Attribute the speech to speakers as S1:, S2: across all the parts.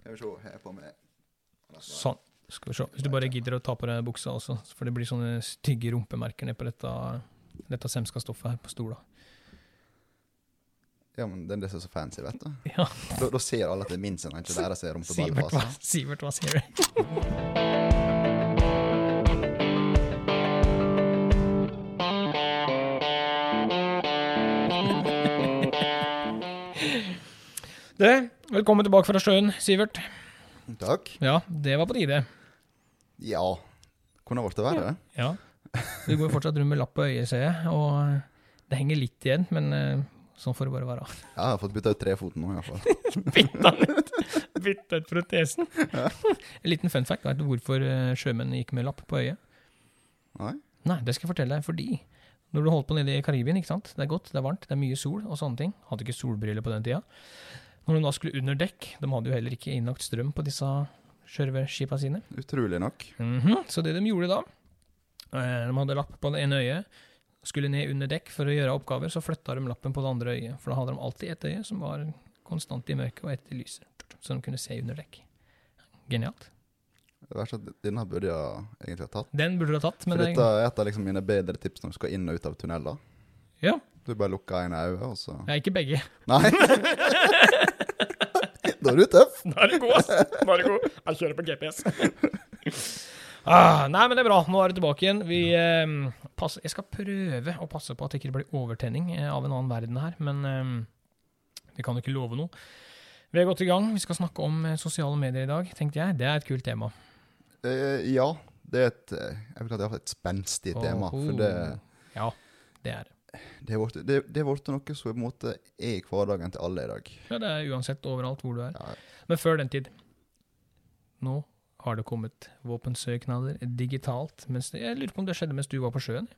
S1: Skal vi se, her på med
S2: Sånn. Skal vi se. Hvis du bare gidder å ta på deg buksa også, for det blir sånne stygge rumpemerker ned på dette, dette semska stoffet her på stola.
S1: Ja, men den er så fancy, vet du.
S2: Ja,
S1: Da, da ser alle at det er min sin, ikke deres er
S2: Sivert, hva,
S1: rumpeballfase.
S2: Sivert, hva sier du? Du, velkommen tilbake fra sjøen, Sivert.
S1: Takk.
S2: Ja, det var på tide.
S1: Ja. Kunne blitt verre.
S2: Ja. Du går fortsatt rundt med lapp på øyet, ser jeg, og det henger litt igjen, men eh, sånn får det bare være.
S1: Ja, jeg har fått bytta ut trefoten nå, iallfall.
S2: Bytta ut, bytta ut protesen. En liten fun fact. Vet du hvorfor eh, sjømenn gikk med lapp på øyet?
S1: Nei?
S2: Nei, det skal jeg fortelle deg, fordi når du holdt på nede i Karibien, ikke sant? det er godt, det er varmt, det er mye sol og sånne ting, hadde ikke solbriller på den tida. Når de da skulle under dekk, de hadde jo heller ikke innlagt strøm på disse sjørøverskipa sine.
S1: Utrolig nok.
S2: Mhm, Så det de gjorde da, eh, de hadde lapp på det ene øyet, skulle ned under dekk for å gjøre oppgaver, så flytta de lappen på det andre øyet, for da hadde de alltid et øye som var konstant i mørket og ett i lyset, så de kunne se under dekk. Genialt.
S1: Det verste er at Denne burde jeg egentlig ha tatt.
S2: Den burde du ha tatt, men
S1: For
S2: det,
S1: dette er et av liksom mine bedre tips når du skal inn og ut av tunneler.
S2: Ja.
S1: Du bare lukker ene øyet, og så
S2: Nei, ikke begge.
S1: Nei! da er du tøff!
S2: Nå er du god, ass. Nå er du god. Jeg kjører på GPS. Ah, nei, men det er bra. Nå er du tilbake igjen. Vi, eh, passer- jeg skal prøve å passe på at det ikke blir overtenning eh, av en annen verden her, men eh, vi kan jo ikke love noe. Vi er godt i gang. Vi skal snakke om eh, sosiale medier i dag, tenkte jeg. Det er et kult tema.
S1: Eh, ja, det er et eh, Jeg vil kalle det i hvert fall et spenstig tema. For det,
S2: Ja, det er det.
S1: det er blitt- det det er blitt noe som på en måte er i hverdagen til alle i dag.
S2: Ja, det er uansett overalt hvor du er.
S1: Ja,
S2: Men før den tid. Nå har det kommet våpensøknader digitalt. Mens det, jeg lurer på om det skjedde mens du var på sjøen?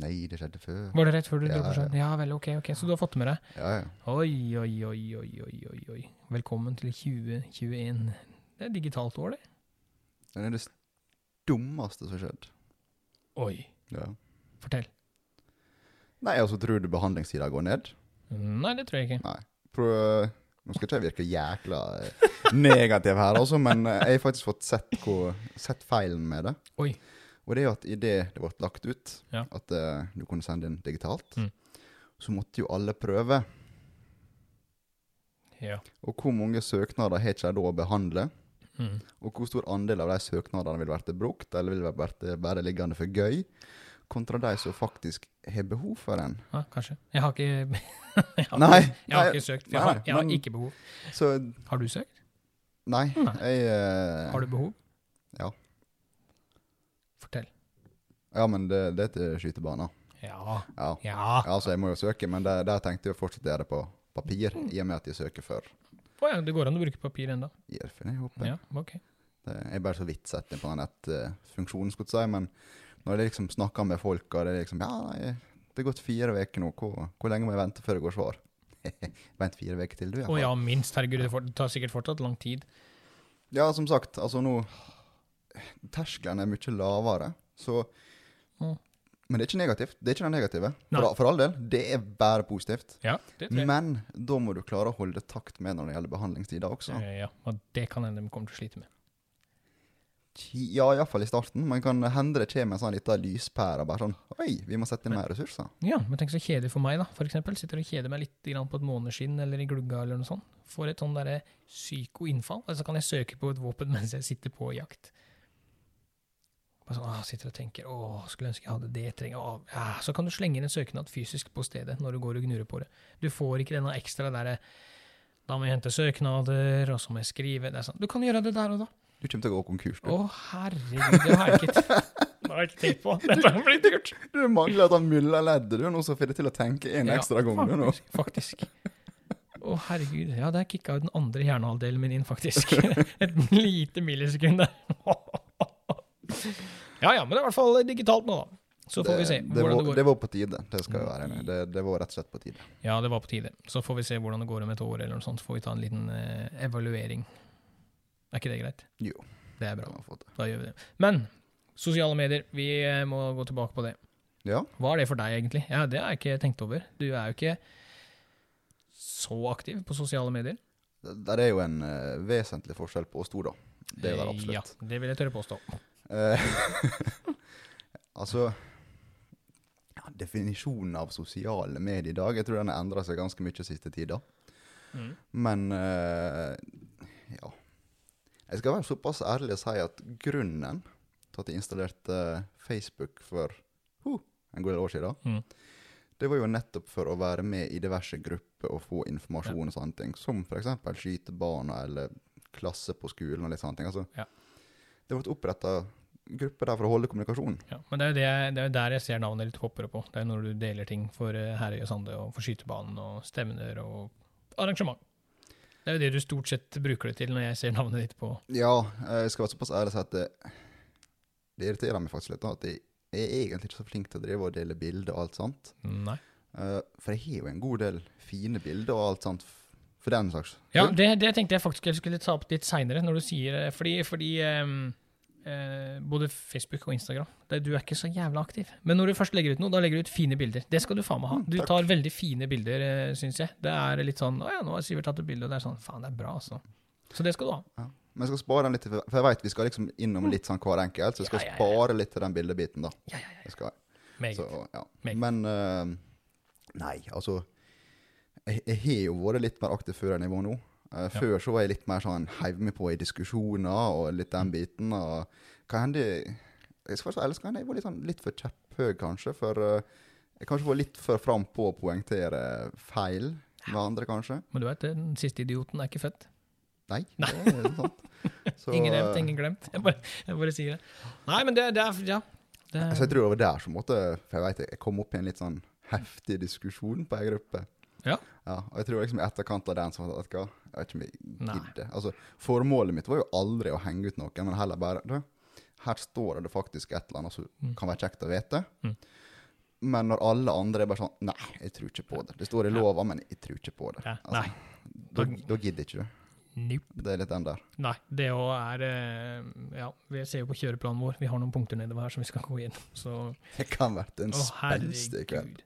S1: nei, det skjedde før.
S2: Var det rett før du dro
S1: Ja,
S2: på sjøen? Ja vel, ok, ok. Så du har fått det med deg?
S1: Ja, ja.
S2: Oi, oi, oi, oi, oi, oi, oi. Velkommen til 2021. Det er digitalt år, det.
S1: Det er det dummeste som har skjedd.
S2: Oi.
S1: Ja.
S2: Fortell.
S1: Nei, altså, tror du behandlingstida går ned?
S2: Nei, det tror jeg ikke.
S1: Prøv, eh, nå skal ikke jeg virke jækla eh, negativ her, altså, men eh, jeg har faktisk fått sett, hvor, sett feilen med det.
S2: Oi.
S1: Og det er jo at idet det ble lagt ut
S2: Ja.
S1: at eh, du kunne sende inn digitalt,
S2: Mm.
S1: så måtte jo alle prøve.
S2: Ja.
S1: Og hvor mange søknader har ikke de da å behandle?
S2: Mm.
S1: Og hvor stor andel av de søknadene vil vært brukt, eller vil vært bare liggende for gøy, kontra de som faktisk har behov for en?
S2: Ja, kanskje. Jeg har ikke jeg har,
S1: Nei,
S2: Jeg
S1: nei,
S2: har ikke søkt. Jeg
S1: nei,
S2: har, jeg har
S1: men-
S2: ikke behov.
S1: Så
S2: Har du søkt?
S1: nei,
S2: Nei.
S1: jeg eh,
S2: Har du behov?
S1: Ja.
S2: Fortell.
S1: Ja, men det, det er til skytebaner.
S2: Ja.
S1: Ja.
S2: Ja.
S1: Ja, Altså, jeg må jo søke, men der, der tenkte jeg å fortsette å gjøre det på papir,
S2: Mm.
S1: i og med at jeg søker for
S2: Å ja, det går an å bruke papir ennå.
S1: IRFN, jeg håper.
S2: Ja, ok.
S1: Det jeg er bare så vidt sett inn på den nettfunksjonen, skulle jeg si, men når jeg liksom snakker med folk, og det er liksom Ja, nei, det er gått fire uker nå, hvor, hvor lenge må jeg vente før det går svar? Vent fire uker til, du. i hvert
S2: Å
S1: fall.
S2: ja, minst. Herregud, det får- det tar sikkert fortsatt lang tid.
S1: ja, som sagt, altså nå Terskelen er mye lavere, så
S2: Mm.
S1: Men det er ikke negativt. Det er ikke det negative.
S2: Nei.
S1: For, for all del, det er bare positivt.
S2: Ja, det tror jeg.
S1: Men da må du klare å holde takt med når det gjelder behandlingstida også.
S2: Eh, Ja, og det kan hende de kommer til å slite med.
S1: Ja, iallfall i starten. Man kan hende det kommer en sånn liten lyspære. og Bare sånn Oi, vi må sette inn mer ressurser.
S2: Ja, men tenk så kjedelig for meg, da. For eksempel sitter og kjeder meg litt grann på et måneskinn eller i glugga eller noe sånt. Får et sånn derre psykoinnfall, og så kan jeg søke på et våpen mens jeg sitter på jakt. Bare sånn, ah, sitter og tenker åh, skulle ønske jeg hadde det, trenger jeg av ja, Så kan du slenge inn en søknad fysisk på stedet når du går og gnurer på det. Du får ikke denne ekstra derre da må jeg hente søknader, og så må jeg skrive det er sånn. Du kan gjøre det der og da.
S1: Du kommer til å gå konkurs, du.
S2: Å, herregud, det har jeg ikke Det har jeg ikke tenkt på. Dette blir dyrt.
S1: Du mangler et av mylleleddet, du, nå som får det til å tenke en
S2: Ja,
S1: ekstra gang, du, nå.
S2: Faktisk. Å, herregud. Ja, der kicka jo den andre hjernehalvdelen min inn, faktisk. Et lite millisekund der. Ja ja, men det er i hvert fall digitalt nå, da. Så får vi se
S1: det,
S2: hvordan
S1: var,
S2: det
S1: det
S2: går. Mm.
S1: var på tide, det skal jeg være enig i. Det, det var rett og slett på tide.
S2: Ja, det var på tide. Så får vi se hvordan det går om et år eller noe sånt. Så får vi ta en liten eh, evaluering. Er ikke det greit?
S1: Jo.
S2: Det er
S1: det
S2: bra.
S1: har vi fått det.
S2: Da gjør vi det. Men sosiale medier, vi eh, må gå tilbake på det.
S1: Ja,
S2: Hva er det for deg, egentlig? Ja, Det har jeg ikke tenkt over. Du er jo ikke så aktiv på sosiale medier.
S1: Det er jo en eh, vesentlig forskjell på oss to, da. Det er det
S2: Ja,
S1: absolutt.
S2: det vil jeg tørre påstå.
S1: Eh, altså ja, Definisjonen av sosiale medier i dag, jeg tror den har endra seg ganske mye siste tida.
S2: Mm.
S1: Men eh, ja. Jeg skal være såpass ærlig og si at grunnen til at jeg installerte eh, Facebook for huh, en god del år siden,
S2: Mm.
S1: det var jo nettopp for å være med i diverse grupper og få informasjon og sånne ting. Som f.eks. skytebaner eller klasse på skolen og litt sånne ting. Altså,
S2: Ja.
S1: Det ble oppretta grupper der for å holde kommunikasjonen.
S2: Ja, men det er, jo det, jeg- det er jo der jeg ser navnet ditt popper opp på. Det er jo når du deler ting for eh, Herøy og Sande, og for skytebanen, og stevner og arrangement. Det er jo det du stort sett bruker det til når jeg ser navnet ditt på
S1: Ja, eh, jeg skal være såpass ærlig og si at det, det irriterer meg faktisk litt da, at jeg jeg er egentlig ikke så flink til å drive og dele bilder og alt sånt.
S2: Nei.
S1: Eh, for jeg har jo en god del fine bilder og alt sånt, f- for den saks
S2: Ja, det, det tenkte jeg faktisk jeg skulle ta opp litt seinere, når du sier eh, Fordi, fordi ehm, eh, både Facebook og Instagram det, Du er ikke så jævla aktiv. Men når du først legger ut noe, da legger du ut fine bilder. Det skal du faen meg ha.
S1: Mm,
S2: Du
S1: takk.
S2: tar veldig fine bilder, eh, syns jeg. Det er litt sånn Å ja, nå har Sivert tatt et bilde, og det er sånn Faen, det er bra, altså. Så det skal du ha.
S1: Men jeg skal spare den litt, for for jeg vet vi skal liksom innom litt sånn hver enkelt, så jeg skal
S2: Mm. Ja, ja, ja.
S1: spare litt til den bildebiten, da.
S2: Ja, ja, ja.
S1: Jeg skal,
S2: Meget.
S1: så, ja.
S2: Meget.
S1: Men eh, Nei, altså jeg, jeg har jo vært litt mer aktiv før enn jeg var nå. Eh,
S2: Ja.
S1: Før så var jeg litt mer sånn heiv meg på i diskusjoner og litt den biten. og Hva hender Jeg skal være så ærlig, så kan hende jeg var litt, sånn, litt for kjepphøy, kanskje. For eh, jeg kanskje var litt for frampå å poengtere feil med andre, kanskje.
S2: Men du vet, den siste idioten er ikke født.
S1: Nei, det er sant. Så,
S2: Ingen nevnt, ingen glemt. Jeg bare, jeg bare sier det. Nei, men det, det er Ja. Det,
S1: eh, Så jeg tror det var der som måtte For jeg vet, jeg kom opp i en litt sånn heftig diskusjon på ei gruppe.
S2: Ja.
S1: Og jeg tror liksom i etterkant av den så var det at hva, jeg vet ikke om jeg
S2: Nei.
S1: gidder. Altså, formålet mitt var jo aldri å henge ut noen, men heller bare du, Her står det faktisk et eller annet som
S2: Mm.
S1: kan være kjekt å vite.
S2: Mm.
S1: Men når alle andre er bare sånn Nei, jeg tror ikke på det. Det står i lova, men jeg tror ikke på det.
S2: ja,
S1: Altså,
S2: nei.
S1: Da, da gidder ikke du.
S2: Nope.
S1: Det er litt den der.
S2: Nei, det òg er eh, Ja, vi ser jo på kjøreplanen vår. Vi har noen punkter nedover her som vi skal gå inn. Så
S1: Det kan vært en
S2: Å,
S1: spenstig kveld.
S2: herregud.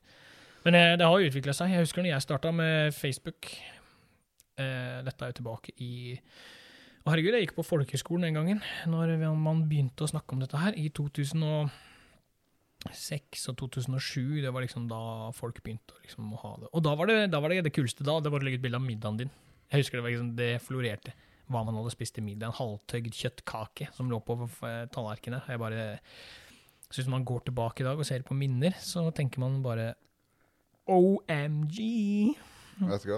S2: Men eh, det har jo utvikla seg. Jeg husker når jeg starta med Facebook. Eh, dette er jo tilbake i Å, herregud, jeg gikk på folkehøyskolen den gangen. Når vi- man begynte å snakke om dette her, i 2006 og 2007. Det var liksom da folk begynte å liksom å ha det. Og da var det, da var det det kuleste da. Det var å legge ut bilde av middagen din. Jeg husker det var liksom, det florerte. Hva man hadde spist til middag. En halvtøgd kjøttkake som lå på eh, tallerkenen. Jeg bare så hvis man går tilbake i dag og ser på minner, så tenker man bare OMG!
S1: Vet du hva?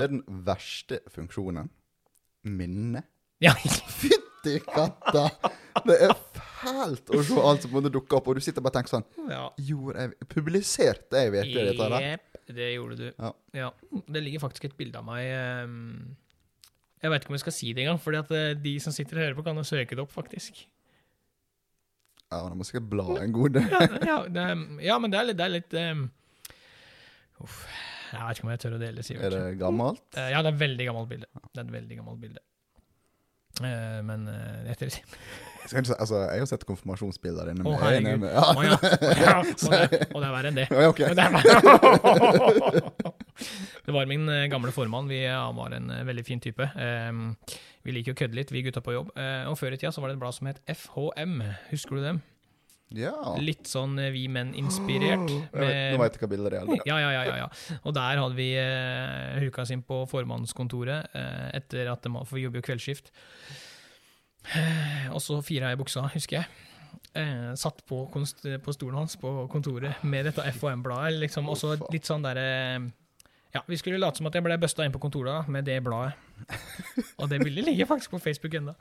S1: Det er den verste funksjonen. Minne.
S2: Ja,
S1: Fytti katta! Det er fælt å se alt som måtte dukke opp, og du sitter og bare og tenker sånn
S2: ja.
S1: Gjorde jeg Publiserte jeg virkelig dette? der?
S2: Jep, det gjorde du.
S1: Ja.
S2: Det ligger faktisk et bilde av meg ehm, Jeg veit ikke om jeg skal si det engang, for de som sitter og hører på, kan jo søke det opp, faktisk.
S1: Ja, nå må jeg sikkert bla en god del.
S2: Ja, ja, det, er- ja men det er litt, det er litt ehm, Uff. Jeg vet ikke om jeg tør å dele,
S1: Er
S2: Sivert.
S1: det gammelt?
S2: Eh, ja, det er et veldig gammelt bilde. Det er et veldig gammelt bilde. Eh, men eh, etter
S1: Jeg, skal ikke si, altså, jeg har sett konfirmasjonsbilder inne
S2: Å,
S1: med.
S2: herregud.
S1: inne med-
S2: Å ja. Å, ja. Og, det, og det er verre enn det.
S1: Ja, ok.
S2: Og det, er verre. det var min eh, gamle formann. Vi, eh, han var en eh, veldig fin type. Ehm, Vi liker å kødde litt, vi gutta på jobb. Eh, Og før i tida så var det et blad som het FHM. Husker du dem?
S1: Ja.
S2: Litt sånn eh, Vi Menn-inspirert.
S1: Jeg vet-
S2: med-
S1: Nå vet jeg hva bildet det gjelder.
S2: ja, ja, ja, ja, ja. Og der hadde vi eh, huka oss inn på formannskontoret eh, etter at de, For vi jobber jo kveldsskift. Eh, og så fira jeg i buksa, husker jeg. Eh, satt på, konst, på stolen hans på kontoret med dette FHM-bladet. Liksom, og så litt sånn derre Ja, vi skulle late som at jeg ble busta inn på kontoret da, med det bladet. Og det bildet ligger faktisk på Facebook ennå.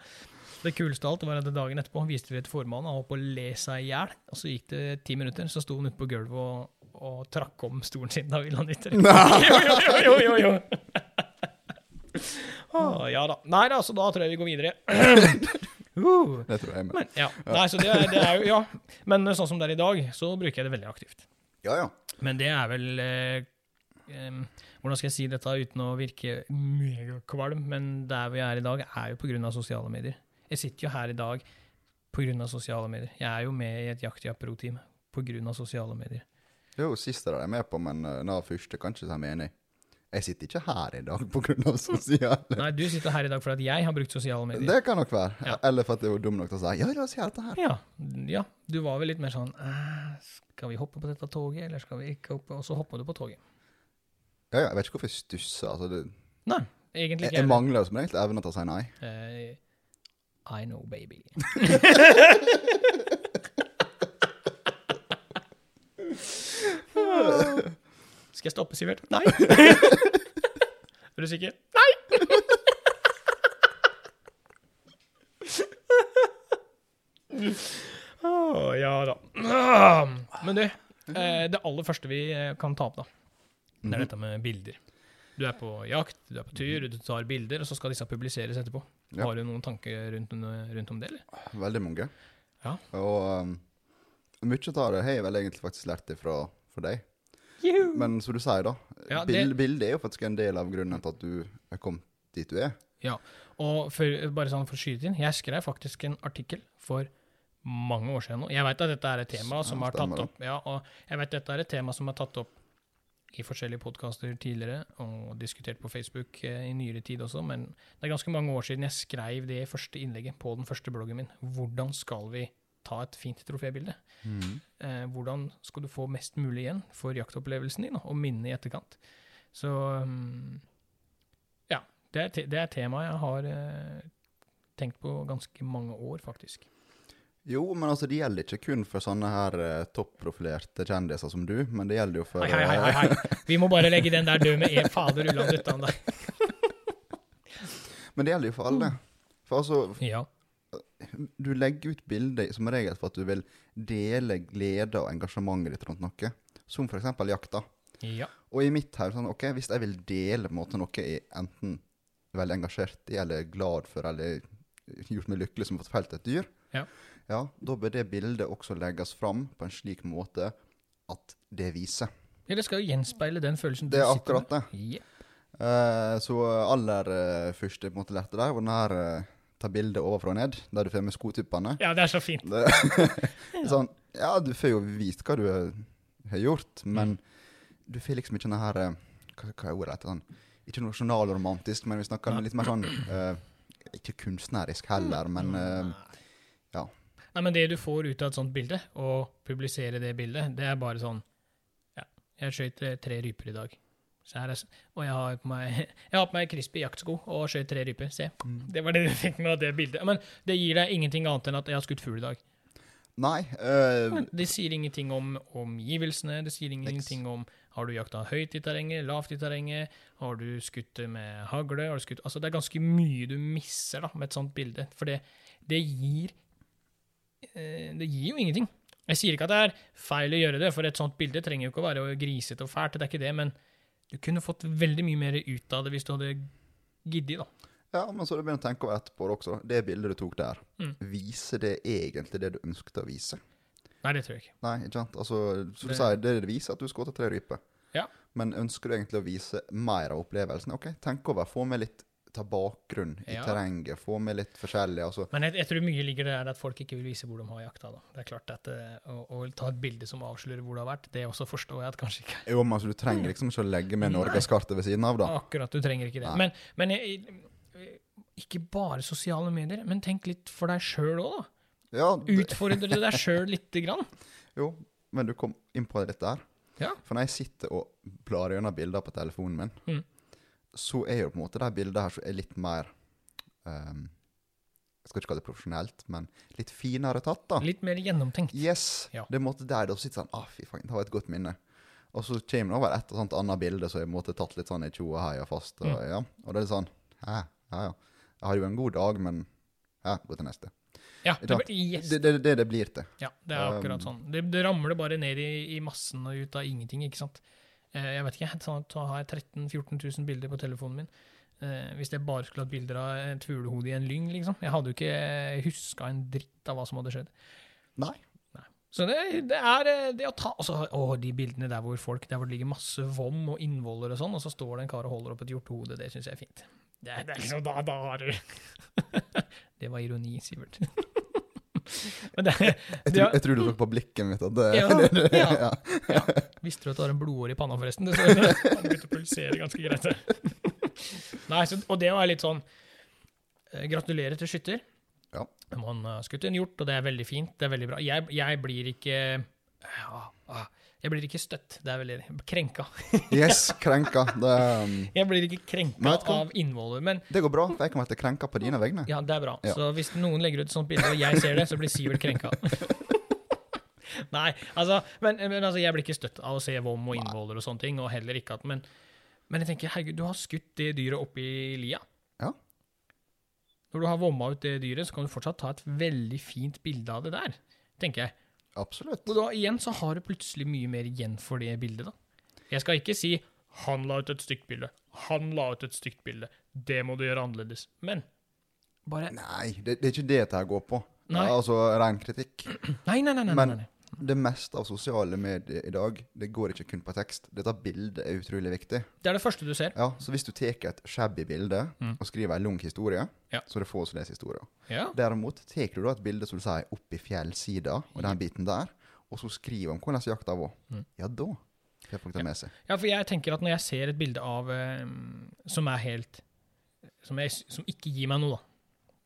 S2: Det kuleste av alt var at dagen etterpå viste vi et formann han holdt på å le seg i hjel. Og så gikk det ti minutter, så sto han ute på gulvet og, og trakk om stolen sin. Da ville han ikke Jo, jo, jo, jo, jo, jo. Å, ja da. Nei da, så da tror jeg vi går videre. uh.
S1: Det tror jeg er med.
S2: Men, ja. Nei, så det, er- det er jo Ja. Men sånn som det er i dag, så bruker jeg det veldig aktivt.
S1: Ja, ja.
S2: Men det er vel eh, em, Hvordan skal jeg si dette uten å virke megakvalm, men der vi er i dag, er jo pga. sosiale medier. Jeg sitter jo her i dag pga. sosiale medier. Jeg er jo med i et jaktjapp-pro-team pga. sosiale medier.
S1: eh, Det er jo siste der jeg er med på, men uh, den første kan ikke si meg enig. Jeg sitter ikke her i dag pga. sosiale
S2: Nei, du sitter her i dag fordi at jeg har brukt sosiale medier.
S1: Det kan nok være.
S2: Ja.
S1: Eller for at jeg var dum nok til å si ja, la oss gjøre dette her.
S2: Ja, ja, du var vel litt mer sånn «Eh, Skal vi hoppe på dette toget, eller skal vi ikke hoppe? Og så hoppa du på toget.
S1: Ja, ja, jeg vet ikke hvorfor jeg stusser. Altså, det,
S2: Nei, egentlig
S1: jeg,
S2: ikke.
S1: jeg
S2: jeg.
S1: mangler som regel evnen til å si nei.
S2: Eh, I know, baby. Skal jeg stoppe, Sivert? Nei. er du sikker? Nei! Å, ja da. Men du, eh, det aller første vi eh, kan ta opp, da, det er dette med bilder. Du er på jakt, du er på tur, du tar bilder, og så skal disse publiseres etterpå.
S1: Mhm. Ja.
S2: Har du noen tanker rundt, rundt om det, eller?
S1: Veldig mange.
S2: Ja.
S1: Og um, mye av det har jeg vel egentlig faktisk lært ifra fra deg. Men som du sier, da.
S2: Ja, det-
S1: bil, bildet er jo faktisk en del av grunnen til at du er kommet dit du er.
S2: Ja, og for, bare sånn for å skyte inn, jeg skrev faktisk en artikkel for mange år siden nå. Jeg vet at dette er et tema som
S1: Ja,
S2: har tatt
S1: stemmer det.
S2: opp, ja, og jeg vet dette er et tema som er tatt opp i forskjellige podcaster tidligere, og diskutert på Facebook eh, i nyere tid også, men det er ganske mange år siden jeg skrev det første innlegget på den første bloggen min. Hvordan skal vi ta et fint trofébilde? Eh, hvordan skal du få mest mulig igjen for jaktopplevelsen din, da, og minnet i etterkant? Så um, ja, det er, te det er temaet jeg har eh, tenkt på ganske mange år, faktisk.
S1: Jo, men altså, det gjelder ikke kun for sånne her eh, topprofilerte kjendiser som du, men det gjelder jo for
S2: Hei, hei, hei, hei, hei. Vi må bare legge den der død med en fader ulland utan deg.
S1: eh, Men det gjelder jo for
S2: Mm.
S1: alle. For altså,
S2: Ja.
S1: du legger ut bilder som regel for at du vil dele glede og engasjementet ditt rundt noe, som for eksempel jakta.
S2: ja.
S1: Og i mitt her, sånn, ok, hvis jeg vil dele på en måte noe jeg enten er veldig engasjert i, eller er glad for, eller gjort meg lykkelig som har fått felt et dyr,
S2: Ja.
S1: ja, da bør det bildet også legges fram på en slik måte at det viser.
S2: Ja, det skal jo gjenspeile den følelsen du
S1: Det er
S2: sitter
S1: akkurat det.
S2: med. Ja.
S1: Eh, så aller eh, første på en måte lette der, var den her eh, ta bildet overfra og ned, der du får med skotuppene.
S2: ja, det er så fint.
S1: Det, sånn, ja, du får jo vite hva du har har gjort, men du får liksom ikke denne her eh, Hva, hva er ordet etter sånn? Ikke noe journalromantisk, men vi snakker litt mer sånn eh, Ikke kunstnerisk heller, men eh, ja.
S2: Nei, men det du får ut av et sånt bilde, og publisere det bildet, det er bare sånn Ja, jeg skjøt eh, tre ryper i dag. Så her er, s- og jeg har på meg, jeg har på meg crispy jaktsko og skjøt tre ryper. Se. Det var det du fikk med av det bildet. Men det gir deg ingenting annet enn at jeg har skutt fugl i dag.
S1: Nei. eh,
S2: Men det sier ingenting om omgivelsene, det sier ingenting om har du jakta høyt i terrenget, lavt i terrenget, har du skutt det med hagle har du skutt, altså Det er ganske mye du misser da, med et sånt bilde, for det, det gir eh, Det gir jo ingenting. Jeg sier ikke at det er feil å gjøre det, for et sånt bilde trenger jo ikke å være grisete og fælt, det er ikke det, men du kunne fått veldig mye mer ut av det hvis du hadde giddet, da.
S1: ja, men så begynner jeg å tenke over etterpå også. Det bildet du tok der,
S2: Mm.
S1: viser det egentlig det du ønsket å vise?
S2: Nei, det tror jeg ikke.
S1: Nei, ikke sant? Altså, som du
S2: Det-
S1: sier, det viser at du skjøt tre ryper.
S2: Ja.
S1: Men ønsker du egentlig å vise mer av opplevelsen? Ok, tenk over. Få med litt ta bakgrunn i
S2: Ja.
S1: terrenget. Få med litt forskjellig. Altså,
S2: Men jeg, jeg tror mye ligger der at folk ikke vil vise hvor de har jakta. da. Det er klart at eh, å, å ta et bilde som avslører hvor det har vært, det også forstår jeg at kanskje ikke
S1: jo, men altså, du
S2: Mm.
S1: trenger liksom ikke å legge med norgeskartet ved siden av, da.
S2: Akkurat, du trenger ikke
S1: Nei.
S2: det. Men, men jeg, jeg- ikke bare sosiale medier, men tenk litt for deg sjøl òg, da.
S1: Ja, det,
S2: Utfordre deg sjøl lite grann.
S1: jo, men du kom inn på dette her.
S2: Ja.
S1: For når jeg sitter og blar gjennom bilder på telefonen min,
S2: Mm.
S1: så er jo på en måte de bildene her som er litt mer ehm, Jeg skal ikke kalle det profesjonelt, men litt finere tatt, da.
S2: Litt mer gjennomtenkt.
S1: Yes!
S2: Ja.
S1: Det er en måte der du sitter sånn, ah, fy faen, det var et godt minne. Og så kommer det over et og sånt annet bilde, så jeg måtte tatt litt sånn i tjo og heia fast. Og,
S2: Mm.
S1: ja. og det er litt sånn, hæ, ja, ja. Jeg har jo en god dag, men ja, gå til neste.
S2: Ja, det,
S1: Takk.
S2: blir- yes.
S1: Det, det, det, det blir til.
S2: ja, det er akkurat
S1: Um,
S2: sånn. Det, det ramler bare ned i, i massen og ut av ingenting, ikke sant. Eh, Jeg vet ikke, sånn at så har jeg 13 000-14 000 bilder på telefonen min. Eh, Hvis jeg bare skulle hatt bilder av et fuglehode i en lyng, liksom. Jeg hadde jo ikke huska en dritt av hva som hadde skjedd.
S1: Nei.
S2: Så det, det er eh, det å ta altså, Å, de bildene der hvor folk Der hvor det ligger masse vom og innvoller og sånn, og så står det en kar og holder opp et hjortehode, det syns jeg er fint. Det, er- det er liksom da, da har du Det var ironi, Sivert. Men det,
S1: Jeg,
S2: det
S1: tror-
S2: er-
S1: jeg tror du så på blikket mitt at det,
S2: Ja,
S1: det, det
S2: ja.
S1: ja.
S2: Visste du at du har en blodåre i panna, forresten? Det står under. Han begynte å pulsere ganske greit. Nei, så, og det var litt sånn eh, Gratulerer til skytter.
S1: Ja.
S2: Man har skutt en hjort, og det er veldig fint. Det er veldig bra. Jeg, jeg blir ikke ja, ah, Jeg blir ikke støtt. Det er veldig krenka.
S1: Yes, krenka. Det, um,
S2: Jeg blir ikke
S1: Men
S2: krenka
S1: vet du hva?
S2: av innvoller. Men
S1: det går bra, for jeg kommer til å krenke på dine vegne.
S2: ja, det er bra.
S1: Ja.
S2: Så hvis noen legger ut et sånt bilde, og jeg ser det, så blir Sivert krenka. Nei, altså, men, men altså, jeg blir ikke støtt av å se vom og innvoller og sånne ting, og heller ikke at Men, men jeg tenker, herregud, du har skutt det dyret oppi lia.
S1: Ja.
S2: Når du har vomma ut det dyret, så kan du fortsatt ta et veldig fint bilde av det der, tenker jeg.
S1: Absolutt.
S2: Og da igjen så har du plutselig mye mer igjen for det bildet, da. Jeg skal ikke si 'han la ut et stygt bilde', 'han la ut et stygt bilde', 'det må du gjøre annerledes'. Men bare
S1: Nei, det, det er ikke det dette her går på.
S2: Nei.
S1: Altså ren kritikk.
S2: Nei, nei, nei. nei,
S1: Men-
S2: nei, nei.
S1: Det meste av sosiale medier i dag, det går ikke kun på tekst. Dette bildet er utrolig viktig.
S2: Det er det første du ser.
S1: Ja, Så hvis du tar et shabby bilde
S2: Mm.
S1: og skriver en lang historie,
S2: Ja.
S1: så er det få som leser historien.
S2: Ja.
S1: Derimot tar du da et bilde som du sier opp i fjellsida, og den biten der, og så skriver om hvordan jakta var.
S2: Mm.
S1: Ja, da får folk det med seg.
S2: ja, for jeg tenker at når jeg ser et bilde av eh, som er helt som, jeg, som ikke gir meg noe,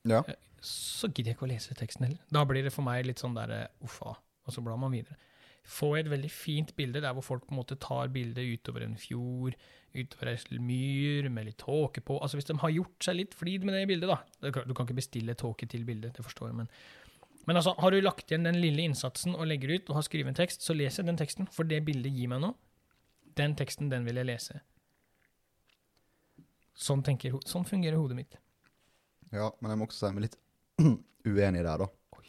S2: da,
S1: Ja.
S2: så gidder jeg ikke å lese teksten heller. Da blir det for meg litt sånn der eh, uffa, og så blar man videre. Får jeg et veldig fint bilde der hvor folk på en måte tar bildet utover en fjord, utover ei myr med litt tåke på Altså hvis de har gjort seg litt flid med det bildet, da. Det er klart, Du kan ikke bestille tåke til bildet, det forstår jeg, men Men altså, har du lagt igjen den lille innsatsen og legger ut og har skrevet en tekst, så leser jeg den teksten, for det bildet gir meg noe. Den teksten, den vil jeg lese. Sånn, tenker, ho- sånn fungerer hodet mitt.
S1: Ja, men jeg må også si meg litt uenig der, da.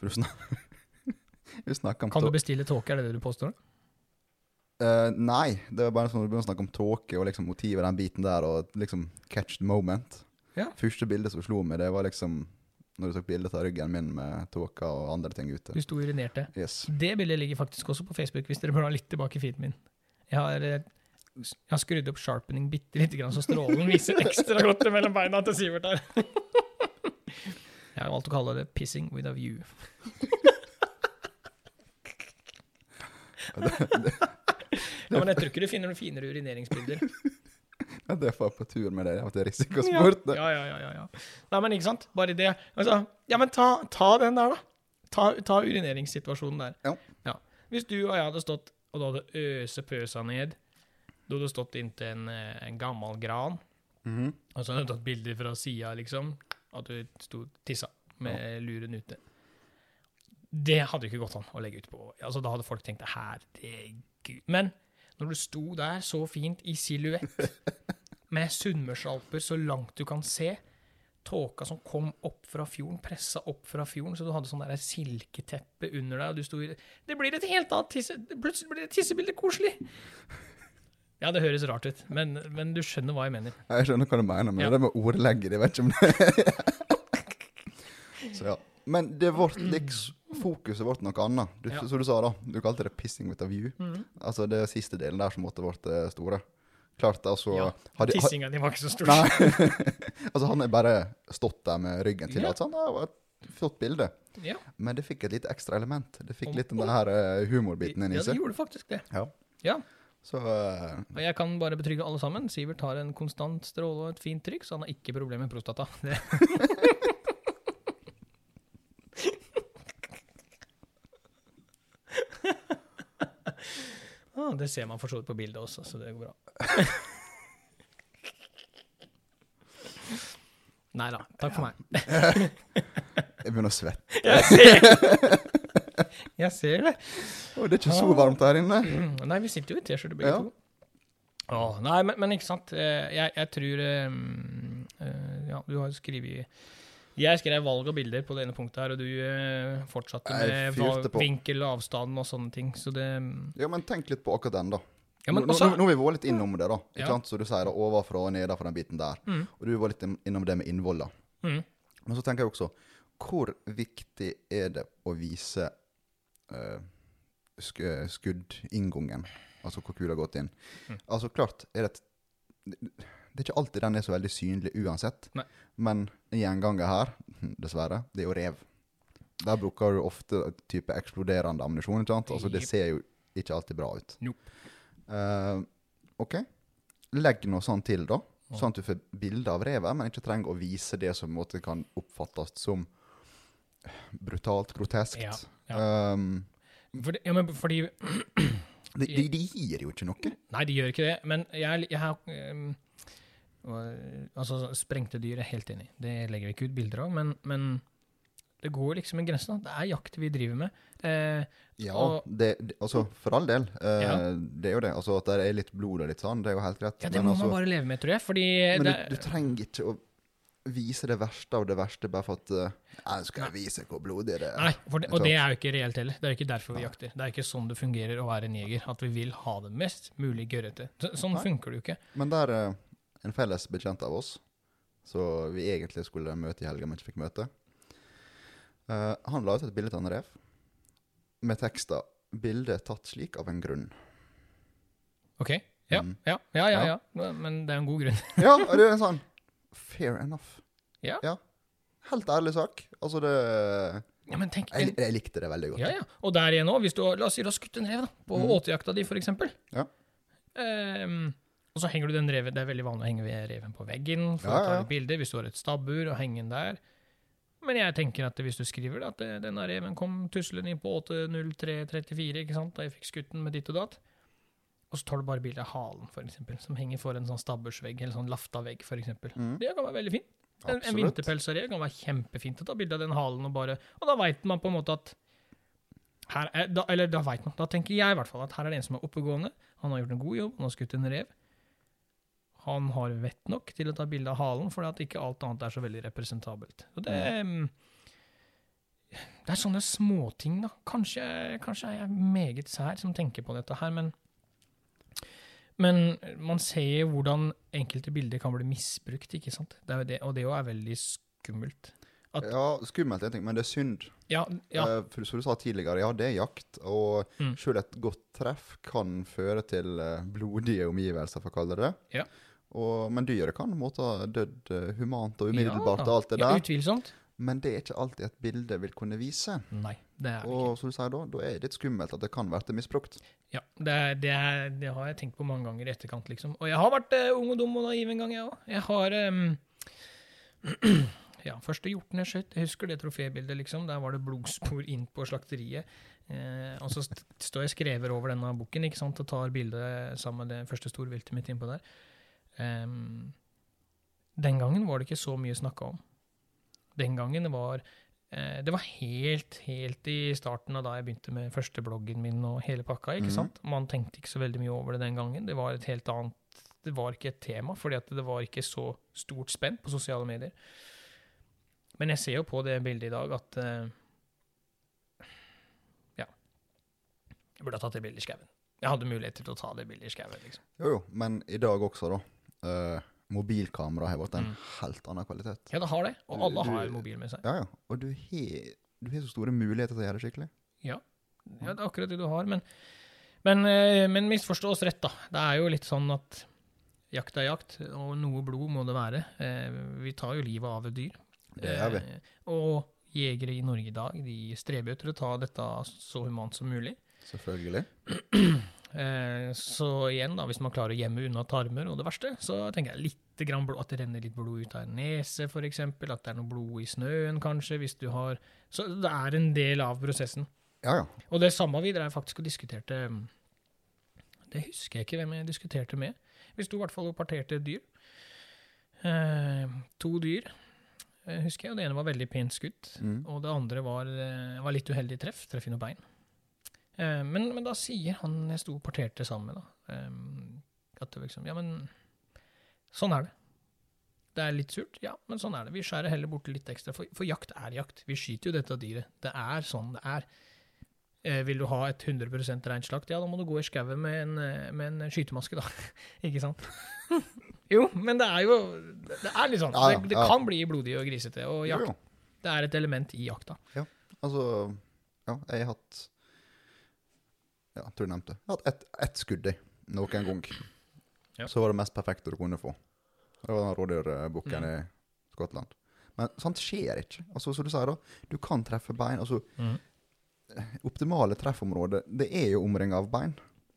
S1: For du snakker Du snakker om
S2: Kan du
S1: tå-
S2: bestille tåke, er det det du påstår?
S1: Eh, Nei, det var bare sånn at du begynner å snakke om tåke og liksom motivet, den biten der, og liksom catch the moment.
S2: Ja.
S1: Første bildet som slo meg, det var liksom når du tok bilde av ryggen min med tåka og andre ting ute.
S2: Du sto og urinerte.
S1: Yes.
S2: Det bildet ligger faktisk også på Facebook, hvis dere blar litt tilbake i feeden min. Jeg har, eh, jeg har skrudd opp sharpening bitte lite grann, så strålen viser ekstra godt mellom beina til Sivert her. Jeg har valgt å kalle det 'pissing with a view'. Ja, men jeg tror ikke du finner noen finere urineringsbilder.
S1: Ja, det får jeg på tur med deg. Det var risikosport. det.
S2: Ja, ja, ja, ja, ja. Nei, men ikke sant? Bare det. Altså, ja, men ta, ta den der, da. Ta, ta urineringssituasjonen der.
S1: Ja.
S2: Hvis du og jeg hadde stått, og du hadde øse pøsa ned, du hadde stått inntil en, eh, en gammel gran,
S1: Mhm.
S2: og så hadde du tatt bilder fra sida, liksom, at du sto og tissa med luren ute. Det hadde jo ikke gått an å legge ut på. Altså, da hadde folk tenkt her, det er gud. Men når du sto der så fint i silhuett, med Sunnmørsalper så langt du kan se, tåka som kom opp fra fjorden, pressa opp fra fjorden, så du hadde sånn der silketeppe under deg, og du sto i Det blir et helt annet tisse... Plutselig blir det tissebildet koselig! Ja, det høres rart ut, men, men du skjønner hva jeg mener.
S1: Ja, Jeg skjønner hva du mener, men
S2: Ja.
S1: det med ordlegget, jeg vet ikke om det Så ja. Men det vårt liks, fokuset vårt noe annet. Du,
S2: Ja. Mm.
S1: Som du sa, da. Du kalte det 'pissing with a view'. Altså det siste delen der som måtte vært det store. Klart, altså
S2: Ja,
S1: hadde, ha,
S2: Tissinga di var ikke så stor.
S1: Nei. altså, han har bare stått der med ryggen til.
S2: Ja.
S1: Altså, han har et flott bilde.
S2: Ja,
S1: Men det fikk et litt ekstra element. Det fikk
S2: Om-
S1: litt den her eh, humorbiten inn i
S2: ja, det
S1: seg.
S2: gjorde faktisk det.
S1: Ja.
S2: Ja,
S1: Så eh,
S2: og jeg kan bare betrygge alle sammen. Sivert har en konstant stråle og et fint trykk, så han har ikke problemer med prostata. Det. ah, det ser man for så vidt på bildet også, så det går bra. Nei da. Takk for meg.
S1: jeg begynner å svette.
S2: Jeg ser, jeg ser det.
S1: Å, det er ikke så varmt her inne.
S2: Mm, Nei, vi sitter jo i T-skjorte begge
S1: Ja.
S2: to. Åh, nei, men, men ikke sant. Eh, Jeg, jeg tror eh, mm, eh, Ja, du har jo skrevet Jeg skrev valg av bilder på det ene punktet her, og du eh, fortsatte
S1: Jeg
S2: med hva-
S1: fyrte på.
S2: vinkel og avstand og sånne ting, så det
S1: Ja, men tenk litt på akkurat den, da.
S2: Ja, men
S1: nå,
S2: også
S1: nå, nå har vi vært litt innom det, da. Ikke
S2: Ja.
S1: sant? Så du sier det overfra og nedenfra den biten der.
S2: Mm.
S1: Og du var litt in- innom det med innvoller.
S2: mm,
S1: Men så tenker jeg også, hvor viktig er det å vise uh, sk eh, skuddinngangen? Altså hvor kula har gått inn.
S2: Mm.
S1: Altså klart, er det et det er ikke alltid den er så veldig synlig uansett,
S2: Nei.
S1: men en gjenganger her, dessverre, det er jo rev. Der bruker du ofte type eksploderende ammunisjon, ikke sant? Altså, det
S2: Jep.
S1: ser jo ikke alltid bra ut.
S2: Nope.
S1: Eh, OK. Legg noe sånt til, da.
S2: Ja.
S1: Sånn at du får bilde av revet, men ikke trenger å vise det som på en måte kan oppfattes som brutalt, groteskt.
S2: Ja,
S1: Um,
S2: For det, ja, men fordi
S1: det, det, det gir jo ikke noe.
S2: Nei, de gjør ikke det, men jeg, jeg har ehm, og, Altså, sprengte dyr er jeg helt enig i. Det legger vi ikke ut bilder av, men, men det går liksom en grense. da. Det er jakt vi driver med. Eh,
S1: Ja,
S2: Og-
S1: det, det, altså, for all del. eh,
S2: Ja.
S1: Det er jo det. Altså, at det er litt blod og litt sånn, det er jo helt greit.
S2: ja, det
S1: men
S2: må
S1: altså,
S2: man bare leve med, tror jeg. Fordi
S1: men
S2: det,
S1: du, du trenger ikke å vise det verste av det verste bare for at eh, «Ja, Nå skal jeg vise hvor blodig det er.
S2: Nei, for det,
S1: Jeg
S2: og
S1: tror-
S2: det er jo ikke reelt heller. Det er jo ikke derfor vi jakter. Det er ikke sånn det fungerer å være en jeger. At vi vil ha det mest mulig gørrete. Så- Sånn
S1: Nei.
S2: funker det jo ikke.
S1: Men der eh, en felles bekjent av oss, så vi egentlig skulle møte i helga, men ikke fikk møte, eh, han la ut et bilde av en rev med teksta 'Bildet tatt slik av en grunn'.
S2: OK? Ja,
S1: Mm.
S2: ja, ja, ja,
S1: Ja.
S2: ja. Men det er jo en god grunn.
S1: Ja, og det er sånn Fair enough.
S2: Ja.
S1: Helt ærlig sak. Altså, det
S2: Ja, men tenk,
S1: Jeg, jeg likte det veldig godt.
S2: Ja, ja. Og der igjen òg, hvis du la oss si du har skutt en rev da, på
S1: Mm.
S2: åtejakta di, f.eks.
S1: Ja.
S2: Ehm, og så henger du den reven Det er veldig vanlig å henge ved reven på veggen for
S1: Ja,
S2: å ta
S1: ja, ja.
S2: litt bilder hvis du har et stabbur, og henge den der. Men jeg tenker at hvis du skriver da, at eh, denne reven kom tuslende inn på 8.03,34, ikke sant, da jeg fikk skutt den med ditt og datt, og så tar du bare bilde av halen, f.eks., som henger for en sånn stabbursvegg, eller sånn lafta-vegg, f.eks.
S1: Mm.
S2: Det kan være veldig fint. En, en
S1: Absolutt.
S2: vinterpels av rev kan være kjempefint å ta bilde av den halen og bare Og da veit man på en måte at her er, da, Eller da veit man. Da tenker jeg i hvert fall at her er det en som er oppegående. Han har gjort en god jobb, han har skutt en rev. Han har vett nok til å ta bilde av halen, fordi at ikke alt annet er så veldig representabelt. Og det mm. Det er sånne småting, da. Kanskje, kanskje er jeg meget sær som tenker på dette her, men men man ser hvordan enkelte bilder kan bli misbrukt, ikke sant? Det er jo det, og det òg er veldig skummelt. at-
S1: Ja, skummelt, jeg tenker, men det er synd.
S2: Ja, ja,
S1: Eh, For som du sa tidligere, ja, det er jakt, og
S2: Mm.
S1: selv et godt treff kan føre til eh, blodige omgivelser, for å kalle det det.
S2: Ja.
S1: Og, men dyret kan på en måte ha dødd eh, humant og umiddelbart
S2: Ja,
S1: og alt det
S2: ja,
S1: der,
S2: utvilsomt.
S1: men det er ikke alltid et bilde vil kunne vise.
S2: Nei, det er det ikke.
S1: Og som du sier da, da er det litt skummelt at det kan være misbrukt.
S2: Ja, det, er, det, er, det har jeg tenkt på mange ganger i etterkant, liksom. Og jeg har vært eh, ung og dum og naiv en gang, jeg òg. Jeg har em, Ja, første hjorten jeg skjøt, jeg husker det trofébildet, liksom. Der var det blodspor inn på slakteriet. Eh, og så st står jeg og skrever over denne bukken ikke sant, og tar bilde sammen med det første storviltet mitt innpå der. Em, den gangen var det ikke så mye snakka om. Den gangen var eh, Det var helt, helt i starten av da jeg begynte med første bloggen min og hele pakka. ikke
S1: Mhm.
S2: sant? Man tenkte ikke så veldig mye over det den gangen. Det var et helt annet Det var ikke et tema, fordi at det var ikke så stort spenn på sosiale medier. Men jeg ser jo på det bildet i dag at eh, Ja. Jeg burde ha tatt det bildet i skauen. Jeg hadde muligheter til å ta det bildet i skauen. Liksom.
S1: Jo, jo, men i dag også da, eh, mobilkamera har vært en
S2: Mm.
S1: helt annen kvalitet.
S2: Ja, det har det. Og alle
S1: Du-
S2: har
S1: du-
S2: mobil med seg.
S1: Ja, ja, og du har, du har så store muligheter til å gjøre det skikkelig.
S2: Ja, det er akkurat det du har, men, men, eh, men misforstå oss rett, da. Det er jo litt sånn at jakt er jakt, og noe blod må det være. Eh, Vi tar jo livet av et dyr.
S1: Det gjør vi.
S2: Eh, Og jegere i Norge i dag de streber jo til å ta dette så humant som mulig.
S1: Selvfølgelig.
S2: Eh, Så igjen, da, hvis man klarer å gjemme unna tarmer og det verste, så tenker jeg litt grann blod, at det renner litt blod ut av en nese, f.eks. At det er noe blod i snøen, kanskje, hvis du har Så det er en del av prosessen.
S1: Ja, ja.
S2: Og det samme vi drev faktisk og diskuterte um, Det husker jeg ikke hvem jeg diskuterte med. Vi sto i hvert fall og parterte et dyr. Eh, to dyr, eh, husker jeg. Og det ene var veldig pent skutt.
S1: Mm.
S2: Og det andre var, eh, var litt uheldig treff. Treff i noe bein. Eh, men, men da sier han jeg sto og parterte sammen med, da, eh, at det var liksom Ja, men sånn er det. Det er litt surt, ja, men sånn er det. Vi skjærer heller bort litt ekstra, for, for jakt er jakt. Vi skyter jo dette dyret. Det er sånn det er. Eh, vil du ha et 100 reint slakt, ja, da må du gå i skauen med, en, eh, med en skytemaske, da. Ikke sant? jo, men det er jo Det er litt sånn.
S1: Ja, ja,
S2: det det
S1: ja.
S2: kan bli blodig og grisete, og
S1: Jo,
S2: jakt
S1: jo.
S2: det er et element i jakta.
S1: Altså, ja, jeg har hatt Ja, tror jeg nevnte det. Jeg har hatt ett ett skudd i noen gang.
S2: Ja.
S1: Så var det mest perfekte du kunne få. Det var den rådyrbukken i Skottland. Men sånt skjer ikke. Altså, som du sier, da, du kan treffe bein. altså
S2: Mm.
S1: Optimale treffområde, det er jo omringa av bein.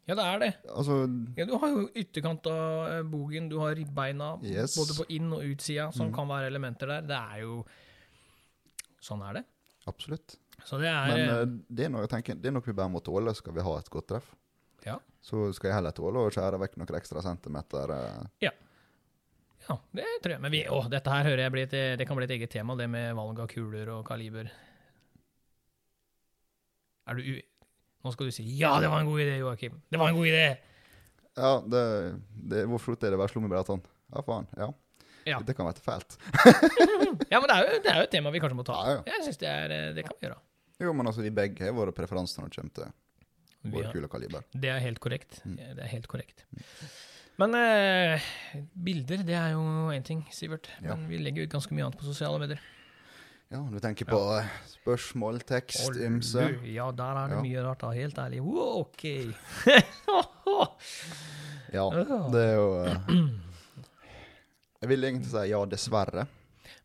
S2: Ja, det er det.
S1: Altså,
S2: Ja, du har jo ytterkant av eh, bogen, du har ribbeina
S1: Yes. Mm.
S2: både på inn- og utsida, som kan være elementer der. Det er jo Sånn er det.
S1: absolutt.
S2: Så det er
S1: Men
S2: eh,
S1: eh, det, er noe jeg tenker, det er noe vi bare må tåle, skal vi ha et godt treff.
S2: Ja.
S1: Så skal jeg heller tåle å skjære vekk noen ekstra centimeter. eh.
S2: Ja, det tror jeg. Men vi, å, dette her hører jeg blir et, det kan bli et eget tema, det med valg av kuler og kaliber. Er du u... Nå skal du si 'ja, det var en god idé, Joakim'. Det var en god idé!
S1: Ja, det, det, hvorfor er det bare slummer bare sånn? Ja, faen. Ja.
S2: Ja.
S1: Det kan være til fælt.
S2: Ja, men det er jo, det er jo et tema vi kanskje må ta.
S1: Ja, ja.
S2: Jeg synes det, er, eh, det kan vi gjøre.
S1: Jo, men altså, vi begge har våre preferanser når det kommer til
S2: Vi
S1: vår
S2: har-
S1: kulekaliber.
S2: Det er helt korrekt.
S1: Mm.
S2: Det er helt korrekt. Men eh, bilder, det er jo én ting, Sivert.
S1: Ja.
S2: Men vi legger ut ganske mye annet på sosiale medier.
S1: Ja, du tenker på eh, spørsmål, tekst,
S2: Og
S1: ymse.
S2: du, Ja, der er det
S1: Ja.
S2: mye rart, da. Helt ærlig. Wow, OK!
S1: Ja,
S2: Ja.
S1: det er jo eh, Jeg vil egentlig si ja, dessverre.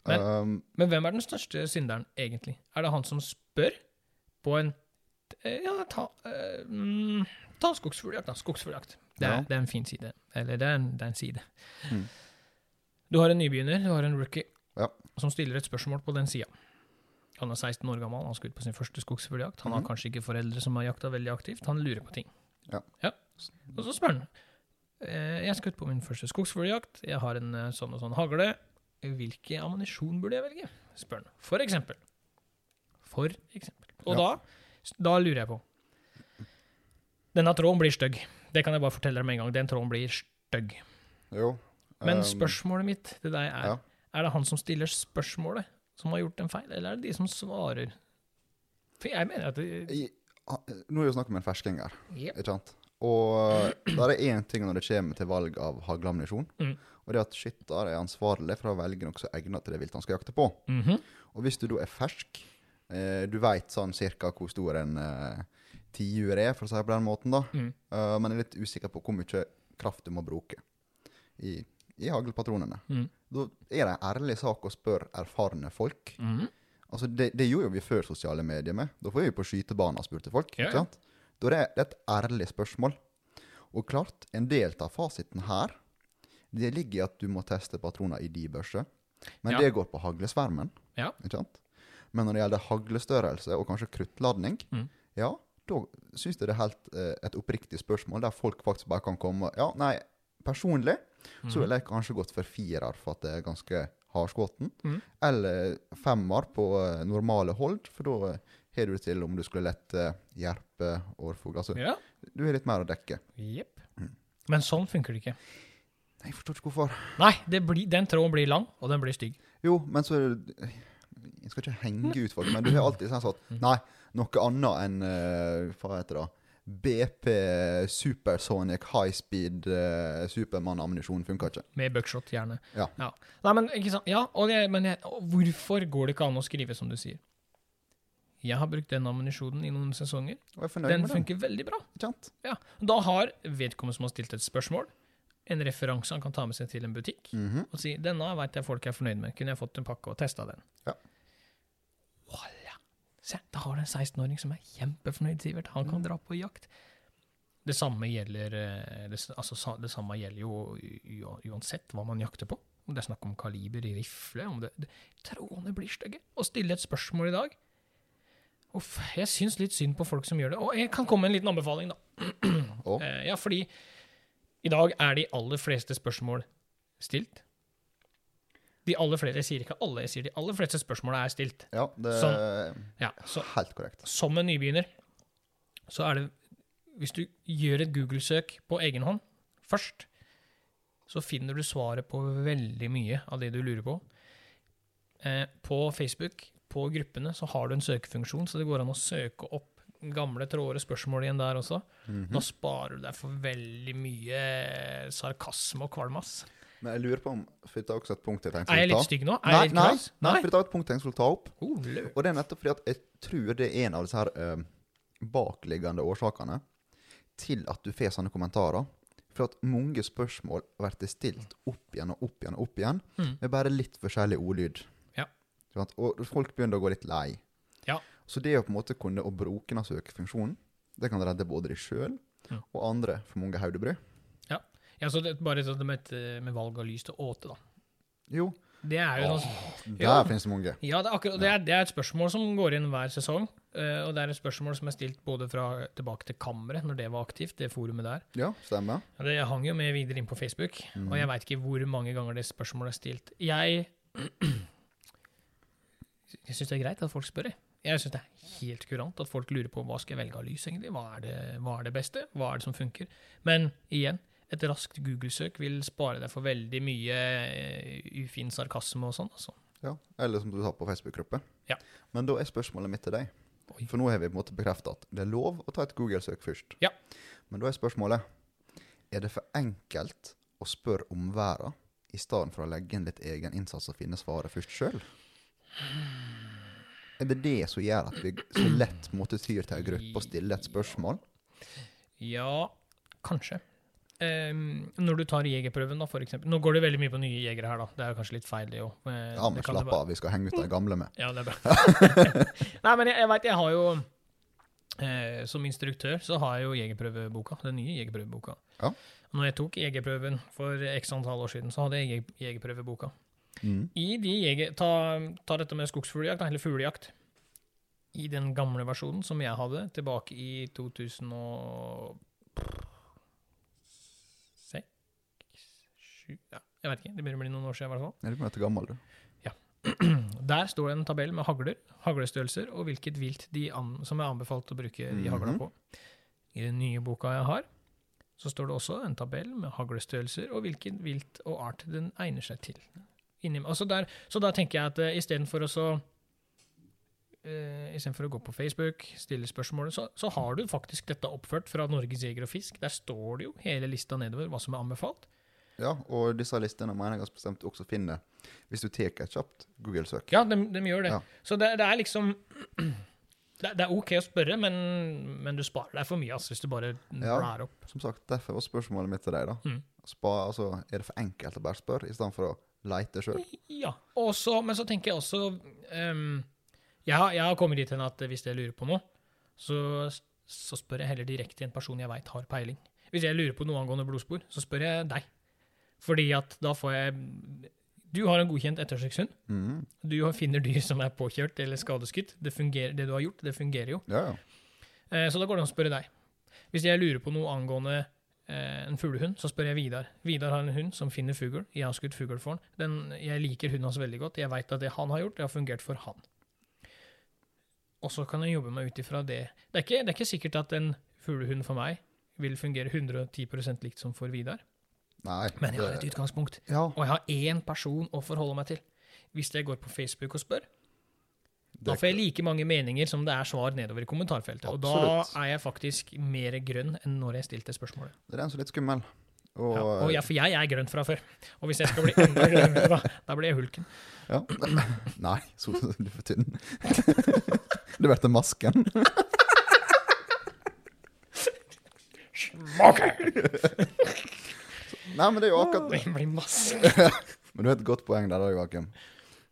S2: Men-
S1: Um,
S2: Men hvem er den største synderen, egentlig? Er det han som spør på en eh, Ja, ta, eh, mm, ta skogsfugljakt, da. Skogsfugljakt. Det, er-
S1: Ja.
S2: det er en fin side. Eller det er en, det er en side.
S1: Mm.
S2: Du har en nybegynner, du har en rookie,
S1: Ja.
S2: som stiller et spørsmål på den sida. Han er 16 år gammel, han skal ut på sin første skogsfugljakt. Han har
S1: Mhm.
S2: kanskje ikke foreldre som har jakta veldig aktivt. Han lurer på ting.
S1: Ja.
S2: Og så spør han. eh, Jeg skal ut på min første skogsfugljakt. Jeg har en eh, sånn og sånn hagle. Hvilken ammunisjon burde jeg velge? spør han. For eksempel. For eksempel. Og
S1: Ja.
S2: da, da lurer jeg på Denne tråden blir stygg. Det kan jeg bare fortelle deg med en gang. Den tråden blir stygg.
S1: jo.
S2: Men
S1: um,
S2: spørsmålet mitt til deg er
S1: ja.
S2: Er det han som stiller spørsmålet, som har gjort en feil, eller er det de som svarer? For jeg mener at det,
S1: i- ha- Nå er det jo snakk om en fersking her,
S2: Jep.
S1: ikke sant? Og der er én ting når det kommer til valg av hagleammunisjon.
S2: Mm.
S1: Og det er at skytter er ansvarlig for å velge noe som er egnet til det viltet han skal jakte på.
S2: Mhm.
S1: Og hvis du da er fersk, eh, du veit sånn cirka hvor stor en eh, tiur er, for å si det på den måten, da.
S2: Mm.
S1: Eh, men er litt usikker på hvor mye kraft du må bruke i, i haglpatronene.
S2: Mm.
S1: Da er det en ærlig sak å spørre erfarne folk.
S2: Mhm.
S1: Altså, det, det gjorde jo vi før sosiale medier med. Da får vi på skytebanen og spurte folk.
S2: Ja, ja.
S1: ikke sant? Da er det, det er et ærlig spørsmål. Og klart, en del av fasiten her, det ligger i at du må teste patroner i de børser. Men
S2: Ja.
S1: det går på haglesvermen.
S2: Ja.
S1: Ikke sant? Men når det gjelder haglestørrelse og kanskje kruttladning,
S2: Mm.
S1: ja, da syns jeg det er helt eh, et oppriktig spørsmål der folk faktisk bare kan komme og Ja, nei, personlig
S2: mhm.
S1: så ville jeg kanskje gått for firer for at det er ganske hardskåten.
S2: Mhm.
S1: Eller femmer på eh, normale hold, for da eh, har du det til om du skulle lette jerpe, årfugl Altså,
S2: Ja.
S1: du har litt mer å dekke.
S2: Jepp.
S1: Mm.
S2: Men sånn funker det ikke.
S1: Nei, jeg forstår ikke hvorfor.
S2: Nei, det blir, den tråden blir lang, og den blir stygg.
S1: Jo, men så er det eh, Jeg skal ikke henge ut folk, men du har alltid sånn at
S2: Mhm.
S1: Nei, noe annet enn eh, Hva heter det? da? BP Supersonic High Speed eh, Supermann-ammunisjon funker ikke.
S2: Med buckshot, gjerne.
S1: Ja.
S2: Nei, men ikke sant. Ja, og det, men jeg, og hvorfor går det ikke an å skrive som du sier? Jeg har brukt den ammunisjonen i noen sesonger.
S1: Og jeg er fornøyd
S2: Den
S1: med den.
S2: funker veldig bra.
S1: Ikke sant?
S2: Ja. Da har vedkommende som har stilt et spørsmål, en referanse han kan ta med seg til en butikk,
S1: Mhm.
S2: og si 'Denne veit jeg folk er fornøyd med. Kunne jeg fått en pakke og testa den?'
S1: Ja.
S2: Voilà. Se, da har du en 16-åring som er kjempefornøyd, Sivert. Han kan dra på jakt. Det samme gjelder eh, det, s- altså, sa- det samme gjelder jo u- u- uansett hva man jakter på. Om det er snakk om kaliber i rifle om det, det, Trådene blir stygge. Å stille et spørsmål i dag Uff, jeg syns litt synd på folk som gjør det. Og jeg kan komme med en liten anbefaling, da.
S1: Og
S2: Eh, Ja, fordi i dag er de aller fleste spørsmål stilt. De aller fleste, Jeg sier ikke alle, jeg sier de aller fleste spørsmåla er stilt.
S1: ja, det er
S2: Ja, så
S1: helt korrekt.
S2: Som en nybegynner, så er det Hvis du gjør et Google-søk på egen hånd først, så finner du svaret på veldig mye av det du lurer på. Eh, på Facebook, på gruppene, så har du en søkefunksjon, så det går an å søke opp gamle tråder og spørsmål igjen der også.
S1: Mhm.
S2: Da sparer du deg for veldig mye eh, sarkasme og kvalme, ass.
S1: Men jeg lurer på om For det er også et punkt jeg tenkte
S2: Er jeg
S1: skulle ta.
S2: litt stygg nå? Er
S1: Nei,
S2: jeg litt
S1: nei,
S2: krass?
S1: nei, for det er et punkt jeg skulle ta opp.
S2: Oh, lø.
S1: Og det er nettopp fordi at jeg tror det er en av disse her eh, bakliggende årsakene til at du får sånne kommentarer. For at mange spørsmål blir stilt opp igjen og opp igjen og opp igjen,
S2: Mm.
S1: med bare litt forskjellig ordlyd.
S2: Ja.
S1: Sant? Og folk begynner å gå litt lei.
S2: Ja.
S1: Så det å på en måte kunne å bruke denne søkefunksjonen, det kan redde både deg sjøl
S2: Mm.
S1: og andre for mange hodebrød.
S2: Ja, så det, bare sånn med, et, med valg av lys til åte, da.
S1: Jo,
S2: Det er jo sånn
S1: der
S2: Ja.
S1: finnes det mange.
S2: Ja, det er, akkurat, det, er, det er et spørsmål som går inn hver sesong. eh, og det er et spørsmål som er stilt både fra tilbake til kammeret, når det var aktivt, det forumet der.
S1: Ja, stemmer.
S2: Ja, Det hang jo med videre inn på Facebook, og
S1: Mm.
S2: jeg veit ikke hvor mange ganger det spørsmålet er stilt. Jeg, jeg syns det er greit at folk spør. jeg. Jeg syns det er helt kurant at folk lurer på hva skal jeg velge av lys, egentlig. Hva er, det, hva er det beste? Hva er det som funker? Men igjen, et raskt Google-søk vil spare deg for veldig mye eh, ufin sarkasme og sånn, altså.
S1: Ja. Eller som du sa på Facebook-gruppe.
S2: Ja.
S1: Men da er spørsmålet mitt til deg.
S2: Oi.
S1: For nå har vi på en måte bekrefta at det er lov å ta et Google-søk først.
S2: Ja.
S1: Men da er spørsmålet Er det for enkelt å spørre om verden i stedet for å legge inn litt egen innsats og finne svaret først sjøl? Er det det som gjør at vi så lett måtte tyr til en gruppe og stille et spørsmål?
S2: Ja, kanskje. Ehm, når du tar jegerprøven, da, for eksempel. Nå går det veldig mye på nye jegere her, da. Det er jo kanskje litt feil, det òg.
S1: Ja, men slapp av, vi skal henge ut de gamle med.
S2: Ja, det er bra. Nei, men jeg, jeg veit, jeg har jo eh, Som instruktør så har jeg jo jegerprøveboka. Den nye jegerprøveboka.
S1: Ja.
S2: Når jeg tok jegerprøven for x antall år siden, så hadde jeg jeg- jegerprøveboka.
S1: Mm.
S2: I de jeger... Ta, ta dette med skogsfugljakt, da, eller fuglejakt. I den gamle versjonen som jeg hadde tilbake i 2006 7 ja, Jeg vet ikke, det begynner å bli noen år siden i hvert fall.
S1: Er du blitt gammel, du?
S2: Der står det en tabell med hagler, haglestørrelser og hvilket vilt de an som er anbefalt å bruke de hagla
S1: Mhm.
S2: på. I den nye boka jeg har, så står det også en tabell med haglestørrelser og hvilket vilt og art den egner seg til. Inni, altså der, så da tenker jeg at uh, istedenfor å så eh, Istedenfor å gå på Facebook, stille spørsmålet, så, så har du faktisk dette oppført fra Norges Jeger og Fisk. Der står det jo hele lista nedover hva som er anbefalt.
S1: Ja, og disse listene mener jeg bestemt også finner hvis du tar et kjapt Google-søk.
S2: Ja, de, de gjør det.
S1: Ja.
S2: Så det, det er liksom det, det er OK å spørre, men, men du sparer deg for mye ass, hvis du bare
S1: Ja.
S2: blar opp.
S1: Som sagt, derfor var spørsmålet mitt til deg, da.
S2: Mm.
S1: Spa, altså, er det for enkelt å bare spørre, i stedet for å leite sjøl?
S2: Ja. Og så- men så tenker jeg også ehm, jeg, har, jeg har kommet dit hen at hvis jeg lurer på noe, så, så spør jeg heller direkte en person jeg veit har peiling. Hvis jeg lurer på noe angående blodspor, så spør jeg deg. Fordi at da får jeg Du har en godkjent ettersøkshund.
S1: Mm.
S2: Du finner dyr som er påkjørt eller skadeskutt. Det, fungerer, det du har gjort, det fungerer jo.
S1: Ja, ja.
S2: Eh, Så da går det an å spørre deg. Hvis jeg lurer på noe angående eh, en fuglehund, så spør jeg Vidar. Vidar har en hund som finner fugl. Jeg har skutt fugl for han. Den, jeg liker hunden hans veldig godt. Jeg veit at det han har gjort, det har fungert for han. Og så kan jeg jobbe meg ut ifra det. Det er, ikke, det er ikke sikkert at en fuglehund for meg vil fungere 110 likt som for Vidar,
S1: Nei.
S2: men jeg har
S1: det-
S2: et utgangspunkt.
S1: Ja,
S2: Og jeg har én person å forholde meg til. Hvis jeg går på Facebook og spør, da
S1: det-
S2: får jeg like mange meninger som det er svar nedover i kommentarfeltet. Og
S1: Absolutt.
S2: da er jeg faktisk mer grønn enn når jeg stilte spørsmålet.
S1: det er den som er litt skummel. Og, eh,
S2: ja, og ja, for jeg er grønn fra før. Og hvis jeg skal bli enda grønnere, da, da blir jeg hulken.
S1: ja. Nei, så du er for tynn. du blir til masken. Nei, men det er jo akkurat
S2: Det blir masse.
S1: Men du har et godt poeng der, da, Joakim.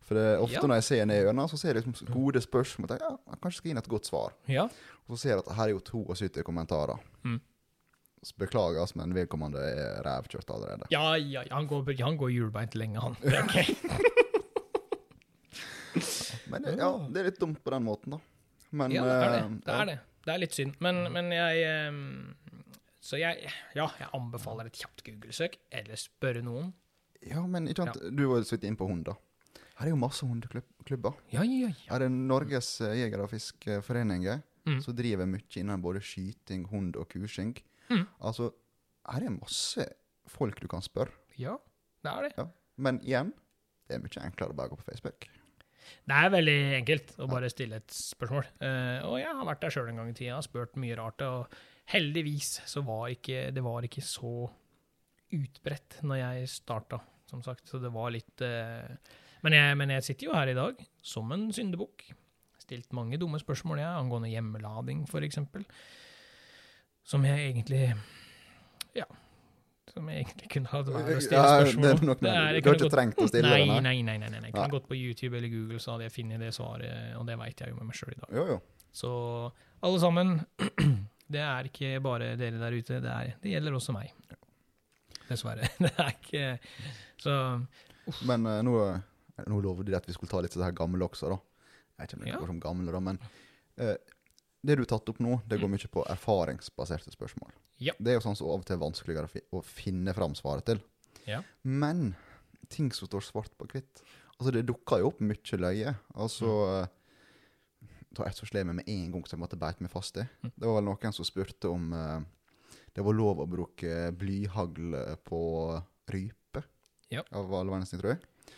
S1: For det, er ofte
S2: Ja.
S1: når jeg ser ned i øynene, så ser jeg liksom gode spørsmål. Jeg, ja, jeg kanskje skal inn et godt svar.
S2: Ja.
S1: Og så ser jeg at her er jo 72 kommentarer.
S2: Mm.
S1: Så beklager, altså, men vedkommende er rævkjørt allerede.
S2: Ja, ja, ja, han går, han går hjulbeint lenge, han. Det er ok.
S1: Men det, ja, det er litt dumt på den måten, da. Men
S2: Ja, det er det.
S1: eh,
S2: Det
S1: ja.
S2: er det. Det er litt synd. Men, men jeg eh, Så jeg Ja, jeg anbefaler et kjapt Google-søk, eller spørre noen.
S1: Ja, men ikke sant, du var jo så vidt inne på hund, da. Her er jo masse hundeklubber.
S2: Ja, ja, ja.
S1: Her er Norges eh, jeger- og fiskeforeninger
S2: Mm.
S1: som driver mye innen både skyting, hund og kursing.
S2: Mm.
S1: Altså, her er masse folk du kan spørre.
S2: ja det er det.
S1: Men igjen, det er mye enklere å bare gå på Facebook.
S2: Det er veldig enkelt å bare stille et spørsmål. Eh, og jeg har vært der sjøl en gang i tida og spurt mye rart. Og heldigvis så var ikke, det var ikke så utbredt når jeg starta, som sagt. Så det var litt eh, men, jeg, men jeg sitter jo her i dag som en syndebukk. Stilt mange dumme spørsmål jeg, angående hjemmelading, f.eks. Som jeg egentlig Ja. Som jeg egentlig kunne ha
S1: Ja,
S2: vært å stille
S1: det
S2: spørsmål
S1: er
S2: om.
S1: nok, du
S2: Det er-
S1: har
S2: det
S1: ikke
S2: kunne
S1: trengt å stille
S2: nei,
S1: den. her.
S2: Nei, nei, nei. nei, nei. Jeg
S1: Nei.
S2: kan gått på YouTube eller Google, så hadde jeg funnet det svaret, og det veit jeg jo med meg sjøl i dag.
S1: Jo, jo.
S2: Så alle sammen, det er ikke bare dere der ute, det, er, det gjelder også meg. Dessverre. Det er ikke Så
S1: Men eh, nå, nå lovde de at vi skulle ta litt sånn her gamle også, da. Jeg vet ikke om det
S2: Ja.
S1: går som gamle, da, men eh, det du har tatt opp nå, det går mye på erfaringsbaserte spørsmål.
S2: Mm. Ja.
S1: Det er jo sånn som av og til er vanskeligere å, fi å finne fram svaret til.
S2: Ja.
S1: Men ting som står svart på hvitt Altså, det dukker jo opp mye løye. Altså
S2: Mm.
S1: eh, Ta et som slår meg med en gang som jeg måtte beite meg fast i.
S2: Mm.
S1: Det var vel noen som spurte om eh, det var lov å bruke blyhagl eh, på rype.
S2: Ja.
S1: Av alle verdens ting, tror jeg.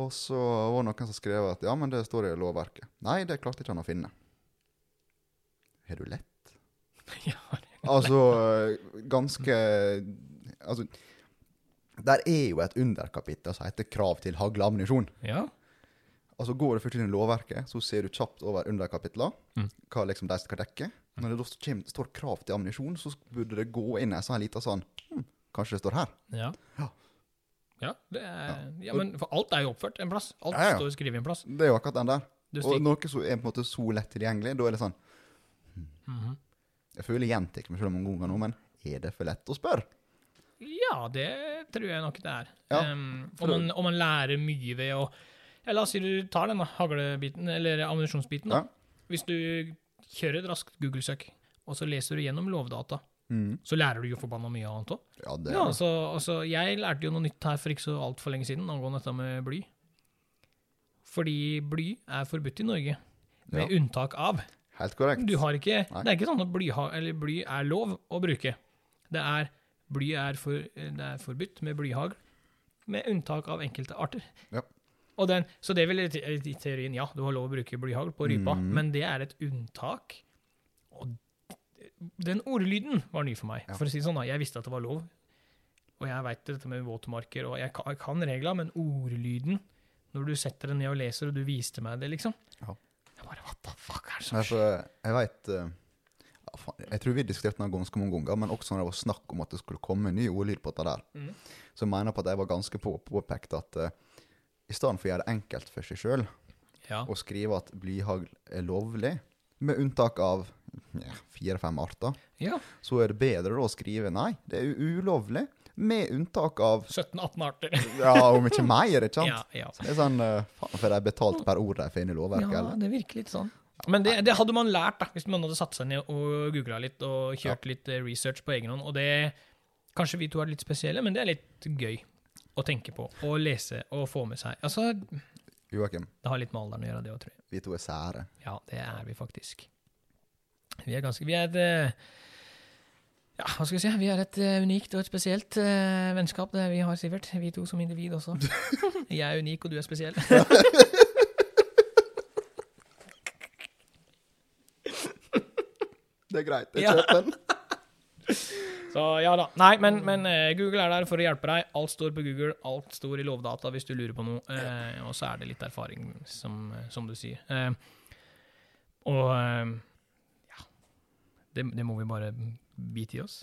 S1: Og så var det noen som skrev at ja, men det står i lovverket. Nei, det klarte ikke han å finne. Har du lett?
S2: ja, det-
S1: Altså, ganske Altså, der er jo et underkapittel som heter 'krav til hagleammunisjon'.
S2: ja.
S1: Altså Går du først inn i lovverket, så ser du kjapt over underkapitlene
S2: Mm.
S1: hva liksom de skal dekke. Når det da kommer, står krav til ammunisjon, så burde det gå inn en sånn liten sånn hm, Kanskje det står her?
S2: ja.
S1: Ja.
S2: Ja, det er, ja, men for alt er jo oppført en plass. Alt
S1: Ja, ja.
S2: står skrevet en plass.
S1: Det er jo akkurat den der.
S2: Du
S1: Og
S2: stikker,
S1: noe som er på en måte så lett tilgjengelig, da er det sånn
S2: Mhm.
S1: Jeg føler jeg gjentar meg selv om mange ganger nå, men er det for lett å spørre?
S2: Ja, det tror jeg nok det er.
S1: Ja,
S2: Ehm,
S1: for
S2: og,
S1: det-
S2: man, og man lærer mye ved å ja, La oss si du tar den da, haglebiten, eller ammunisjonsbiten. da.
S1: Ja.
S2: Hvis du kjører et raskt Google-søk, og så leser du gjennom lovdata,
S1: Mm.
S2: så lærer du jo forbanna mye annet òg.
S1: Ja, det er
S2: Ja, altså, altså, jeg lærte jo noe nytt her for ikke så altfor lenge siden angående dette med bly. Fordi bly er forbudt i Norge, med
S1: Ja.
S2: unntak av.
S1: helt korrekt.
S2: Du har ikke,
S1: Nei.
S2: det er ikke sånn at bly, har- eller bly er lov å bruke. Det er, bly er, for, det er forbudt med blyhagl, med unntak av enkelte arter.
S1: Ja.
S2: Og den, så det vil i te- i teorien, ja, du har lov å bruke blyhagl på rypa,
S1: Mhm.
S2: men det er et unntak. Og den ordlyden var ny for meg,
S1: Ja.
S2: for å si det sånn. da, Jeg visste at det var lov, og jeg veit dette med våtmarker, og jeg kan, jeg kan regler, men ordlyden, når du setter den ned og leser, og du viste meg det, liksom
S1: Ja.
S2: Jeg bare, what the fuck er det
S1: Nei,
S2: som
S1: for jeg veit ja, faen, Jeg tror vi diskuterte den ganske mange ganger, men også når det var snakk om at det skulle komme en ny ordlyd på dette der,
S2: Mm.
S1: så mener jeg på at jeg var ganske på påpekt at eh, i stedet for å gjøre det enkelt for seg sjøl
S2: Ja.
S1: og skrive at blyhagl er lovlig, med unntak av ja, fire-fem arter,
S2: ja.
S1: så er det bedre da å skrive nei, det er u- ulovlig, med unntak av
S2: 17-18 arter.
S1: Ja, om ikke mer, ikke sant?
S2: Ja, ja.
S1: Det er sånn eh, Faen, får de betalt per ord de får inn i lovverket,
S2: ja,
S1: eller?
S2: det virker litt sånn. Men det, det hadde man lært da, hvis man hadde satt seg ned og googla litt og kjørt litt eh, research på egen hånd. Og det, kanskje vi to er litt spesielle, men det er litt gøy å tenke på og lese og få med seg. Altså, det
S1: Joakim,
S2: har litt med alderen å gjøre, det òg, tror jeg.
S1: vi to er sære.
S2: Ja, det er vi faktisk. Vi er ganske Vi er et eh, Ja, hva skal vi si? Vi er et eh, unikt og et spesielt eh, vennskap, det vi har, Sivert. Vi to som individ også. Jeg er unik, og du er spesiell.
S1: Det er greit,
S2: Ja.
S1: jeg kjøper den.
S2: Så ja da. Nei, men, men eh, Google er der for å hjelpe deg. Alt står på Google, alt står i lovdata hvis du lurer på noe. Eh, og så er det litt erfaring, som, som du sier. Eh, og eh, ja det, det må vi bare bite i oss.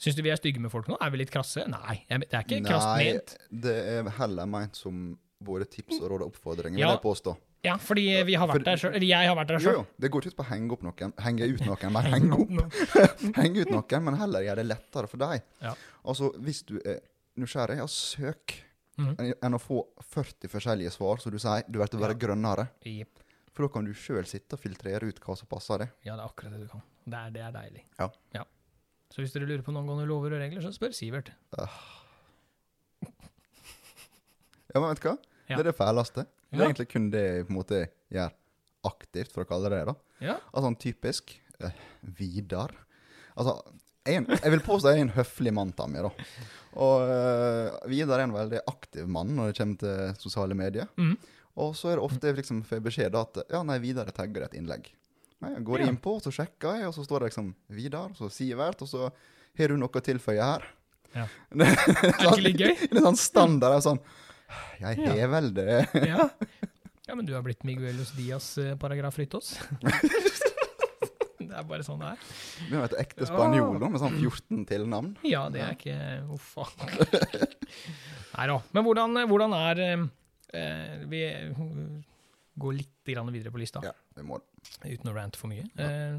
S2: Syns du vi er stygge med folk nå? Er vi litt krasse? Nei, jeg, det er ikke krast
S1: Nei,
S2: ment.
S1: det er heller ment som både tips og råd og oppfordringer,
S2: Ja.
S1: vil jeg påstå.
S2: Ja, fordi vi har vært
S1: For-
S2: der sjøl. Eller jeg har vært der
S1: Jo,
S2: sjøl.
S1: jo, det går ikke ut på å henge opp noen, henge ut noen, men henge opp henge ut noen, men heller gjøre det lettere for deg.
S2: Ja.
S1: Altså, hvis du er nysgjerrig, ja, søk.
S2: Mhm.
S1: Enn- Enn å få 40 forskjellige svar, så du sier du vet å være grønnere.
S2: Jepp.
S1: For da kan du sjøl sitte og filtrere ut hva som passer deg.
S2: Ja, det er akkurat det du kan. Det er, det er deilig.
S1: Ja.
S2: Så hvis dere lurer på noen ganger lover og regler, så spør Sivert.
S1: Ja, men vet du hva?
S2: Ja.
S1: Det er det fæleste. Det
S2: Ja.
S1: er egentlig kun det jeg på en måte gjør aktivt, for å kalle det det. da.
S2: Ja.
S1: Altså han typisk eh, Vidar. Altså, en, jeg vil påstå jeg er en høflig mann, Tammy. da. Og eh, Vidar er en veldig aktiv mann når det kommer til sosiale medier.
S2: Mhm.
S1: Og så er det ofte jeg liksom får beskjed da at ja, nei, Vidar jeg tagger et innlegg. Nei, jeg går
S2: Ja.
S1: inn på, så sjekker jeg, og så står det liksom Vidar, så Sivert, og så har du noe å tilføye her?
S2: Ja.
S1: det er
S2: ikke litt gøy?
S1: Det er sånn standard. Jeg er sånn Jeg
S2: Ja.
S1: har vel det.
S2: Ja. ja, men du har blitt Miguelos Diaz eh, paragraf Rytås. det er bare sånn det er.
S1: Vi har et ekte spanjol nå, med sånn 14 tilnavn.
S2: Ja, det er ikke Uff a. Nei da. Men hvordan, hvordan er eh, Vi går litt grann videre på lista,
S1: Ja, vi må det.
S2: uten å rante for mye. Eh,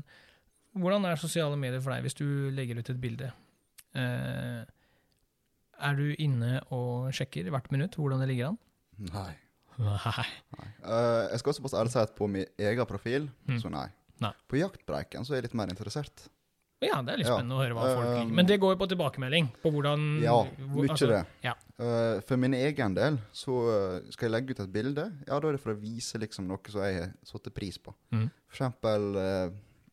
S2: hvordan er sosiale medier for deg hvis du legger ut et bilde? Eh, er du inne og sjekker hvert minutt hvordan det ligger an?
S1: Nei.
S2: Nei.
S1: Eh, jeg skal også bare ærlig si at på min egen profil,
S2: Mm.
S1: så nei.
S2: Nei.
S1: På jaktbreiken så er jeg litt mer interessert.
S2: Ja, det er litt
S1: Ja.
S2: spennende å høre hva folk
S1: Eh,
S2: liker. Men det går jo på tilbakemelding på hvordan
S1: Ja,
S2: hvor-
S1: mye
S2: altså,
S1: det.
S2: ja.
S1: Eh, for min egen del så eh, skal jeg legge ut et bilde. Ja, da er det for å vise liksom noe som jeg har satt pris på.
S2: Mm.
S1: For eksempel eh,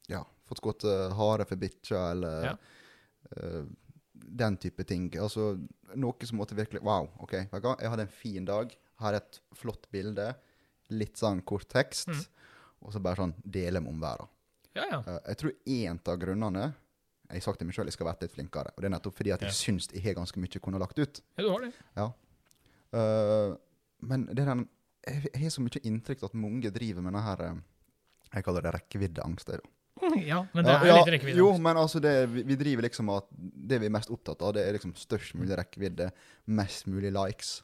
S1: ja, fått skutt eh, hare for bikkja, eller
S2: Ja.
S1: eh, den type ting. Altså noe som måtte virkelig Wow, OK, vet du hva? jeg hadde en fin dag. Her er et flott bilde. Litt sånn kort tekst.
S2: Mm.
S1: Og så bare sånn dele med omverdenen.
S2: Ja, ja.
S1: Eh, jeg tror én av grunnene Jeg har sagt til meg sjøl jeg skal være litt flinkere. Og det er nettopp fordi at jeg
S2: Ja.
S1: syns jeg har ganske mye jeg kunne ha lagt ut.
S2: ja, du har det.
S1: Eh, men det er den, jeg jeg har så mye inntrykk at mange driver med denne her eh, Jeg kaller det rekkeviddeangst. jeg, da.
S2: Ja, men det er
S1: Ja,
S2: litt rekkevidde.
S1: Jo, men altså det, vi, vi driver liksom at det vi er mest opptatt av, det er liksom størst mulig rekkevidde, mest mulig likes.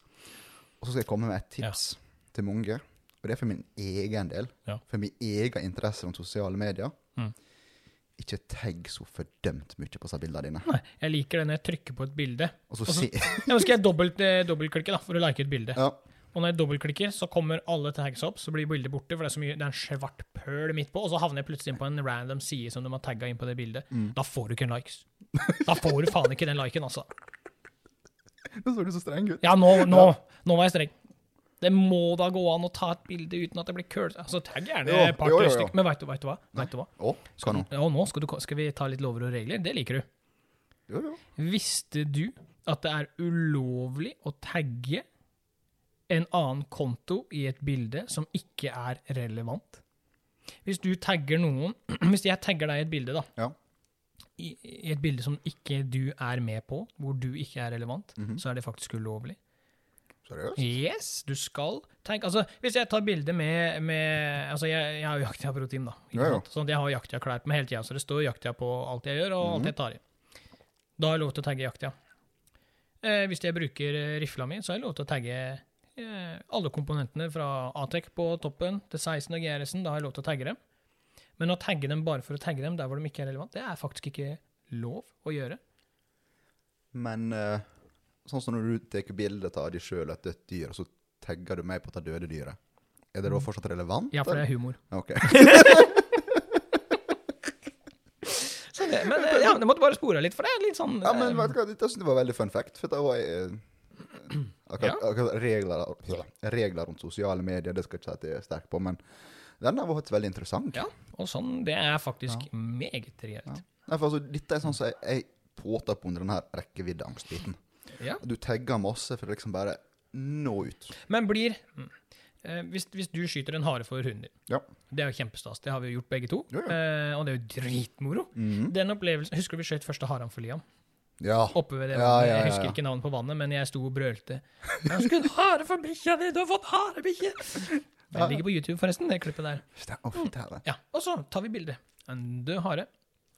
S1: Og så skal jeg komme med et tips til mange, og det er for min egen del.
S2: Ja.
S1: For min egen interesse om sosiale medier.
S2: Mm.
S1: Ikke tagg så fordømt mye på disse bildene dine.
S2: Nei, jeg liker det når jeg trykker på et bilde.
S1: Og så
S2: Og
S1: se
S2: så- Ja, Nå skal jeg dobbelt, eh, dobbeltklikke da, for å like et bilde.
S1: ja,
S2: Og når jeg dobbeltklikker, så kommer alle tags opp, så blir bildet borte, for det er, så mye, det er en svart pøl midt på, og så havner jeg plutselig inn på en random side som de har tagget inn på det bildet.
S1: Mm.
S2: Da får du ikke en likes. Da får du faen ikke den liken, altså.
S1: Nå så du så streng ut.
S2: Ja, nå, nå, nå var jeg streng. Det må da gå an å ta et bilde uten at det blir køl. Altså, tagg gjerne
S1: Jo,
S2: et par
S1: jo, jo,
S2: tre
S1: jo.
S2: stykker, men vet du, vet du hva? Vet du hva?
S1: Å, skal nå.
S2: Ja, og nå skal, du, skal vi ta litt lover og regler. Det liker du.
S1: Jo, jo.
S2: Visste du at det er ulovlig å tagge en annen konto i et bilde som ikke er relevant? Hvis du tagger noen Hvis jeg tagger deg i et bilde, da.
S1: Ja.
S2: I, I et bilde som ikke du er med på, hvor du ikke er relevant,
S1: Mhm.
S2: så er det faktisk ulovlig.
S1: Seriøst?
S2: Yes, du skal tenke Altså, hvis jeg tar bilde med, med Altså, jeg, jeg har jo jaktja protein, da. Ikke
S1: Ja, ja.
S2: sant? Sånn at jeg har jaktja klær på meg hele tida, så det står jaktja på alt jeg gjør, og alt
S1: Mhm.
S2: jeg tar i. Da har jeg lov til å tagge jaktja. Eh, hvis jeg bruker eh, rifla mi, så har jeg lov til å tagge eh, alle komponentene fra Atec på toppen til 16 og GRS-en. Da har jeg lov til å tagge dem. Men å tagge dem bare for å tagge dem der hvor de ikke er relevant, det er faktisk ikke lov å gjøre.
S1: Men eh, sånn som når du tar bilde av deg sjøl et dødt dyr, og så tagger du meg på det døde dyret, er det da fortsatt relevant?
S2: Mm. Ja, for det er humor.
S1: eller? Ok.
S2: Så det, men eh, ja, det måtte bare spore litt, for det er litt sånn
S1: Ja, men
S2: eh,
S1: vet du hva, dette synes jeg var veldig fun fact, for det var eh, akkurat,
S2: Ja.
S1: akkurat regler, regler rundt sosiale medier, det skal jeg ikke si at jeg er sterk på, men den der var faktisk veldig interessant.
S2: Ja, og sånn, det er faktisk meget reelt.
S1: Nei, for altså, dette er sånn som jeg, jeg påtar på under denne rekkeviddeangstbiten.
S2: Ja.
S1: Du tagger masse for å liksom bare nå ut.
S2: Men blir mm, eh, hvis, hvis du skyter en hare for hunden din,
S1: Ja.
S2: det er jo kjempestas, det har vi jo gjort begge to,
S1: Jo, Mhm. jo.
S2: Eh, og det er jo dritmoro. Den opplevelsen, Husker du vi skjøt første haren for Liam?
S1: Ja.
S2: Oppe ved det
S1: Ja, ja,
S2: vannet,
S1: ja,
S2: Jeg husker
S1: ja.
S2: ikke navnet på vannet, men jeg sto og brølte. Jeg husker en hare for bikkja di, du har fått harebikkje! Det ligger på YouTube, forresten, det klippet der.
S1: Ste- Å, fy tære.
S2: Ja, Og så tar vi bilde. En død hare.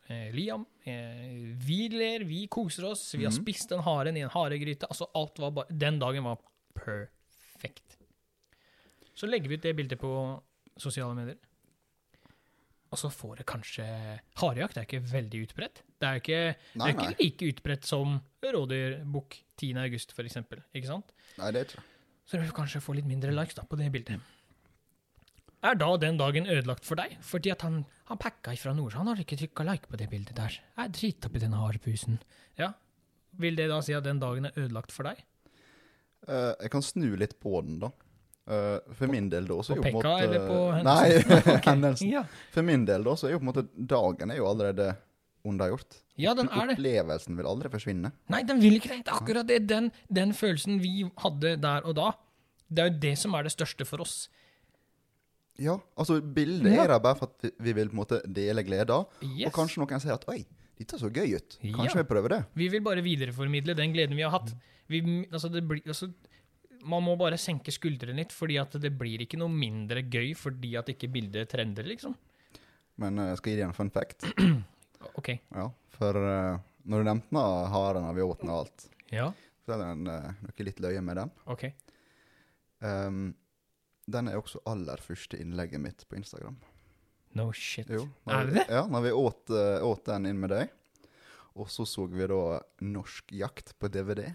S2: Eh, Liam. Eh, vi ler, vi koser oss. Vi har
S1: Mhm.
S2: spist den haren i en haregryte. Altså, alt var bare Den dagen var perfekt. Så legger vi ut det bildet på sosiale medier. Og så får det kanskje Harejakt er ikke veldig utbredt. Det er ikke,
S1: Nei,
S2: det er ikke like utbredt som rådyrbukk 10. august, for eksempel. Ikke sant?
S1: Nei, det er ikke det.
S2: så vil du kanskje få litt mindre likes da, på det bildet. Er da den dagen ødelagt for deg? Fordi at han, han packa ifra nord, så han har ikke trykka like på det bildet der. Jeg er dritopp i den harepusen. Ja, vil det da si at den dagen er ødelagt for deg?
S1: Eh, jeg kan snu litt på den, da. Eh, for min del, da, så er jo
S2: På
S1: på en
S2: Pekka,
S1: måte
S2: eller på hendelsen?
S1: eh, Nei, hendelsen.
S2: Ja,
S1: For min del, da, så er jo på en måte dagen er jo allerede unnagjort.
S2: ja den Sånn er det.
S1: Opplevelsen vil aldri forsvinne.
S2: Nei, den vil ikke det. Det er akkurat det. Den, den følelsen vi hadde der og da, det er jo det som er det største for oss.
S1: Ja, altså Bildet
S2: Ja.
S1: er der bare for at vi- vi vil på en måte dele gleder.
S2: Yes.
S1: Og kanskje noen sier at 'oi, dette så gøy ut'. Kanskje
S2: Ja.
S1: vi prøver det.
S2: Vi vil bare videreformidle den gleden vi har hatt. Vi, altså det blir, altså, man må bare senke skuldrene litt, fordi at det blir ikke noe mindre gøy fordi at ikke bildet trender, liksom.
S1: Men eh, jeg skal gi deg en fun fact.
S2: OK.
S1: Ja, for eh, når du nevnte den haren og yachten og alt,
S2: Ja.
S1: så er det en, eh, noe litt løye med den.
S2: OK.
S1: Ehm, den er også aller første innlegget mitt på Instagram.
S2: No shit.
S1: Jo,
S2: Er det det?
S1: Vi, ja, når vi åt, eh, åt den inn med deg. Og så så vi da Norsk jakt på DVD.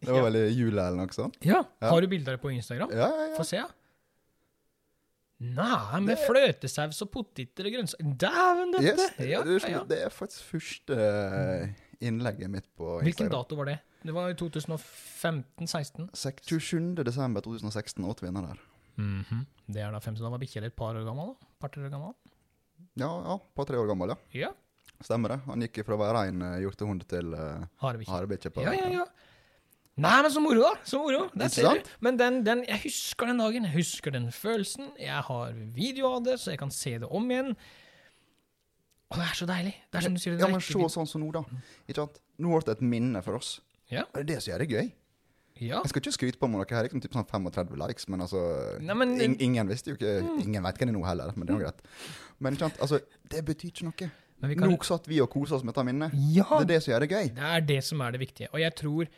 S1: Det var
S2: Ja.
S1: vel i jula eller noe sånt?
S2: Ja.
S1: Ja.
S2: Har du bilder på Instagram?
S1: Ja, ja, ja.
S2: Få se, ja. Nei, med fløtesaus og poteter og grønnsaker Dæven,
S1: Yes,
S2: dette!
S1: det,
S2: ja,
S1: du
S2: ja, ja.
S1: skjønner, det er faktisk første eh, innlegget mitt på
S2: Hvilken
S1: Instagram.
S2: dato var det? Det var i 2015-16.
S1: Sek- 27. desember 2016 åt vi den der.
S2: Det er da 15 Da var bikkja di et par år gammel? da? Par-tre år gammel?
S1: Ja, ja, på tre år gammel, ja.
S2: Ja.
S1: Stemmer det. Han gikk fra å være rein eh, hjortehund til uh,
S2: Harebikkje.
S1: harebikkje. på-
S2: Ja, ja, ja. Nei, men så moro, da! Så moro.
S1: Ikke
S2: Der ser du.
S1: sant?
S2: Men den, den, jeg husker den dagen, jeg husker den følelsen. Jeg har video av det, så jeg kan se det om igjen. Og det er så deilig. Det er som du sier, det
S1: Ja, men
S2: rekker
S1: se
S2: dit.
S1: sånn som nå, da. Ikke sant? Nå ble det et minne for oss.
S2: Ja.
S1: Og Det er det som gjør det gøy.
S2: ja.
S1: Jeg skal ikke skryte på meg noe her, liksom typ sånn 35 likes, men altså
S2: Nei, men- Mm.
S1: ing- Ingen visste jo ikke Ingen vet hvem det er nå heller, men det er nå greit. Men ikke sant? Altså, det betyr ikke noe.
S2: Men vi kan-
S1: Nå satt vi og kosa oss med dette minnet. Det
S2: Ja,
S1: er det som gjør det gøy.
S2: Det er det som er det viktige. Og jeg tror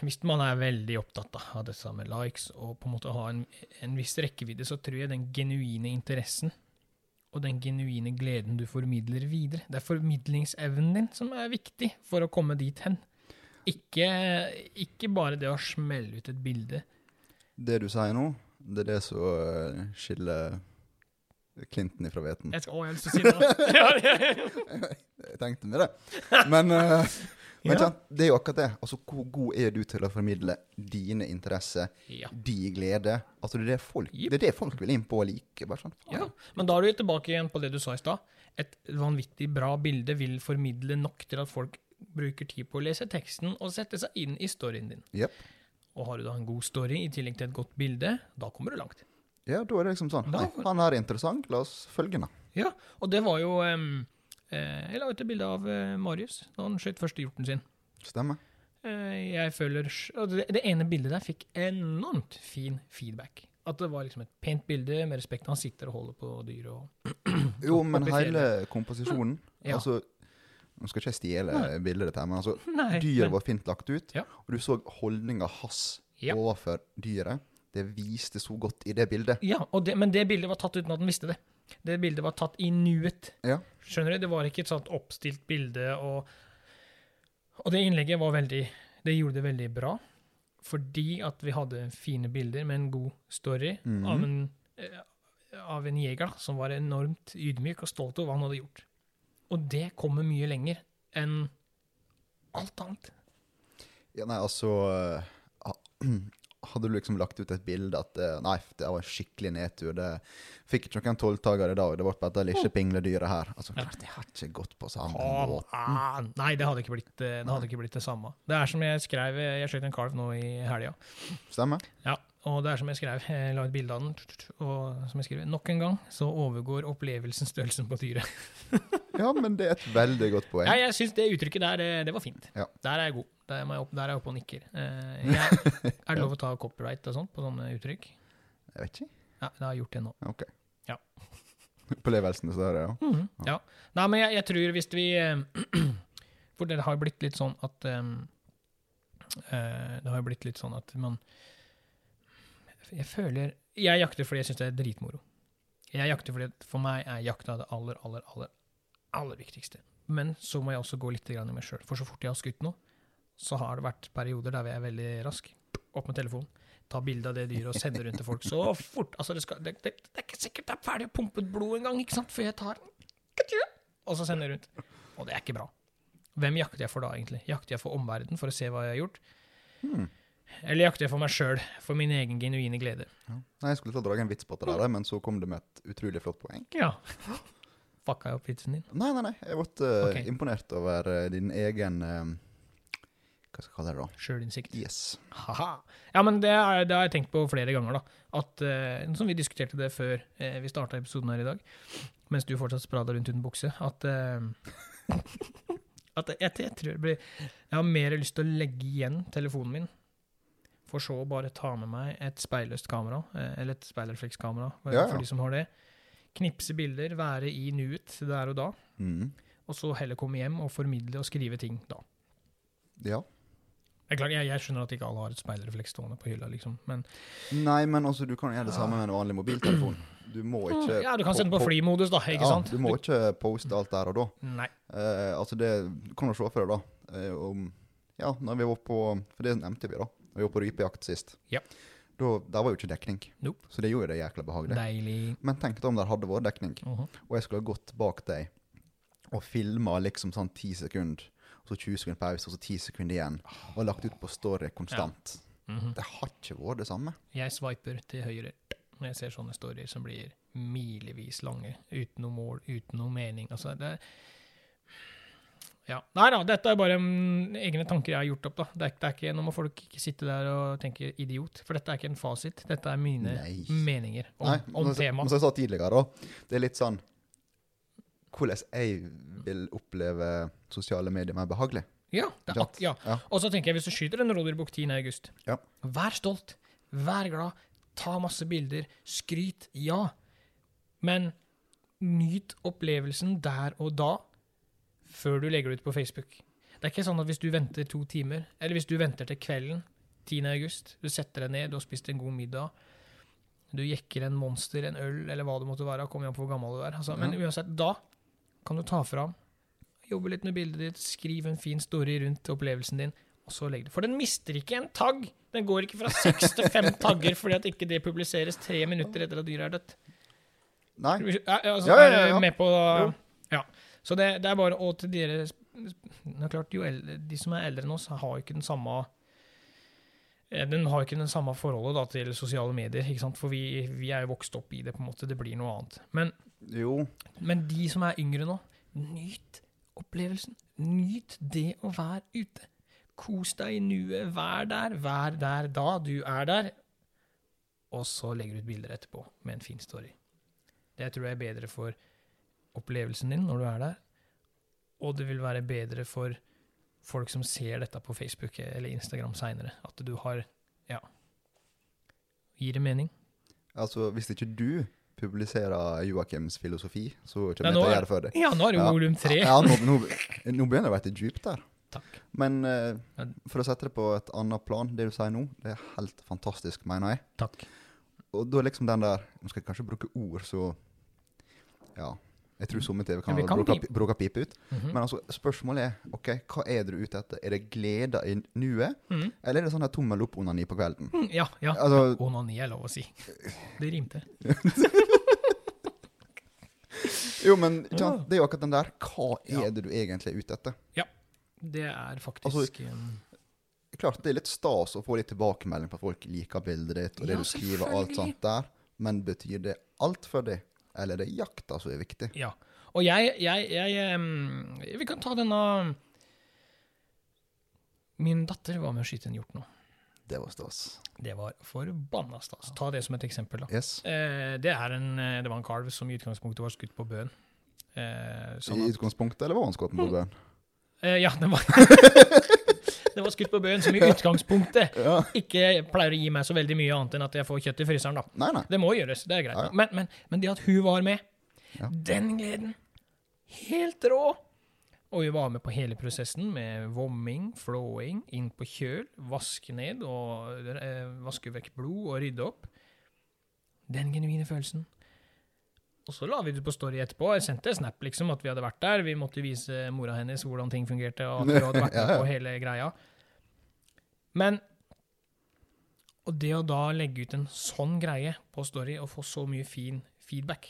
S2: Hvis man er veldig opptatt da, av dette med likes og på en måte har en, en viss rekkevidde, så tror jeg den genuine interessen og den genuine gleden du formidler videre Det er formidlingsevnen din som er viktig for å komme dit hen. Ikke, ikke bare det å smelle ut et bilde.
S1: Det du sier nå, det er det som øh, skiller Clinton ifra hveten.
S2: Jeg skal, å, jeg har lyst til å si det! da. Ja, ja, ja.
S1: Jeg tenkte med det. Men, øh, men
S2: Ja.
S1: ikke sant? det er jo akkurat det. Altså, Hvor god er du til å formidle dine interesser,
S2: Ja.
S1: din glede? Altså, Det er det folk,
S2: Jipp.
S1: det er det folk vil inn på og like. Bare sånn.
S2: Ja, men da er du tilbake igjen på det du sa i stad. Et vanvittig bra bilde vil formidle nok til at folk bruker tid på å lese teksten og sette seg inn i storyen din.
S1: Jep.
S2: Og har du da en god story i tillegg til et godt bilde, da kommer du langt.
S1: Ja, da er det liksom sånn.
S2: Da-
S1: Nei, han her er interessant, la oss følge han.
S2: Ja, og det var jo em, eh, Jeg la ut et bilde av eh, Marius da han skjøt første hjorten sin.
S1: Stemmer.
S2: Eh, jeg føler sj- og det, det ene bildet der fikk enormt fin feedback. At det var liksom et pent bilde med respekt. Han sitter og holder på dyret og
S1: Jo, men
S2: Opp i fjellet.
S1: hele komposisjonen
S2: Ja.
S1: altså, Nå skal ikke jeg stjele bildet ditt her, men altså,
S2: Nei,
S1: dyret
S2: men-
S1: var fint lagt ut,
S2: Ja.
S1: og du så holdninga hans
S2: Ja.
S1: overfor dyret. Det viste så godt i det bildet.
S2: Ja, og det, men det bildet var tatt uten at han visste det. Det bildet var tatt i nuet.
S1: Ja.
S2: Skjønner du? Det var ikke et sånt oppstilt bilde. Og, og det innlegget var veldig Det gjorde det veldig bra. Fordi at vi hadde fine bilder med en god story
S1: Mhm.
S2: av, en, eh, av en jeger da, som var enormt ydmyk og stolt over hva han hadde gjort. Og det kommer mye lenger enn alt annet.
S1: Ja, nei, altså eh, ha- Hadde du liksom lagt ut et bilde at eh, Nei, det var en skikkelig nedtur. Det fikk ikke noen tolvtager i dag. Det ble bare dette lille pingledyret her. Altså,
S2: Oh. Ja.
S1: Det har ikke gått på samme
S2: Kom
S1: måte.
S2: an! Ah, Nei, det hadde, ikke blitt, eh, det hadde ikke blitt det samme. Det er som jeg skrev eh, Jeg skjøt en kalv nå i helga.
S1: Stemmer?
S2: Ja, og det er som jeg skrev, jeg la ut bilde av den, og som jeg skriver, nok en gang så overgår opplevelsen størrelsen på dyret.
S1: Ja, men det er et veldig godt poeng.
S2: Nei, jeg syns det uttrykket der, eh, det var fint.
S1: Ja.
S2: Der er jeg god. Der er jeg opp- der er jeg oppe og nikker. Eh, Jeg, er det lov å ta copyright og sånt på sånne uttrykk?
S1: Jeg vet ikke.
S2: Ja, det har jeg gjort det nå.
S1: Ok.
S2: Ja.
S1: Opplevelsen er større, ja.
S2: Mhm, ja. Nei, men jeg, jeg tror hvis vi eh, For det har jo blitt litt sånn at eh, eh, Det har jo blitt litt sånn at man Jeg føler Jeg jakter fordi jeg syns det er dritmoro. Jeg jakter fordi at for meg er jakta det aller, aller, aller, aller viktigste. Men så må jeg også gå litt grann i meg sjøl. For så fort jeg har skutt noe, så har det vært perioder der jeg er veldig rask. Opp med telefonen. Ta bilde av det dyret og sende rundt til folk så fort. Altså, det, skal, det, det, det er ikke sikkert det er ferdig pumpet blod engang, ikke sant? Før jeg tar og så sender jeg rundt. Og det er ikke bra. Hvem jakter jeg for da, egentlig? Jakter jeg for omverdenen for å se hva jeg har gjort?
S1: Hmm.
S2: Eller jakter jeg for meg sjøl, for min egen genuine glede?
S1: Ja. Nei, jeg skulle til å dra en vits på det der, men så kom det med et utrolig flott poeng.
S2: Ja. Fucka jeg opp vitsen din?
S1: Nei, nei, nei. Jeg ble eh,
S2: Ok.
S1: imponert over eh, din egen eh, Hva skal jeg kalle det, da?
S2: Sjølinnsikt.
S1: Yes.
S2: Haha. Ja, men det, er, det har jeg tenkt på flere ganger, da. At, eh, som vi diskuterte det før eh, vi starta episoden her i dag, mens du fortsatt sprada rundt uten bukse, at eh, At jeg, jeg tror det blir Jeg har mer lyst til å legge igjen telefonen min, for så å bare ta med meg et speilløst kamera, eh, eller et speilreflekskamera, eh,
S1: Ja, ja.
S2: for de som har det. Knipse bilder, være i nuet der og da,
S1: Mm.
S2: og så heller komme hjem og formidle og skrive ting da.
S1: Ja.
S2: Det er klart, jeg, jeg skjønner at ikke alle har et speilrefleks stående på hylla, liksom, men
S1: Nei, men altså, du kan jo gjøre det samme med en vanlig mobiltelefon. Du må ikke
S2: Mm. ja, du kan sende på flymodus, da, ikke
S1: ja,
S2: sant?
S1: Du må ikke poste alt der og da.
S2: Nei.
S1: Eh, altså det du kan jo se for deg, da. eh, om, ja, når vi var på For det nevnte vi, da. Når vi var på rypejakt sist.
S2: Ja.
S1: Da, der var jo ikke dekning.
S2: Nope.
S1: Så det gjorde jo det jækla behagelig.
S2: Deilig.
S1: Men tenk da om der hadde vært dekning,
S2: Mhm.
S1: og jeg skulle ha gått bak deg og filma liksom sånn ti sekunder, og så 20 sekunder pause, og så 10 sekunder igjen,
S2: Ah.
S1: og lagt ut på story konstant.
S2: Mhm.
S1: Det har ikke vært det samme.
S2: Jeg swiper til høyre når jeg ser sånne storyer som blir milevis lange, uten noe mål, uten noe mening. Altså, det ja. Nei da, dette er bare mm, egne tanker jeg har gjort opp. da. Det er, det er ikke, Nå må folk ikke sitte der og tenke 'idiot', for dette er ikke en fasit. Dette er mine
S1: Nei.
S2: meninger om,
S1: Nei, altså,
S2: om
S1: men så- men
S2: temaet.
S1: Som jeg sa tidligere, da. Det er litt sånn Hvordan jeg vil oppleve sosiale medier mer behagelig.
S2: Ja, det er ak ja.
S1: Ja.
S2: Og så tenker jeg, hvis du skyter en rådyrbukk 10. august,
S1: Ja.
S2: vær stolt, vær glad, ta masse bilder, skryt, ja. Men nyt opplevelsen der og da, før du legger det ut på Facebook. Det er ikke sånn at hvis du venter to timer, eller hvis du venter til kvelden 10. august, du setter deg ned, du har spist en god middag, du jekker en monster, en øl, eller hva det måtte være, kommer an på hvor gammel du er. Altså, Men uansett, da kan du ta fram Jobbe litt med bildet ditt, skriv en fin story rundt opplevelsen din, og så legg det. For den mister ikke en tagg! Den går ikke fra seks til fem tagger fordi at ikke det publiseres tre minutter etter at dyret er dødt.
S1: Nei.
S2: Er- er- Altså,
S1: Ja, ja, ja,
S2: Er
S1: ja.
S2: du med på
S1: Jo.
S2: Ja. Så det, det er bare å til dere Det er klart, jo eldre, de som er eldre enn oss, har jo ikke den samme eh, den har jo ikke den samme forholdet da, til sosiale medier, ikke sant? for vi, vi er jo vokst opp i det. på en måte, Det blir noe annet. Men
S1: Jo.
S2: men de som er yngre nå, nyt opplevelsen. Nyt det å være ute. Kos deg i nuet. Vær der, vær der da du er der. Og så legger du ut bilder etterpå med en fin story. Det tror jeg er bedre for opplevelsen din når du er der, og det vil være bedre for folk som ser dette på Facebook eller Instagram seinere, at du har Ja. Gir det mening?
S1: Altså, hvis ikke du publiserer Joakims filosofi, så
S2: Nei,
S1: kommer jeg til å
S2: nå er-
S1: gjøre det for deg.
S2: Ja, nå er det jo
S1: Ja.
S2: volum tre.
S1: Ja, nå, nå, nå begynner det å være dypt der.
S2: Takk.
S1: Men eh,
S2: Ja.
S1: for å sette det på et annet plan, det du sier nå, det er helt fantastisk, mener jeg.
S2: Takk.
S1: Og da er liksom den der Nå skal jeg kanskje bruke ord, så Ja. Jeg tror somme
S2: Ja, vi
S1: TV-kanaler
S2: kan
S1: bruker,
S2: pipe.
S1: bruker pipe ut.
S2: Mhm.
S1: Men altså, spørsmålet er ok, hva er dere ute etter? Er det glede i nuet,
S2: Mhm.
S1: eller er det sånn her tommel opp-onani på kvelden?
S2: Mm, Ja, ja.
S1: Altså,
S2: Onani er lov å si. Det rimte.
S1: jo, men ikke
S2: Ja.
S1: sant? det er jo akkurat den der. Hva
S2: Ja.
S1: er det du egentlig er ute etter?
S2: Det er faktisk
S1: Altså,
S2: um,
S1: Klart, det er litt stas å få litt tilbakemelding på at folk liker bildet ditt og det
S2: Ja,
S1: du skriver, og alt
S2: selvfølgelig.
S1: sånt der, men betyr det alt for deg? Eller er det jakta som er viktig?
S2: Ja. Og jeg, jeg, jeg um, Vi kan ta denne Min datter var med å skyte en hjort nå.
S1: Det var stas.
S2: Det var forbanna stas. Ta det som et eksempel, da.
S1: Yes.
S2: Eh, det, er en, eh, det var en kalv som i utgangspunktet var skutt på bøen. Eh, sånn
S1: I
S2: at- Mm.
S1: utgangspunktet, eller var han skutt på bøen?
S2: Eh, ja, den var Den var skutt på bøen, som i utgangspunktet
S1: Ja.
S2: ikke pleier å gi meg så veldig mye annet enn at jeg får kjøtt i fryseren, da.
S1: Nei, nei.
S2: Det må gjøres, det er greit.
S1: Ja, ja.
S2: Men, men, men det at hun var med,
S1: Ja.
S2: den gleden Helt rå! Og hun var med på hele prosessen med vomming, flåing, inn på kjøl, vaske ned og eh, vaske vekk blod og rydde opp. Den genuine følelsen. Og så la vi det på story etterpå. Jeg sendte snap liksom at vi hadde vært der. Vi måtte vise mora hennes hvordan ting fungerte, og at vi hadde vært
S1: Ja,
S2: med
S1: ja.
S2: på hele greia. Men Og det å da legge ut en sånn greie på story og få så mye fin feedback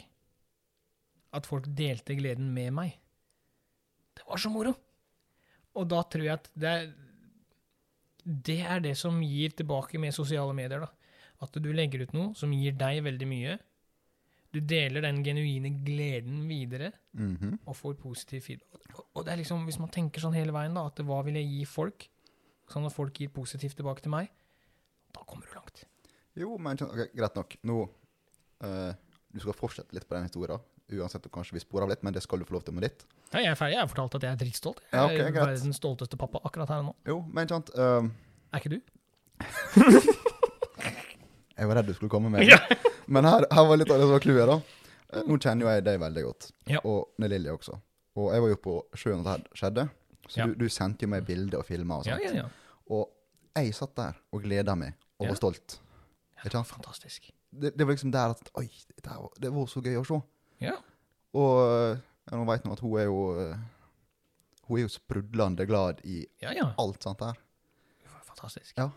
S2: At folk delte gleden med meg Det var så moro! Og da tror jeg at det er Det er det som gir tilbake med sosiale medier, da. At du legger ut noe som gir deg veldig mye. Du deler den genuine gleden videre
S1: Mhm.
S2: og får positiv feedback. Og- Og det er liksom, hvis man tenker sånn hele veien, da, at hva vil jeg gi folk, sånn at folk gir positivt tilbake til meg, da kommer du langt.
S1: Jo, men kjen- ok, greit nok. Nå, eh, du skal fortsette litt på den historien, uansett om kanskje vi sporer av litt, men det skal du få lov til med ditt.
S2: Ja, jeg er ferdig. Jeg har fortalt at jeg er dritstolt. Jeg
S1: Ja, ok,
S2: er
S1: greit.
S2: verdens stolteste pappa akkurat her og nå.
S1: Jo, men kjent, eh,
S2: Er ikke du?
S1: jeg var redd du skulle komme med.
S2: Ja.
S1: Men her, her var litt av det som var clouet, da. Eh, Nå kjenner jo jeg deg veldig godt,
S2: Ja.
S1: og Nelilje også. Og jeg var jo på sjøen da det skjedde, så
S2: Ja.
S1: du, du sendte jo meg bilder og filmer og
S2: Ja,
S1: sånt.
S2: ja, ja.
S1: Og jeg satt der og gleda meg og
S2: Ja.
S1: var stolt. Ikke sant?
S2: Fantastisk.
S1: Det, det var liksom der at Oi, dette her var, det var så gøy å se.
S2: Ja.
S1: Og ja, nå veit nå at hun er jo eh, Hun er jo sprudlende glad i
S2: Ja, ja.
S1: alt sånt der.
S2: Fantastisk.
S1: Ja.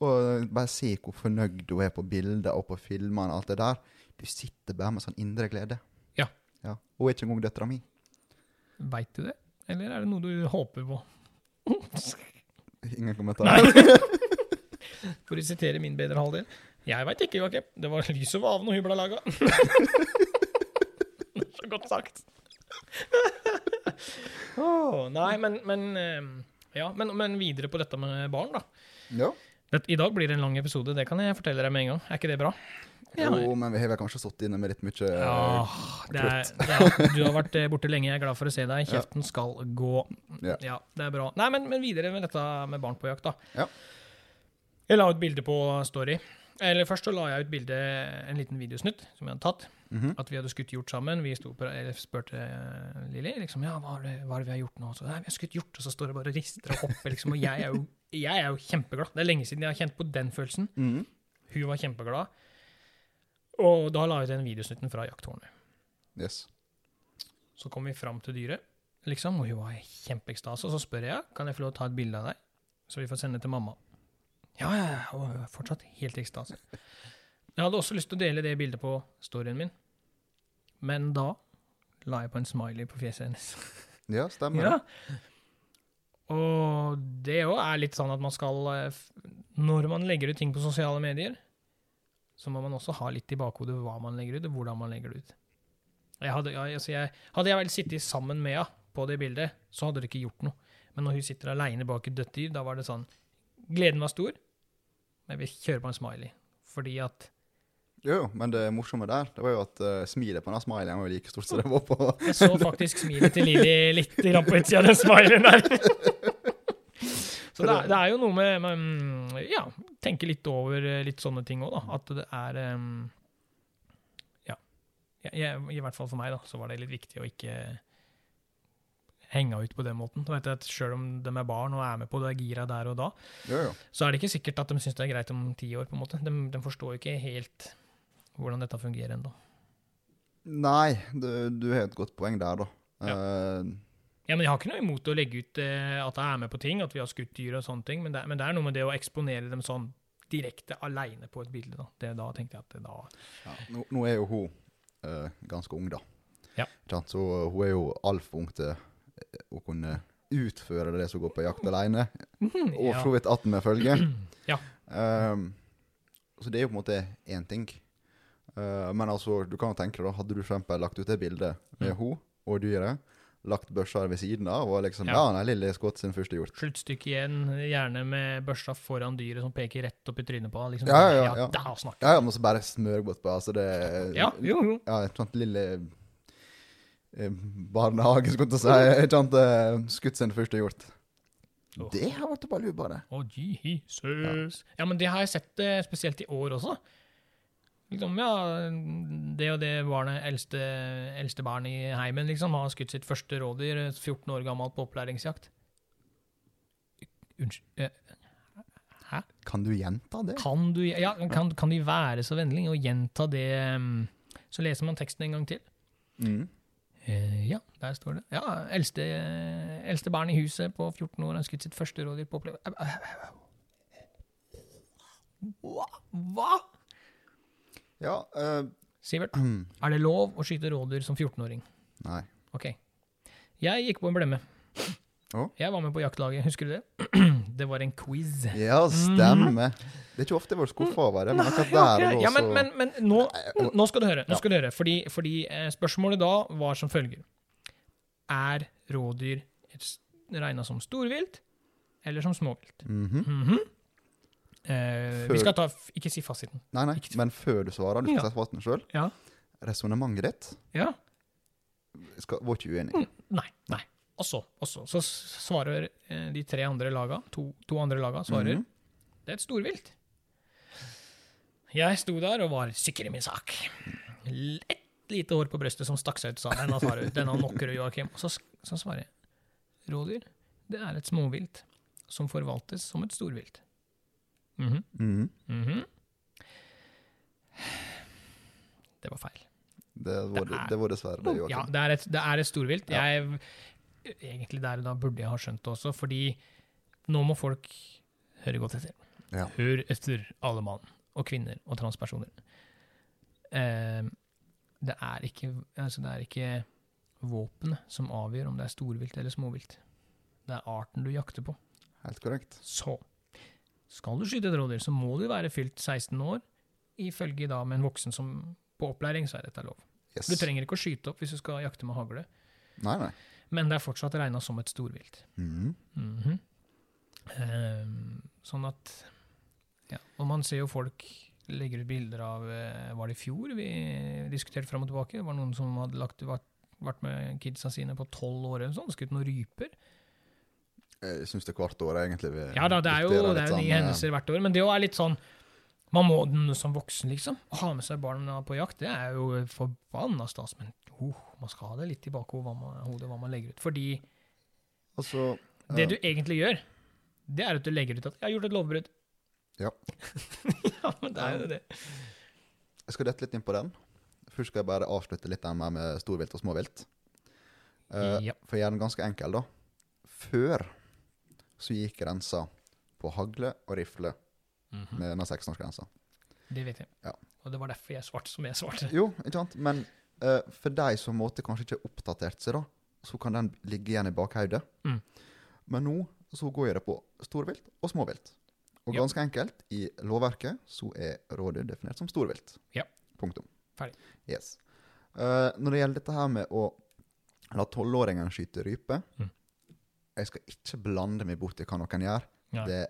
S1: Og bare se hvor fornøyd hun er på bilder og på filmene og alt det der. Du sitter bare med sånn indre glede.
S2: Ja.
S1: ja. Hun er ikke engang døtra mi.
S2: Veit du det? Eller er det noe du håper på?
S1: Ingen kommentarer.
S2: For å sitere min bedre halvdel. Jeg veit ikke, Joakim. Det var lyset var av når hybla laga. Så godt sagt. Åh, nei, men, men eh, Ja, men, men videre på dette med barn, da.
S1: Ja.
S2: Det, I dag blir det en lang episode, det kan jeg fortelle deg med en gang. Er ikke det bra?
S1: Jo, men vi har vel kanskje sittet inne med litt mye eh,
S2: Ja, det er, det er, du har vært eh, borte lenge, jeg er glad for å se deg. Kjeften skal gå.
S1: Ja.
S2: Ja, det er bra. Nei, men, men videre med dette med barn på jakt, da.
S1: Ja.
S2: Jeg la ut bilde på Story. Eller først så la jeg ut bilde, en liten videosnutt som jeg hadde tatt.
S1: Mhm.
S2: At vi hadde skutt hjort sammen. Vi sto på, eller spurte eh, Lilly liksom, ja, hva er, det, hva er det vi har gjort nå. Så, Nei, vi har skutt hjort, og så står det bare og rister og hopper, liksom. Og jeg er, jo, jeg er jo kjempeglad. Det er lenge siden jeg har kjent på den følelsen.
S1: Mhm.
S2: Hun var kjempeglad. Og da la jeg ut den videosnutten fra jakthornet.
S1: Yes.
S2: Så kom vi fram til dyret, liksom, og hun var i kjempeekstase. Og så spør jeg kan jeg få lov å ta et bilde av deg, så vi får sende det til mamma. Ja, ja, ja, og hun er fortsatt helt i ekstase. Jeg hadde også lyst til å dele det bildet på storyen min, men da la jeg på en smiley på fjeset hennes.
S1: Ja, stemmer.
S2: Ja. Og det òg er litt sånn at man skal eh, f- Når man legger ut ting på sosiale medier, så må man også ha litt i bakhodet hva man legger ut, og hvordan man legger det ut. Jeg hadde, ja, altså jeg, hadde jeg vel sittet sammen med henne på det bildet, så hadde det ikke gjort noe. Men når hun sitter aleine bak et dødt dyr, da var det sånn Gleden var stor, men vi kjører på en smiley. Fordi at
S1: Jo, jo, men det morsomme der, det var jo at eh, smilet på den smileyen var jo like stort som det var på
S2: Jeg så faktisk smilet til Lilly litt i rampa utsida av den smileyen der. Så det er, det er jo noe med, med mm, Ja, tenke litt over eh, litt sånne ting òg, da. At det er em, Ja. Jeg, jeg, I hvert fall for meg, da, så var det litt viktig å ikke henge ut på den måten. Du vet at Sjøl om de er barn og er med på det gira der og da,
S1: Jo, jo.
S2: så er det ikke sikkert at de syns det er greit om ti år, på en måte. De, de forstår jo ikke helt hvordan dette fungerer ennå.
S1: Nei, du, du har et godt poeng der, da. Eh,
S2: Ja, men Jeg har ikke noe imot å legge ut eh, at jeg er med på ting, at vi har skutt dyr og sånne ting, men det, men det er noe med det å eksponere dem sånn direkte aleine på et bilde. Da. Det, da tenkte jeg at det, da
S1: ja, nå, nå er jo hun eh, ganske ung, da.
S2: Ja.
S1: Ikke sant? Så eh, hun er jo altfor ung til eh, å kunne utføre det som går på jakt alene, Mm, og
S2: Mm, ja.
S1: for så vidt 18 med følge.
S2: Ja.
S1: Ehm, så det er jo på en måte én ting. Eh, men altså, du kan jo tenke deg, da, hadde du for eksempel lagt ut det bildet med
S2: Mm.
S1: hun og dyret, lagt børsa ved siden av, og liksom Ja,
S2: Ja.
S1: nei, Lilly har skutt sin første hjort.
S2: Sluttstykke igjen, gjerne med børsa foran dyret som peker rett opp i trynet på deg. Liksom.
S1: Ja, ja, ja, ja.
S2: da snakker
S1: Ja, ja, men så bare smørgodt på, altså det
S2: vi. Ja, jo, jo.
S1: Ja, et sånt lille eh, barnehage, skulle jeg til å si. Et sånt eh, skutt sin første hjort.
S2: Åh.
S1: Det har vært bare luba, det.
S2: Å, Jesus. Ja. men det har jeg sett eh, spesielt i år også. Liksom, ja, det og det barnet, eldste, eldste barn i heimen, liksom, har skutt sitt første rådyr, eh, 14 år gammelt, på opplæringsjakt. Unnskyld. eh, Hæ?
S1: Kan du gjenta det?
S2: Kan du, ja, kan, kan de være så vennlig og gjenta det eh, Så leser man teksten en gang til.
S1: Mm.
S2: Eh, ja, der står det. Ja, eldste, eh, eldste barn i huset på 14 år har skutt sitt første rådyr på opplevelse. Au, au, au, au. Hva? Hva?
S1: Ja eh,
S2: Sivert, er det lov å skyte rådyr som 14-åring?
S1: Nei.
S2: Ok. Jeg gikk på en blemme.
S1: Å?
S2: Jeg var med på jaktlaget, husker du det? Det var en quiz.
S1: Ja, stemmer. Det er ikke ofte jeg blir skuffa over det, men akkurat der og
S2: Ok,
S1: da,
S2: Ja, men,
S1: så
S2: men, men nå, nå skal du høre. Nå skal du høre fordi fordi eh, spørsmålet da var som følger. Er rådyr regna som storvilt eller som småvilt?
S1: Mhm.
S2: Mhm. eh, vi
S1: Før-
S2: skal ta f- Ikke si fasiten.
S1: Nei, nei. Men før du svarer, du skal
S2: Ja.
S1: sette fast den sjøl.
S2: Ja.
S1: Resonnementet ditt
S2: ja.
S1: skal, var ikke uenig.
S2: Nei. nei. Og så, og så, så s- svarer eh, de tre andre laga, to, to andre laga,
S1: Mhm.
S2: svarer det er et storvilt. Jeg sto der og var sikker i min sak. L- Et lite hår på brøstet som stakk seg ut, sa han. Denne tar du. Denne knocker du, Joakim. Og så, så svarer jeg. Rådyr, det er et småvilt som forvaltes som et storvilt. Mhm.
S1: Mhm.
S2: Mhm. Det var feil.
S1: Det var,
S2: Det er-
S1: det var dessverre det,
S2: Ja,
S1: Joakim.
S2: det er et, det er et storvilt.
S1: Ja.
S2: Jeg, egentlig der og da burde jeg ha skjønt det også, fordi nå må folk høre godt etter.
S1: Ja.
S2: Hør etter alle mann og kvinner og transpersoner. Eh, det, er ikke, altså det er ikke våpenet som avgjør om det er storvilt eller småvilt. Det er arten du jakter på.
S1: Helt korrekt.
S2: Så skal du skyte et rådyr, så må du være fylt 16 år, ifølge da med en voksen som på opplæring, så er dette lov.
S1: Yes.
S2: Du trenger ikke å skyte opp hvis du skal jakte med hagle,
S1: Nei, nei.
S2: men det er fortsatt regna som et storvilt.
S1: Mhm.
S2: Mhm. Ehm, sånn at ja, Og man ser jo folk legger ut bilder av eh, Var det i fjor vi diskuterte fram og tilbake? Det var noen som hadde lagt, vært, vært med kidsa sine på tolv år eller sånn, skutt noen ryper.
S1: Eh, Jeg syns det er hvert år, egentlig. Vi
S2: Ja da, det er jo,
S1: dikterer litt
S2: det er jo
S1: sånn,
S2: nye
S1: eh,
S2: hendelser hvert år, men det jo er litt sånn Man må den som voksen, liksom. Å ha med seg barna på jakt, det er jo forbanna stas, men oh, man skal ha det litt i bakhodet hva, man- hodet hva man legger ut. Fordi
S1: Altså,
S2: det du egentlig gjør, det er at du legger ut at 'jeg har gjort et lovbrudd'.
S1: Ja.
S2: ja, men det er jo det.
S1: Jeg skal dette litt inn på den. Først skal jeg bare avslutte litt den med- med storvilt og småvilt. Eh,
S2: Ja.
S1: For å gjøre den ganske enkel, da. Før så gikk grensa på hagle og rifle med denne seksårsgrensa.
S2: Det vet jeg.
S1: Ja.
S2: Og det var derfor jeg svarte som jeg svarte.
S1: Jo, ikke sant? Men eh, for de som måtte kanskje ikke har oppdatert seg, da, så kan den ligge igjen i bakhodet.
S2: Mm.
S1: Men nå så går jeg det på storvilt og småvilt. Og
S2: Ja.
S1: ganske enkelt, i lovverket så er rådyr definert som storvilt.
S2: Ja.
S1: Punktum.
S2: Ferdig.
S1: Yes. Eh, når det gjelder dette her med å la tolvåringen skyte rype
S2: Mm.
S1: Jeg skal ikke blande meg borti hva noen gjør.
S2: Nei.
S1: Det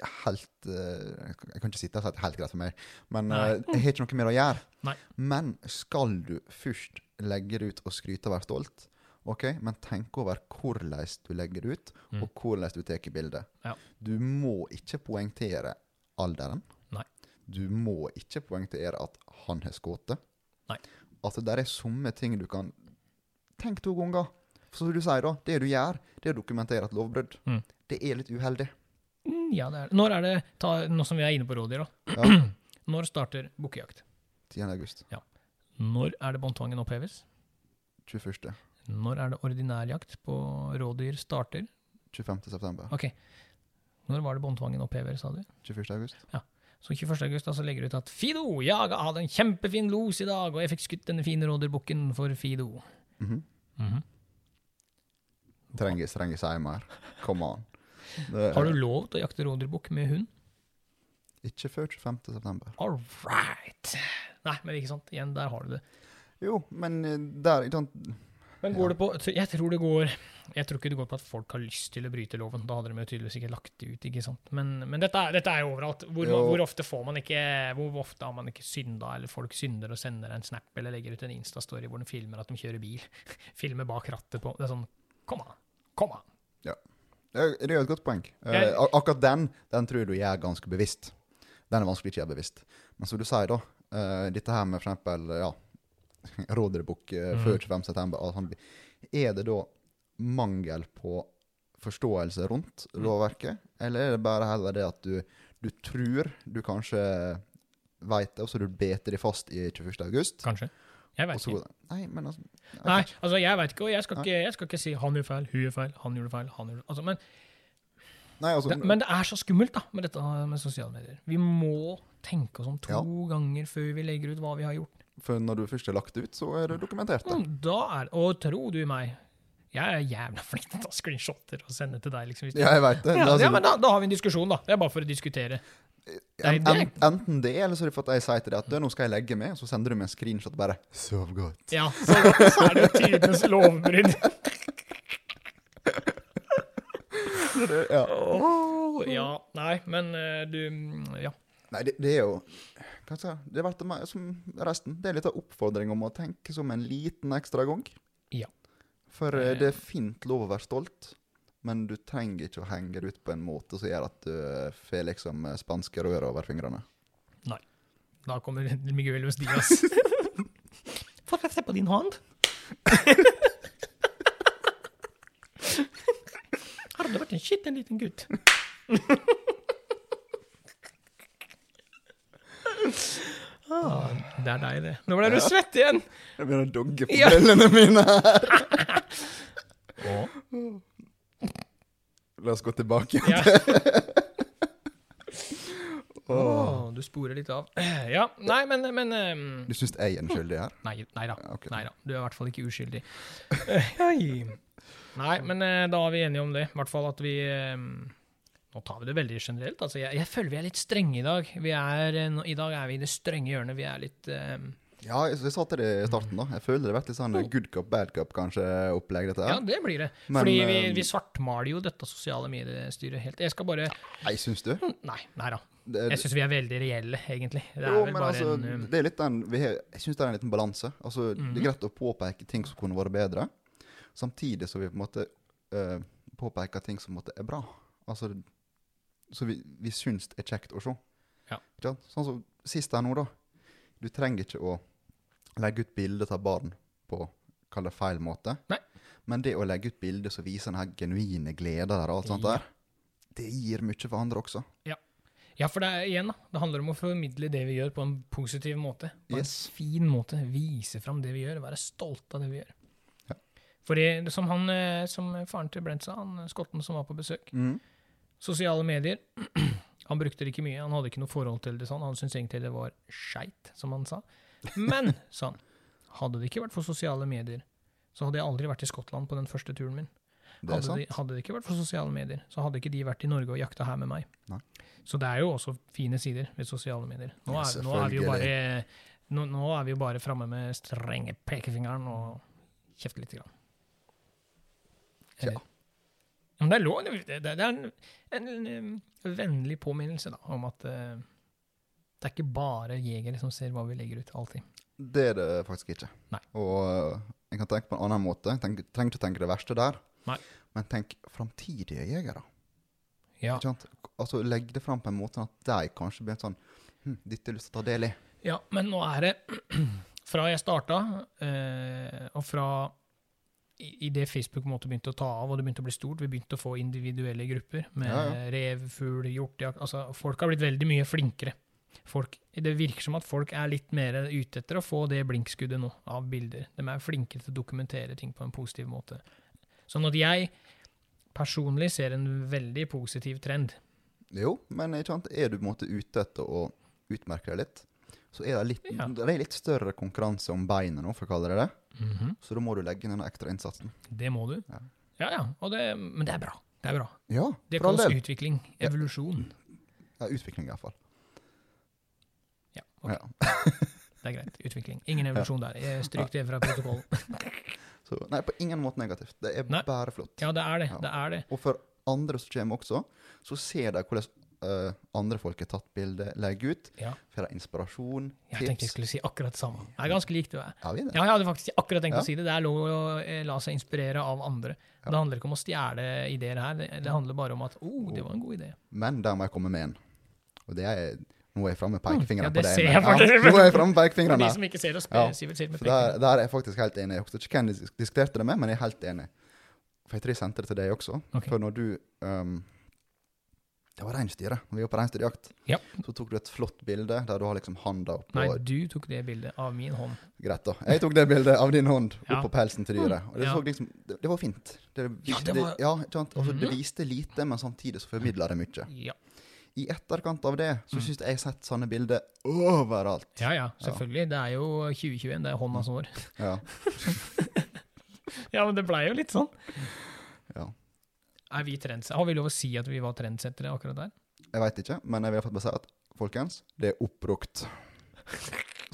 S1: er helt eh, Jeg kan- jeg kan ikke sitte her og si at det er helt greit for meg, men
S2: Nei.
S1: eh, jeg har ikke noe mer å gjøre.
S2: Nei.
S1: Men skal du først legge det ut og skryte og være stolt, ok, men tenk over hvordan du legger det ut,
S2: Mm.
S1: og hvordan du tar bildet.
S2: Ja.
S1: Du må ikke poengtere alderen.
S2: Nei.
S1: Du må ikke poengtere at han har skutt.
S2: Nei.
S1: At det der er somme ting du kan Tenk to ganger. For som du sier, da, det du gjør, det er å dokumentere et lovbrudd.
S2: Mm.
S1: Det er litt uheldig.
S2: Mm, Ja, det er det. Når er det ta, Nå som vi er inne på rådyr, da. Når starter bukkejakt?
S1: 10. august.
S2: Når er det båndtvangen oppheves?
S1: 21.
S2: Når er det ordinærjakt på rådyr starter?
S1: 25. september.
S2: Ok, når var det båndtvangen opphever, sa du?
S1: 21. august.
S2: Så 21. august da, så legger du ut at Fido, jeg hadde en kjempefin los i dag, og jeg fikk skutt denne fine rådyrbukken for Fido.
S1: Mhm. Trenges, trenges jeg mer. Come on. Det,
S2: Har du lov til å jakte rådyrbukk med hund?
S1: Ikke før 25. september.
S2: All right! Nei, men ikke sant, igjen, der har du det.
S1: Jo, men eh, der ikke sant?
S2: Men går det på, jeg tror det går, jeg tror ikke det går på at folk har lyst til å bryte loven, da hadde de jo tydeligvis ikke lagt det ut, ikke sant? Men, men dette, er- dette er jo overalt. Hvor,
S1: Jo.
S2: hvor ofte får man ikke, hvor ofte har man ikke synda, eller folk synder og sender en snap, eller legger ut en Insta-story hvor de filmer at de kjører bil, filmer bak rattet på, det er sånn, kom an, kom an.
S1: Det er det er jo et godt poeng. Eh,
S2: Jeg-
S1: ak- akkurat den den tror jeg du gjør ganske bevisst. Den er vanskelig ikke å gjøre bevisst. Men som du sier, da. eh, dette her med for eksempel ja, rådyrbukk eh,
S2: Mhm.
S1: før 25. september. alt sånt. Er det da mangel på forståelse rundt
S2: Mm.
S1: lovverket, eller er det bare heller det at du, du tror du kanskje veit det, og så du beter deg fast i 21. august?
S2: Kanskje. Jeg
S1: Og
S2: vet
S1: så
S2: ikke.
S1: går det Nei, men altså ja,
S2: Nei,
S1: kanskje.
S2: altså jeg vet ikke, og jeg skal
S1: Nei.
S2: ikke, jeg skal ikke si han gjorde feil, hun gjorde feil, han gjorde feil, han gjorde altså, men,
S1: Nei, altså,
S2: det, men det er så skummelt da, med dette med sosiale medier. Vi må tenke oss om to
S1: Ja.
S2: ganger før vi legger ut hva vi har gjort.
S1: For når du først har lagt det ut, så er det dokumentert. Da.
S2: Mm, Da er Og tro du meg, jeg er jævla flink til å ta screenshotter og sende til deg, liksom. Hvis du,
S1: Ja, jeg veit det.
S2: ja,
S1: Altså,
S2: ja, men da, da har vi en diskusjon, da. Det er bare for å diskutere. Nei,
S1: en,
S2: det-
S1: en, enten det, eller så er det for at jeg sier til deg at «Du, nå skal jeg legge meg, og så sender du meg en screenshot og bare Sov godt.
S2: Ja, så, så er det jo tidenes lovbrudd.
S1: Ja.
S2: Åh, ja, nei, men eh, du mm, Ja.
S1: Nei, det, det er jo Hva skal jeg si? Det er verdt det mer som resten. Det er litt av oppfordring om å tenke som en liten ekstra gang.
S2: Ja.
S1: For eh, det er fint lov å være stolt, men du trenger ikke å henge det ut på en måte som gjør at du eh, får liksom eh, spanske rør over fingrene.
S2: Da kommer Miguel Diaz. Se på din hånd. Har du vært en skitten liten gutt? ah, det er deg, det. Nå ble du svett igjen!
S1: Jeg begynner å dogge på
S2: Ja.
S1: brillene mine her. La oss gå tilbake.
S2: Ja. Åh, du sporer litt av. Ja, nei, men, men ehm,
S1: Du syns jeg er den skyldige her?
S2: Nei, nei da.
S1: Ja, ok.
S2: Nei da, du er i hvert fall ikke uskyldig. Hei. Nei, men eh, da er vi enige om det. I hvert fall at vi eh, Nå tar vi det veldig generelt. Altså, jeg, jeg føler vi er litt strenge i dag. Vi er, eh, nå- I dag er vi i det strenge hjørnet. Vi er litt eh,
S1: Ja, altså, jeg, jeg sa til det i starten, da. Jeg føler det har vært litt sånn good cup, bad cup, kanskje, opplegg, dette
S2: Ja,
S1: her.
S2: det blir det.
S1: Men,
S2: Fordi vi,
S1: eh,
S2: vi svartmaler jo dette sosiale mediestyret helt. Jeg skal bare
S1: Nei, syns du?
S2: Nei, nei da.
S1: Det,
S2: Jeg syns vi er veldig reelle, egentlig. Det er
S1: jo,
S2: vel
S1: men
S2: bare
S1: altså,
S2: en Mhm. eh,
S1: det er litt den vi har, Jeg syns det er en liten balanse. Altså, Det er greit å påpeke ting som kunne vært bedre, samtidig som vi på en måte eh, påpeker ting som på en måte er bra. Altså, så vi, vi syns det er kjekt å se.
S2: Ja.
S1: Ikke sant? Sånn som sist her nå, da. Du trenger ikke å legge ut bilde av barn på kall det feil måte.
S2: Nei.
S1: Men det å legge ut bilde som viser den her genuine gleden der, og alt sånt
S2: Ja.
S1: der, det gir mye for andre også.
S2: Ja, for det er igjen, da. Det handler om å formidle det vi gjør på en positiv måte. På
S1: Yes.
S2: en fin måte. Vise fram det vi gjør. Være stolt av det vi gjør.
S1: Ja.
S2: Fordi det som han, eh, som faren til Brent sa, han eh, skotten som var på besøk
S1: Mm.
S2: Sosiale medier. Han brukte det ikke mye. Han hadde ikke noe forhold til det, sa han. Han syntes egentlig det var skeit, som han sa. Men, sa han, hadde det ikke vært for sosiale medier, så hadde jeg aldri vært i Skottland på den første turen min.
S1: Det er
S2: Hadde
S1: sant.
S2: det, hadde det ikke vært for sosiale medier, så hadde ikke de vært i Norge og jakta her med meg.
S1: Nei.
S2: Så det er jo også fine sider ved sosiale medier. Nå
S1: Ja,
S2: er, nå er vi jo
S1: selvfølgelig.
S2: bare, nå, nå er vi jo bare framme med strenge pekefingeren og kjefte lite grann.
S1: Tja.
S2: Eller- Men det er lov. Det, det, det er en, en, em, vennlig påminnelse da, om at eh, det er ikke bare jegere som ser hva vi legger ut, alltid.
S1: Det er det faktisk ikke.
S2: Nei.
S1: Og øh, jeg kan tenke på en annen måte. Jeg tenk, trenger ikke tenke det verste der.
S2: Nei.
S1: Men tenk framtidige jegere.
S2: Ja.
S1: ikke sant? Altså, legg det fram på en måte at de kanskje blir sånn hm, Dette har jeg lyst til å ta del i.
S2: Ja, men nå er det Fra jeg starta, eh, og fra i, i det Facebook på en måte begynte å ta av, og det begynte å bli stort, vi begynte å få individuelle grupper med
S1: Ja,
S2: rev, fugl, hjortejakt altså, Folk har blitt veldig mye flinkere. Folk, det virker som at folk er litt mer ute etter å få det blinkskuddet nå, av bilder. De er flinkere til å dokumentere ting på en positiv måte. Sånn at jeg personlig ser en veldig positiv trend.
S1: Jo, men ikke sant? er du på en måte ute etter å utmerke deg litt, så er det litt,
S2: Ja.
S1: det er litt større konkurranse om beinet nå, for å kalle det det. Så da må du legge inn den ekstra innsatsen.
S2: Det må du.
S1: Mhm. Ja.
S2: Ja, ja. Og det, men det er bra. Det er bra.
S1: Ja,
S2: Det
S1: for all
S2: kalles
S1: del.
S2: utvikling.
S1: Ja.
S2: Evolusjon.
S1: Ja, utvikling, i hvert fall.
S2: Ja, ok,
S1: Ja.
S2: det er greit. Utvikling. Ingen evolusjon der. Eh, Stryk det fra protokollen.
S1: Så, nei, på ingen måte negativt. Det er
S2: Nei.
S1: bare flott.
S2: Ja, det er det.
S1: Ja.
S2: Det er det.
S1: Og for andre som kommer også, så ser de hvordan eh, andre folk har tatt bilde, legger ut.
S2: Ja.
S1: Får de inspirasjon,
S2: Jeg tenkte jeg
S1: tips?
S2: skulle si akkurat det samme. Det er ganske likt, det er.
S1: Ja, vi er det.
S2: Ja, jeg hadde faktisk akkurat tenkt
S1: Ja.
S2: å si det. Det er lov å eh, la seg inspirere av andre.
S1: Ja.
S2: Det handler ikke om å stjele ideer her. Det, det handler bare om at 'Å, oh, det var en god idé'.
S1: Men der må jeg komme med en. Og det er Nå er jeg framme med
S2: Mm, Ja,
S1: pekefingeren
S2: det
S1: på deg.
S2: ser
S1: men-
S2: jeg faktisk.
S1: Ja, nå er jeg framme med
S2: For
S1: pekefingeren
S2: de
S1: her.
S2: som ikke ser oss, eh,
S1: Ja.
S2: Sivert sier med
S1: For
S2: pekefingeren.
S1: der, der er jeg faktisk helt enig. Jeg husker ikke hvem jeg diskuterte det med, men jeg er helt enig. For jeg tror jeg sendte det til deg også.
S2: Ok.
S1: For når du um, Det var reinsdyret. Når vi var på reinsdyrjakt,
S2: Ja.
S1: så tok du et flott bilde der du har liksom handa oppå
S2: Nei, du tok det bildet av min hånd.
S1: Greit, da. Jeg tok det bildet av din hånd
S2: Ja.
S1: oppå pelsen til dyret. Og det,
S2: Ja.
S1: så liksom, det, det var fint. Det,
S2: Ja,
S1: viste,
S2: det
S1: det,
S2: var-
S1: ja, ikke sant? Altså, det
S2: Mhm.
S1: viste lite, men samtidig så formidla det mye.
S2: Ja.
S1: I etterkant av det så
S2: Mm.
S1: syns jeg jeg har sett sånne bilder overalt.
S2: ja ja, selvfølgelig. Det er jo 2021. Det er
S1: Mm.
S2: håndas år.
S1: Ja.
S2: Ja, men det blei jo litt sånn.
S1: Ja.
S2: Er vi trendset- Har vi lov å si at vi var trendsettere akkurat der?
S1: Jeg veit ikke, men jeg vil i hvert fall bare si at folkens, det er oppbrukt.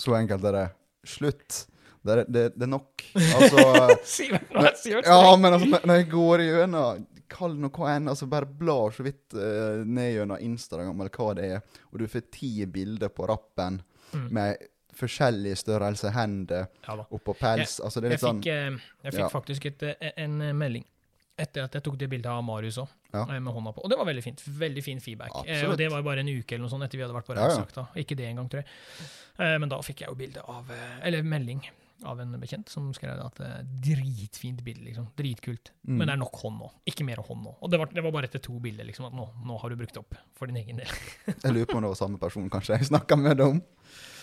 S1: Så enkelt er det. Slutt. Det er, det, det er nok. Altså
S2: Sivert, nå er Sivert
S1: Ja,
S2: streng.
S1: men altså, når- når jeg går gjennom Kall det hva enn, altså bare blar så vidt eh, ned gjennom Instagram eller hva det er, og du får ti bilder på rappen
S2: Mm.
S1: med forskjellig størrelse hender
S2: Ja da.
S1: oppå pels. altså det er
S2: Jeg
S1: litt sånn
S2: fikk, eh, jeg
S1: Ja.
S2: fikk faktisk et, eh, en eh, melding etter at jeg tok det bildet av Marius òg,
S1: Ja.
S2: med hånda på. Og det var veldig fint. Veldig fin feedback. Eh,
S1: Absolutt.
S2: og det var jo bare en uke eller noe sånt etter vi hadde vært på
S1: Ja, ja.
S2: reisejakta. Ikke det engang, tror jeg. Eh, men da fikk jeg jo bilde av eh, Eller melding av en bekjent som skrev at det er dritfint bilde, liksom. Dritkult.
S1: Mm.
S2: Men det er nok hånd nå. Ikke mer hånd nå. Og det var, det var bare etter to bilder, liksom, at nå, nå har du brukt opp for din egen del.
S1: Jeg lurer på om det var samme person kanskje jeg snakka med dem.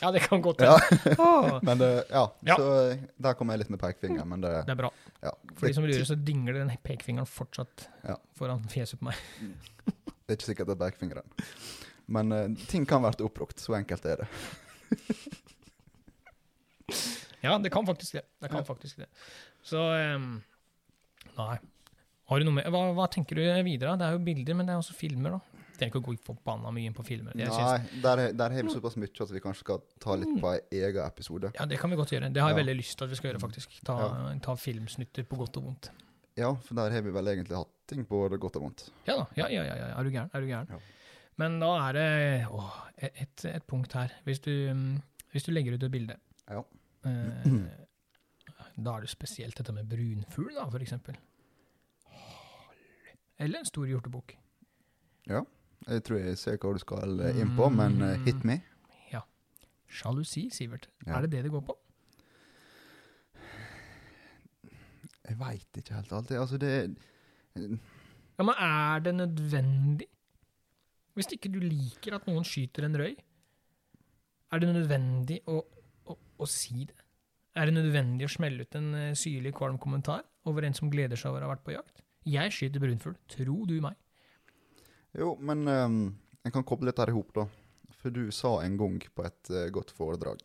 S2: Ja, det kan godt
S1: Ja.
S2: hende. Ah, Åh,
S1: Men det, ja,
S2: Ja.
S1: så eh, der kom jeg litt med pekefingeren, men det
S2: Det er bra.
S1: ja.
S2: For de som
S1: det,
S2: lurer, så dingler den pekefingeren fortsatt
S1: Ja.
S2: foran fjeset på meg.
S1: det er ikke sikkert det er pekefingeren. Men eh, ting kan bli oppbrukt. Så enkelt er det.
S2: Ja, det kan faktisk det. Det kan
S1: Ja.
S2: faktisk det. Så ehm, Nei. Har du noe med hva, hva tenker du videre? Det er jo bilder, men det er også filmer, da. Jeg trenger ikke å gå forbanna mye inn på filmer. Jeg Mm. syns-
S1: Nei, der, er- der har vi såpass mye at vi kanskje skal ta litt på ei egen episode.
S2: Ja, det kan vi godt gjøre. Det har jeg
S1: Ja.
S2: veldig lyst til at vi skal gjøre, faktisk. Ta, ta filmsnutter på godt og vondt.
S1: Ja, for der har vi vel egentlig hatt ting på det godt og vondt.
S2: Ja da. Ja, ja, ja. ja. Er du gæren? Er du gæren?
S1: Ja.
S2: Men da er det åh, et, et punkt her. Hvis du, mm, hvis du legger ut et bilde
S1: Ja.
S2: eh, Da er det spesielt dette med brunfugl, da, for eksempel. Eller en stor hjortebukk.
S1: Jeg tror jeg ser hva du skal eh, inn på, men eh,
S2: Mm.
S1: hit me.
S2: Sjalusi, Sivert.
S1: Ja.
S2: Er det det det går på?
S1: Jeg veit ikke helt alltid. Altså, det
S2: Ja, Men er det nødvendig? Hvis ikke du liker at noen skyter en røy, er det nødvendig å, å, å si det? Er det nødvendig å smelle ut en eh, syrlig, kvalm kommentar over en som gleder seg over å ha vært på jakt? Jeg skyter brunfugl, tro du meg.
S1: Jo, men ehm, en kan koble dette her i hop, da. For du sa en gang på et eh, godt foredrag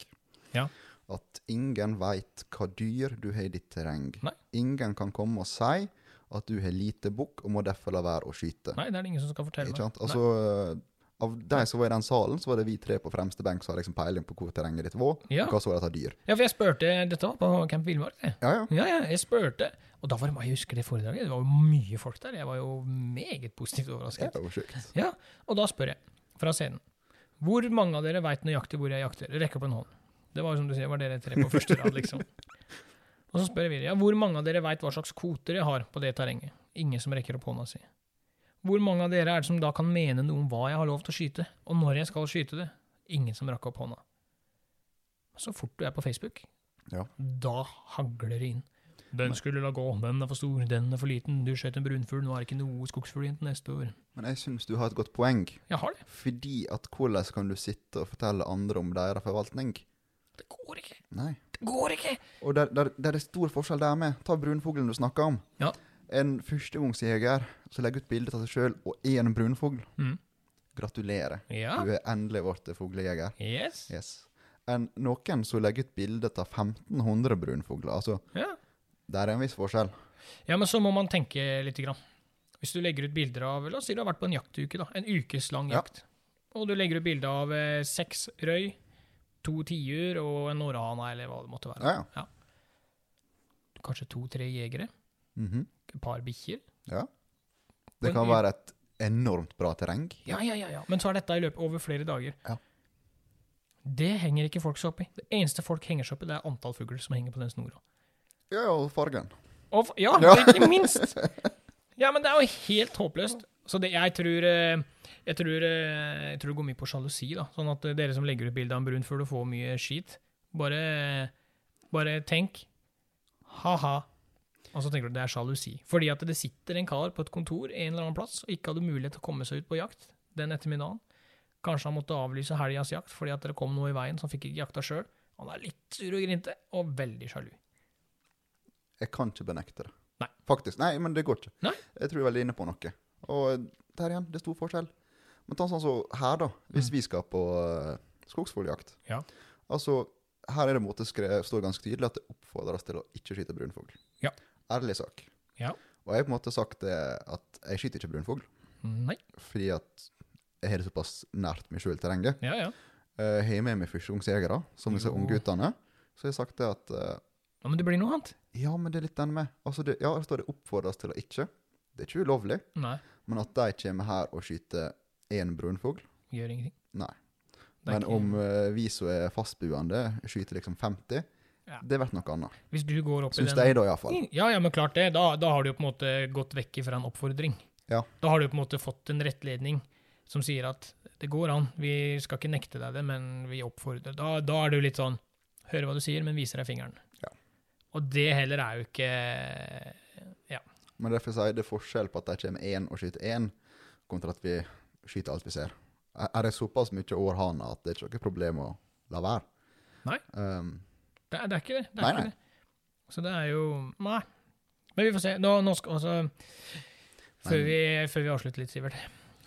S2: Ja.
S1: at ingen veit hva dyr du har i ditt terreng.
S2: Nei.
S1: Ingen kan komme og si at du har lite bukk og må derfor la være å skyte.
S2: Nei, det er det ingen som skal fortelle
S1: Ikke
S2: meg.
S1: sant? Altså, eh, av de som var i den salen, så var det vi tre på fremste benk som hadde liksom peiling på hvor terrenget ditt var.
S2: Ja.
S1: og Hva så var dette dyr?
S2: Ja, for jeg spurte Dette var på Camp Villmark, det.
S1: Ja, ja.
S2: Ja, ja, jeg spurte. Og da var det meg, jeg husker det foredraget. Det var jo mye folk der. Jeg var jo meget positivt
S1: Det
S2: overrasket.
S1: er jo sjukt.
S2: Ja, og da spør jeg, fra scenen, hvor mange av dere veit nøyaktig hvor jeg jakter? Rekk opp en hånd. Det var jo som du sier, var dere tre på første rad, liksom. Og så spør jeg videre, ja, hvor mange av dere veit hva slags kvoter jeg har på det terrenget? Ingen som rekker opp hånda si. Hvor mange av dere er det som da kan mene noe om hva jeg har lov til å skyte, og når jeg skal skyte det? Ingen som rakk opp hånda. Så fort du er på Facebook,
S1: Ja.
S2: da hagler det inn. Den skulle la gå, den er for stor, den er for liten, du skjøt en brunfugl, nå er det ikke noe skogsfugl igjen til neste år.
S1: Men jeg syns du har et godt poeng.
S2: Jeg har det.
S1: Fordi at hvordan kan du sitte og fortelle andre om deres forvaltning?
S2: Det går ikke!
S1: Nei.
S2: Det går ikke!
S1: Og der, der, der er stor forskjell der med. Ta brunfuglen du snakker om.
S2: Ja.
S1: En førstegangsjeger som legger ut bilde av seg sjøl og er en brunfugl.
S2: Mm.
S1: Gratulerer.
S2: Ja.
S1: Du er endelig blitt fuglejeger.
S2: Yes.
S1: Yes. Enn noen som legger ut bilde av 1500 brunfugler. Altså,
S2: Ja.
S1: der er en viss forskjell.
S2: ja, men så må man tenke litt. Grann. Hvis du legger ut bilder av La oss si du har vært på en jaktuke, da. En ukeslang
S1: Ja.
S2: jakt. Og du legger ut bilde av eh, seks røy, to tiur og en norrhane, eller hva det måtte være.
S1: Ja, ja.
S2: Kanskje to-tre jegere.
S1: Mhm.
S2: Et par bikkjer.
S1: Det kan
S2: Men-
S1: være et enormt bra terreng.
S2: Ja, ja, ja, ja. Men så er dette i løpet over flere dager.
S1: Ja.
S2: Det henger ikke folk seg opp i. Det eneste folk henger seg opp i, det er antall fugler som henger på den snora.
S1: Ja, og fargen.
S2: Og, f- ja,
S1: Ja.
S2: ikke minst! Ja, men det er jo helt håpløst. Så det, jeg, tror, eh, jeg, tror, eh, jeg tror det går mye på sjalusi, da. Sånn at eh, dere som legger ut bilde av en brun fugl og får mye skit, bare, bare tenk ha-ha. Og så tenker du det er sjalusi. Fordi at det sitter en kar på et kontor en eller annen plass og ikke hadde mulighet til å komme seg ut på jakt den ettermiddagen. Kanskje han måtte avlyse helgas jakt fordi at det kom noe i veien, så han fikk ikke jakta sjøl. Han er litt sur og grinte, og veldig sjalu.
S1: Jeg kan ikke benekte det.
S2: Nei.
S1: Faktisk. Nei, men det går ikke.
S2: Nei.
S1: Jeg tror jeg er veldig inne på noe. Og der igjen, det er stor forskjell. Men ta sånn som her, da. Hvis vi skal på uh, skogsfugljakt.
S2: Mm. Ja.
S1: Altså, her er det en måte skrev, står ganske tydelig at det oppfordres til å ikke skyte brunfugl.
S2: Ja.
S1: Ærlig sak.
S2: Ja.
S1: Og jeg har på en måte sagt det at jeg skyter ikke brunfugl,
S2: Nei.
S1: fordi at jeg har det såpass nært meg sjøl terrenget.
S2: Ja, ja.
S1: Eh, Jeg har med meg førstegangsjegere, som disse
S2: Jo.
S1: ungguttene. Så jeg har sagt det at eh,
S2: Ja, men det blir noe annet.
S1: Ja, men det er litt den med. Altså, det, ja, det står det oppfordres til å ikke. Det er ikke ulovlig.
S2: Nei,
S1: Men at de kommer her og skyter én brunfugl
S2: gjør ingenting.
S1: Nei.
S2: Det er
S1: Men
S2: ikke-
S1: om eh, vi som er fastbuende, skyter liksom 50,
S2: Ja.
S1: det blir noe annet.
S2: Hvis du går opp i
S1: Syns
S2: den... Mm,
S1: jeg, da, iallfall.
S2: Ja, ja, men klart det. Da, da har du jo på en måte gått vekk fra en oppfordring.
S1: Ja.
S2: Da har du på en måte fått en rettledning som sier at det går an, vi skal ikke nekte deg det, men vi oppfordrer. Da, da er det jo litt sånn, hører hva du sier, men viser deg fingeren.
S1: Ja.
S2: Og det heller er jo ikke
S1: Men derfor sier jeg det er forskjell på at de kommer én og skyter én, kontra at vi skyter alt vi ser. Er- Er det såpass mye århane at det er ikke noe problem å la være?
S2: Nei.
S1: Um,
S2: Det er, det er ikke det. det, er
S1: Nei,
S2: ikke
S1: nei.
S2: det. Så det er jo Nei. Men vi får se. Nå, nå skal altså før
S1: Men-
S2: vi, før vi avslutter litt, Sivert.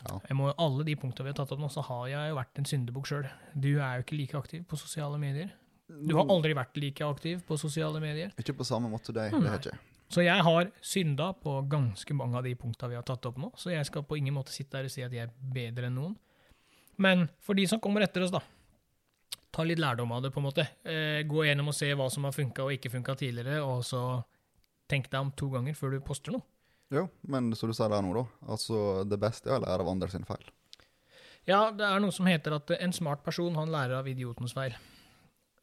S1: Ja.
S2: Jeg må, alle de punktene vi har tatt opp nå, så har jeg jo vært en syndebukk sjøl. Du er jo ikke like aktiv på sosiale medier. Du har aldri vært like aktiv på sosiale medier.
S1: Ikke på samme måte, det,
S2: Nei.
S1: det har jeg ikke.
S2: Så jeg har synda på ganske mange av de punktene vi har tatt opp nå, så jeg skal på ingen måte sitte her og si at jeg er bedre enn noen. Men for de som kommer etter oss, da, ta litt lærdom av det, på en måte. Eh, gå gjennom og se hva som har funka og ikke funka tidligere, og så tenk deg om to ganger før du poster noe.
S1: Jo, men som du sier der nå, da. Altså, det beste er å lære av andre sin feil.
S2: Ja, det er noe som heter at en smart person, han lærer av idiotens feil.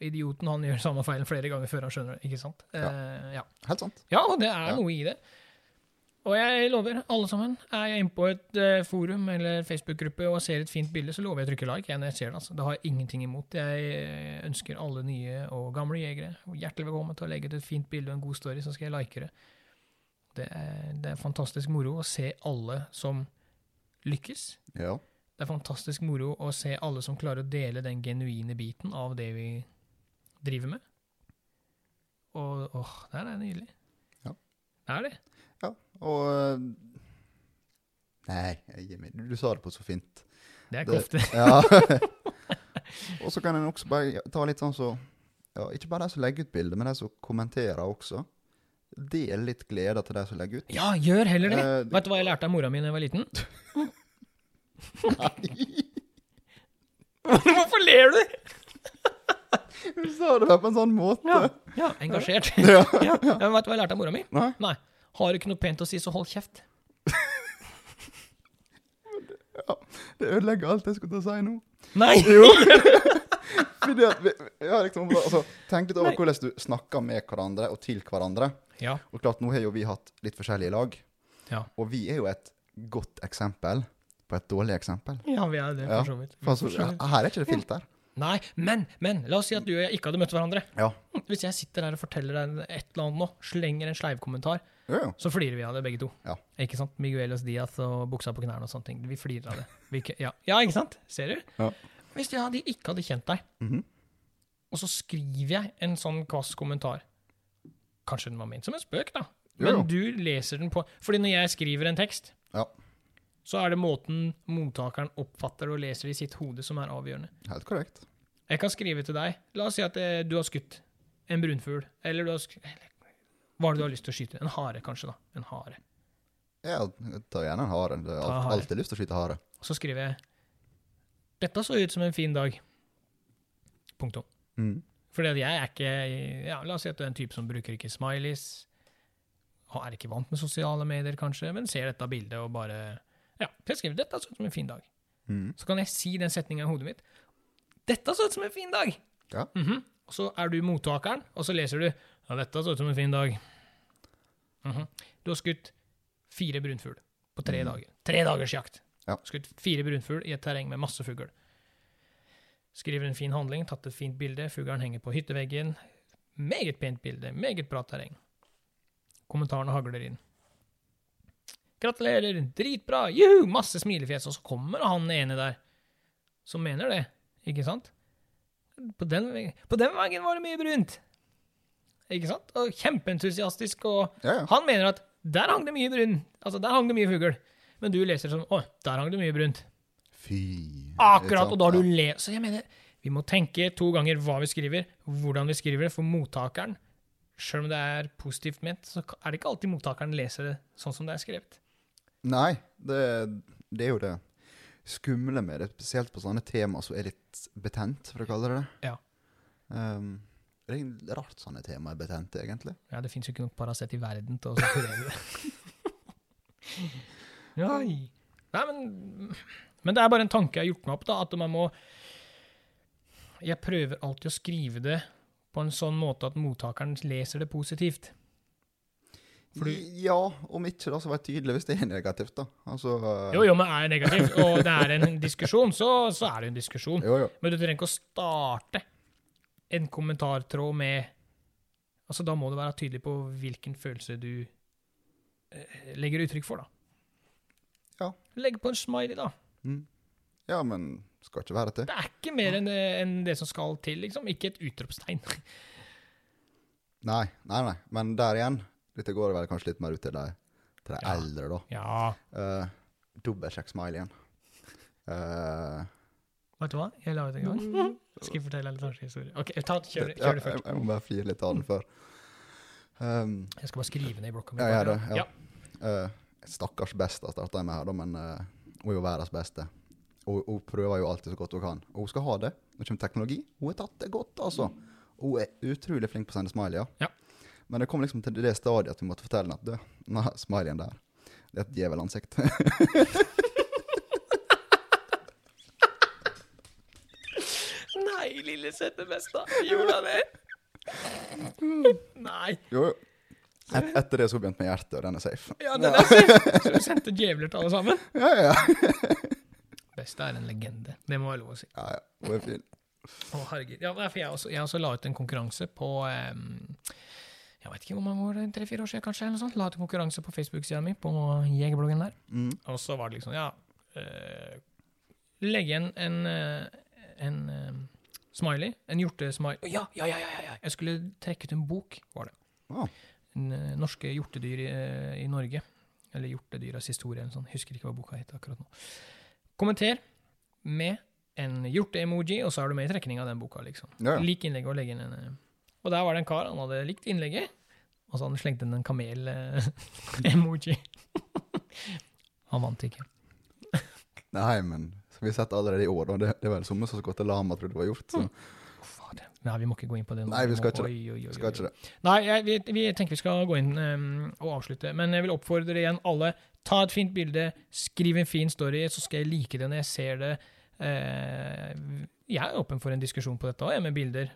S2: Idioten, han gjør samme feilen flere ganger før han skjønner det, ikke sant?
S1: Ja.
S2: Eh, ja.
S1: Helt sant.
S2: Ja, og det er
S1: Ja.
S2: noe i det. Og jeg lover, alle sammen, er jeg inne på et eh, forum eller Facebook-gruppe og ser et fint bilde, så lover jeg å trykke like. Jeg, når jeg ser det, altså. det har jeg ingenting imot. Jeg eh, ønsker alle nye og gamle jegere hjertelig velkommen til å legge ut et fint bilde og en god story, så skal jeg like det. Det er, det er fantastisk moro å se alle som lykkes.
S1: Ja.
S2: Det er fantastisk moro å se alle som klarer å dele den genuine biten av det vi driver med. Og åh, det her er nydelig.
S1: Ja.
S2: Det er det.
S1: ja. Og eh, Nei, jeg gir meg. Du, du sa det på så fint.
S2: Det er
S1: Det-
S2: kofte.
S1: Ja. og så kan en også bare ta litt sånn så ja, Ikke bare de som legger ut bilder, men de som kommenterer også. Del litt glede til de som legger ut.
S2: Ja, gjør heller det!
S1: Eh,
S2: Vet du hva jeg lærte av mora mi da jeg var liten? Hvorfor ler du?
S1: Du sa det bare på en sånn måte.
S2: Ja, ja engasjert.
S1: Ja.
S2: ja. Men vet du hva jeg lærte av mora mi?
S1: Nei?
S2: Nei. Har du ikke noe pent å si, så hold kjeft.
S1: Det ødelegger alt jeg skulle til å si nå.
S2: Nei!
S1: Jo. Fordi at vi, ja, liksom, altså, tenk litt over
S2: Nei.
S1: hvordan du snakker med hverandre og til hverandre.
S2: Ja.
S1: Og klart, nå har jo vi hatt litt forskjellige lag,
S2: Ja,
S1: og vi er jo et godt eksempel på et dårlig eksempel.
S2: ja vi er det,
S1: Ja.
S2: for så vidt.
S1: For altså, her er ikke det filter.
S2: Nei, men, men, la oss si at du og jeg ikke hadde møtt hverandre.
S1: Ja.
S2: Hvis jeg sitter der og forteller deg et eller annet nå, slenger en sleivkommentar,
S1: Jo, jo.
S2: så flirer vi av det begge to.
S1: Ja.
S2: Ikke sant? Miguelos Diaz og buksa på knærne og sånne ting. Vi flirer av det. Vi, ikke- ja. ja, ikke sant? Ser du?
S1: Ja.
S2: Hvis jeg hadde- ikke hadde kjent deg,
S1: Mhm.
S2: og så skriver jeg en sånn kvass kommentar Kanskje den var ment som en spøk, da.
S1: Jo, jo.
S2: Men du leser den på Fordi når jeg skriver en tekst,
S1: Ja.
S2: så er det måten mottakeren oppfatter og leser i sitt hode, som er avgjørende.
S1: Helt korrekt.
S2: Jeg kan skrive til deg. La oss si at eh, du har skutt en brunfugl. Eller du har sk- eller, Hva er det du har lyst til å skyte? En hare, kanskje. da. En hare.
S1: Ja, ta gjerne en hare. Jeg
S2: Ta
S1: har
S2: hare.
S1: alltid lyst til å skyte hare.
S2: Og så skriver jeg Dette så ut som en fin dag. Punktum.
S1: Mm.
S2: Fordi at jeg er ikke ja, La oss si at du er en type som bruker ikke smileys. og Er ikke vant med sosiale medier, kanskje, men ser dette bildet og bare Ja, jeg skriver 'Dette så ut som en fin dag'.
S1: Mm.
S2: Så kan jeg si den setninga i hodet mitt. 'Dette så ut som en fin dag'.
S1: Ja.
S2: Mhm. Og så er du mottakeren, og så leser du 'Ja, dette så ut som en fin dag'. Mhm. Du har skutt fire brunfugl på tre dager. Tre dagers jakt.
S1: Mm. Ja.
S2: Skutt fire brunfugl i et terreng med masse fugl. Skriver en fin handling, tatt et fint bilde, fuglen henger på hytteveggen. Meget pent bilde, meget bra terreng. Kommentarene hagler inn. Gratulerer, dritbra, juhu, masse smilefjes, og så kommer han ene der, som mener det, ikke sant? På den, veggen- på den veggen var det mye brunt, ikke sant? Og kjempeentusiastisk, og
S1: Ja, ja.
S2: han mener at der hang det mye brun, altså der hang det mye fugl, men du leser som, å, der hang det mye brunt.
S1: Fy.
S2: Akkurat, og da har
S1: Ja.
S2: du le... Så jeg mener, vi må tenke to ganger hva vi skriver, hvordan vi skriver det, for mottakeren, selv om det er positivt ment, så er det ikke alltid mottakeren leser det sånn som det er skrevet.
S1: Nei, det, det er jo det skumle med det, spesielt på sånne tema som er litt betent, for å kalle det det.
S2: Ja.
S1: Ehm, det er rart sånne tema er betente, egentlig.
S2: Ja, det finnes jo ikke noe Paracet i verden til å kurere det. Nei. Nei, men, men det er bare en tanke jeg har gjort meg opp, da, at man må Jeg prøver alltid å skrive det på en sånn måte at mottakeren leser det positivt. Fordi-
S1: Ja, om ikke da, så vær tydelig hvis det er negativt, da. Altså,
S2: Jo, jo, men er det negativt, og det er en diskusjon, så, så er det en diskusjon.
S1: jo, jo.
S2: Men du trenger ikke å starte en kommentartråd med Altså, da må du være tydelig på hvilken følelse du eh, legger uttrykk for, da.
S1: Ja.
S2: Legg på en smiley, da.
S1: Mm. Ja, men skal ikke være til.
S2: Det er ikke mer enn eh, enn det som skal til, liksom. Ikke et utropstegn.
S1: Nei, nei, nei. Men der igjen, dette går vel kanskje litt mer ut til de, til de
S2: Ja.
S1: eldre, da.
S2: Ja.
S1: Uh, Dobbeltsjekk smileyen. Eh,
S2: Vet du hva? Jeg la ut en gang. Skal jeg fortelle en litt artig historie? Ok, ta, kjør,
S1: det-
S2: kjør det
S1: ja, jeg,
S2: først.
S1: jeg må bare flire litt av den før. Um,
S2: Jeg skal bare skrive ned i blokka mi.
S1: Ja, jeg gjør det.
S2: bare.
S1: Ja. Eh, stakkars besta starta jeg med her, da, men eh, hun er jo verdens beste. Hun, hun prøver jo alltid så godt hun kan. Og hun skal ha det. Nå kommer teknologi. Hun har tatt det godt, altså. Hun er utrolig flink på å sende smileyer.
S2: Ja.
S1: Men det kom liksom til det stadiet at vi måtte fortelle henne at du, nei, smileyen der, det er et djevelansikt.
S2: Nei, lille søte besta. Gjorde han det? Nei.
S1: jo, jo. Et, etter det så begynte med hjertet, og den er safe.
S2: Ja, den er søt. Så du sendte djevler til alle sammen?
S1: Ja, ja.
S2: Besta er en legende. Det må være lov å si.
S1: ja, ja. Hun er fin.
S2: Å, herregud. Ja, nei, for jeg også, jeg også la ut en konkurranse på em, Jeg vet ikke hvor mange år, tre-fire år siden kanskje? eller noe sånt. La ut en konkurranse på Facebook-sida mi, på Jegerbloggen der.
S1: Mm.
S2: Og så var det liksom, ja eh, Legge igjen en, eh, en eh, smiley. En hjortesmiley. Å, Ja, ja, ja, ja, ja, ja! Jeg skulle trekke ut en bok, var det.
S1: Wow.
S2: En, eh, norske hjortedyr i, eh, i Norge. Eller Hjortedyras historie, eller noe sånt. Husker ikke hva boka het akkurat nå. Kommenter med en hjorte-emoji, og så er du med i trekninga av den boka, liksom.
S1: Ja, ja.
S2: Lik innlegget og legge inn en eh, Og der var det en kar, han hadde likt innlegget, og så hadde han slengt inn en kamel-emoji. han vant ikke.
S1: Nei, men så vi har sett allerede i år, og det, det er vel somme som skulle til Lama, trodde hun var gjort. Så
S2: Fader. Nei, vi må ikke gå inn på det nå.
S1: Nei, vi skal
S2: må-
S1: ikke det.
S2: Oi, oi, oi, oi.
S1: skal ikke det.
S2: Nei, jeg, vi, vi tenker vi skal gå inn ehm, og avslutte, men jeg vil oppfordre igjen alle, ta et fint bilde, skriv en fin story, så skal jeg like det når jeg ser det. Eh, jeg er åpen for en diskusjon på dette også, jeg, med bilder.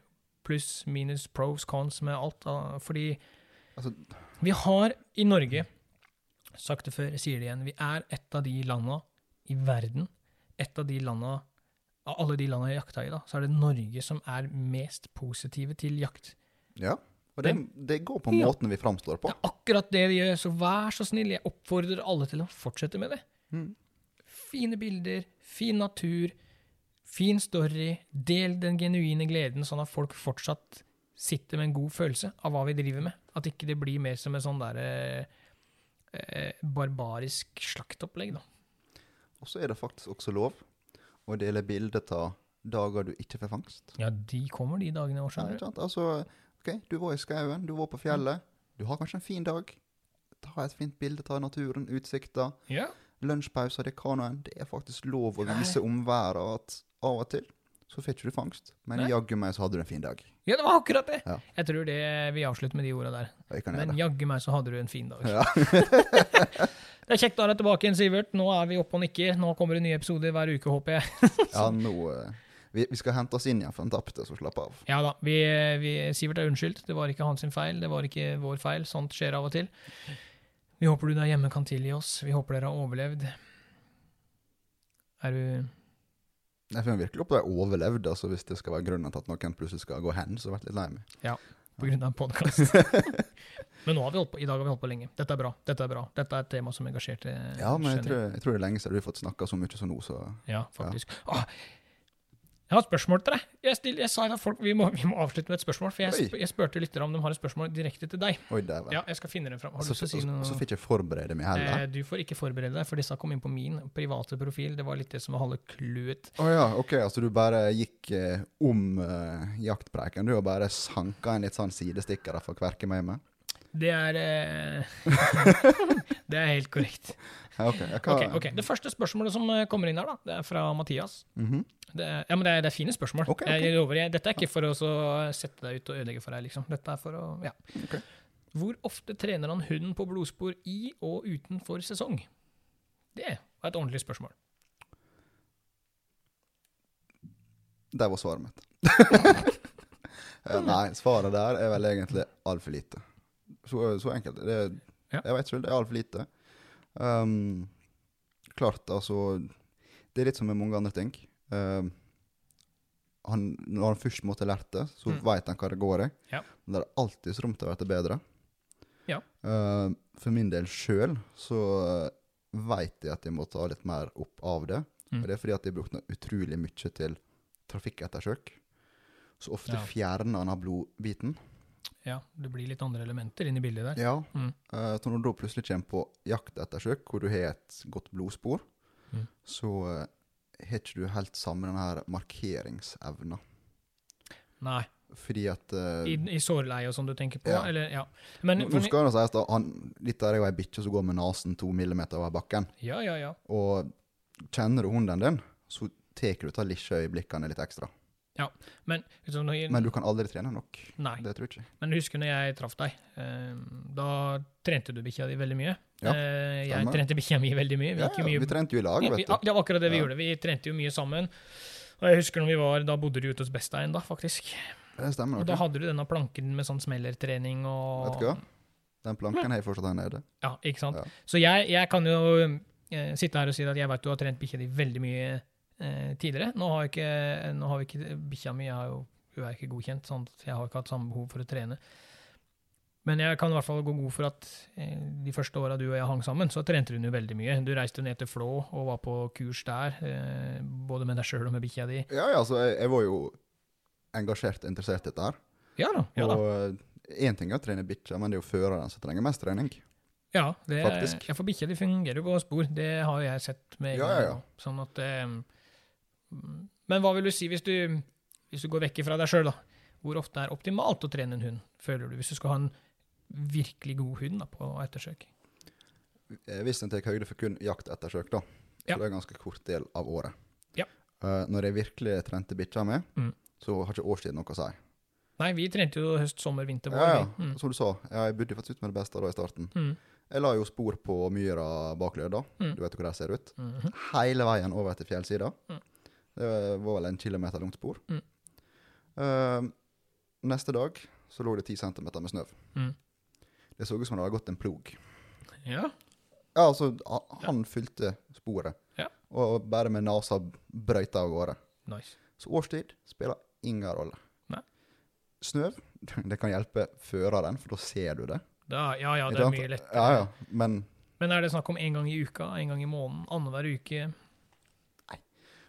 S2: Pluss, minus, pros, cons, med alt. da, Fordi
S1: Altså,
S2: vi har i Norge, sagt det før, jeg sier det igjen, vi er et av de landa i verden, et av de landa, av alle de landa jeg jakta i, da, så er det Norge som er mest positive til jakt.
S1: Ja, og det, det går på
S2: Ja.
S1: måten vi framstår på.
S2: Det er akkurat det de gjør, så vær så snill, jeg oppfordrer alle til å fortsette med det.
S1: Mm.
S2: Fine bilder, fin natur, fin story, del den genuine gleden, sånn at folk fortsatt sitter med en god følelse av hva vi driver med. At ikke det blir mer som en sånn derre eh, barbarisk slaktopplegg, da.
S1: Og så er det faktisk også lov å dele bilder av dager du ikke får fangst.
S2: Ja, de kommer de dagene i år,
S1: Ja,
S2: skjønner
S1: ikke
S2: du.
S1: sant? Altså, ok, du var i skauen, du var på fjellet,
S2: Mm.
S1: du har kanskje en fin dag. Ta et fint bilde av naturen, utsikta,
S2: Ja.
S1: lunsjpauser, det er kanoen. Det er faktisk lov å vise omverden at av og til så får ikke du fangst, men
S2: Nei.
S1: jaggu meg så hadde du en fin dag.
S2: ja, det var akkurat det!
S1: Ja.
S2: Jeg tror det vi avslutter med de orda der.
S1: Og jeg kan
S2: Men
S1: gjøre det.
S2: jaggu meg så hadde du en fin dag.
S1: Ja.
S2: det er kjekt å ha deg tilbake igjen, Sivert. Nå er vi oppe og nikker. Nå kommer det nye episoder hver uke, håper jeg.
S1: Ja, nå, eh, vi, vi skal hente oss inn igjen for den tapte, så slapp av.
S2: Ja da, vi, vi, Sivert er unnskyldt. Det var ikke hans sin feil, det var ikke vår feil. Sånt skjer av og til. Vi håper du der hjemme kan tilgi oss. Vi håper dere har overlevd. Er du
S1: Jeg finner virkelig opp at jeg overlevde, altså hvis det skal være grunnen til at noen plutselig skal gå hen, så har jeg vært litt lei meg.
S2: På grunn av en podkast. Men nå har vi holdt på, i dag har vi holdt på lenge. Dette er bra. Dette er bra. Dette er et tema som engasjerte.
S1: Ja, men jeg
S2: skjønner.
S1: tror, jeg tror det er lenge siden du har fått snakka så mye som nå, så
S2: Ja, faktisk. Åh, jeg har et spørsmål til deg. Jeg, still, jeg sa at folk, vi, må, vi må avslutte med et spørsmål, for jeg,
S1: Oi.
S2: sp jeg spurte lyttere om de har et spørsmål direkte til deg.
S1: Oi, dæven.
S2: Ja, jeg skal finne dem fram. Har
S1: Og
S2: du
S1: så
S2: lyst til å si
S1: og- og så
S2: noe?
S1: fikk jeg forberede meg
S2: Eh,
S1: heller.
S2: du får ikke forberede deg, for disse kom inn på min private profil. Det var litt det som var halve clouet.
S1: Å ja, OK, altså du bare gikk eh, om eh, jaktpreiken, du, og bare sanka en litt sånn sidestikkere for å kverke meg med?
S2: Det er eh, Det er helt korrekt.
S1: Ja, OK. Jeg kan,
S2: Ok, ok. Det første spørsmålet som eh, kommer inn her, da, det er fra Mathias.
S1: Mhm.
S2: Det er, ja, men det er, det er fine spørsmål.
S1: Ok, ok.
S2: Jeg lover, jeg, dette er ikke for å så sette deg ut og ødelegge for deg, liksom. Dette er for å, ja.
S1: Ok.
S2: Hvor ofte trener han hunden på blodspor i og utenfor sesong? Det var et ordentlig spørsmål.
S1: Der var svaret mitt. Eh, Nei, svaret der er vel egentlig altfor lite. Så, så enkelt. Det, er-
S2: Ja.
S1: Jeg vet ikke, det er altfor lite. Um, klart, altså Det er litt som med mange andre ting. Um, han, når han først måtte lært det, så
S2: Mm.
S1: vet han hva det går i.
S2: Ja.
S1: Men det er alltid rom til å bli bedre.
S2: Ja.
S1: Eh, for min del sjøl så veit jeg at jeg må ta litt mer opp av det.
S2: Mm.
S1: Og det er fordi at jeg brukte utrolig mye til trafikkettersøk. Så ofte
S2: Ja.
S1: fjerner han av blodbiten.
S2: Ja, det blir litt andre elementer inn i bildet der.
S1: Ja.
S2: Mm.
S1: Eh, så når du da plutselig kommer på jaktettersøk, hvor du har et godt blodspor,
S2: Mm.
S1: så eh, har ikke du helt samme den her markeringsevna.
S2: Nei,
S1: Fordi at eh,
S2: i, i sårleie og sånn du tenker på?
S1: Ja.
S2: Eller, ja. Men,
S1: Nå nå skal det sies da, han, dette er jo ei bikkje som går med nesen to millimeter over bakken.
S2: Ja, ja, ja.
S1: Og kjenner du hunden din, så tar du ta lisjeøyeblikkene litt ekstra.
S2: Men, liksom, når jeg,
S1: Men du kan aldri trene nok.
S2: nei.
S1: Det tror jeg ikke.
S2: Men husker når jeg traff deg, eh, da trente du bikkja di veldig mye.
S1: Ja,
S2: Eh, jeg
S1: stemmer.
S2: trente bikkja mi veldig mye. Vi
S1: Ja,
S2: gikk
S1: ja,
S2: jo mye
S1: vi trente jo i lag,
S2: Ja, vi,
S1: vet
S2: ja,
S1: du.
S2: det var akkurat det vi
S1: Ja.
S2: gjorde. Vi trente jo mye sammen. Og jeg husker når vi var, Da bodde du ute hos Bestein, da, faktisk.
S1: Det stemmer
S2: Og da
S1: nok.
S2: hadde du denne planken med sånn smellertrening og
S1: Vet du hva? Den planken har jeg fortsatt her nede.
S2: Ja, ikke sant?
S1: Ja.
S2: Så jeg, jeg kan jo eh, sitte her og si at jeg veit du har trent bikkja di veldig mye eh, tidligere. Nå har, jeg ikke, nå har vi ikke bikkja mi er jo hun er ikke godkjent, sånn at jeg har ikke hatt samme behov for å trene. Men jeg kan i hvert fall gå god for at eh, de første åra du og jeg hang sammen, så trente hun jo veldig mye. Du reiste ned til Flå og var på kurs der, eh, både med deg sjøl og med bikkja di.
S1: Ja, ja, så jeg, jeg var jo engasjert og interessert i dette her.
S2: Ja da. Ja, da.
S1: Og én ting er å trene bikkjer, men det er jo føreren som trenger mest trening.
S2: ja det,
S1: faktisk.
S2: Ja, for bikkja di fungerer jo på spor. Det har jo jeg sett
S1: Ja,
S2: med en gang
S1: ja, ja.
S2: nå. Sånn at eh, Men hva vil du si hvis du, hvis du går vekk fra deg sjøl, da? Hvor ofte er optimalt å trene en hund, føler du, hvis du skal ha en virkelig god hund da, på ettersøk?
S1: Eh, Hvis en tar høyde for kun jaktettersøk, da, så
S2: Ja.
S1: det er en ganske kort del av året.
S2: Ja.
S1: Eh, når jeg virkelig trente bikkja mi,
S2: Mm.
S1: så har ikke årstid noe å si.
S2: Nei, vi trente jo Mm. høst, sommer, vinter, vår.
S1: Ja, ja.
S2: vi.
S1: Som du sa, ja, jeg bodde faktisk ut med det beste da i starten.
S2: Mm.
S1: Jeg la jo spor på myra bak Løda,
S2: Mm.
S1: du vet jo hvordan det ser ut.
S2: Mm. Mhm.
S1: Hele veien over til fjellsida.
S2: Mm.
S1: Det var vel en kilometer langt spor.
S2: Mm.
S1: Eh, neste dag så lå det ti centimeter med snø.
S2: Mm.
S1: Det så ut som det hadde gått en plog.
S2: ja.
S1: Ja, altså, ha- han fulgte sporet.
S2: Ja.
S1: Og bare med nesa brøyta av gårde.
S2: Nice.
S1: Så årstid spiller ingen rolle.
S2: Nei.
S1: Snø, det kan hjelpe føreren, for da ser du det.
S2: Da, ja, ja, det
S1: Ikke
S2: er
S1: sant?
S2: mye lettere.
S1: Ja, ja, men
S2: Men er det snakk om én gang i uka, én gang i måneden, annenhver uke?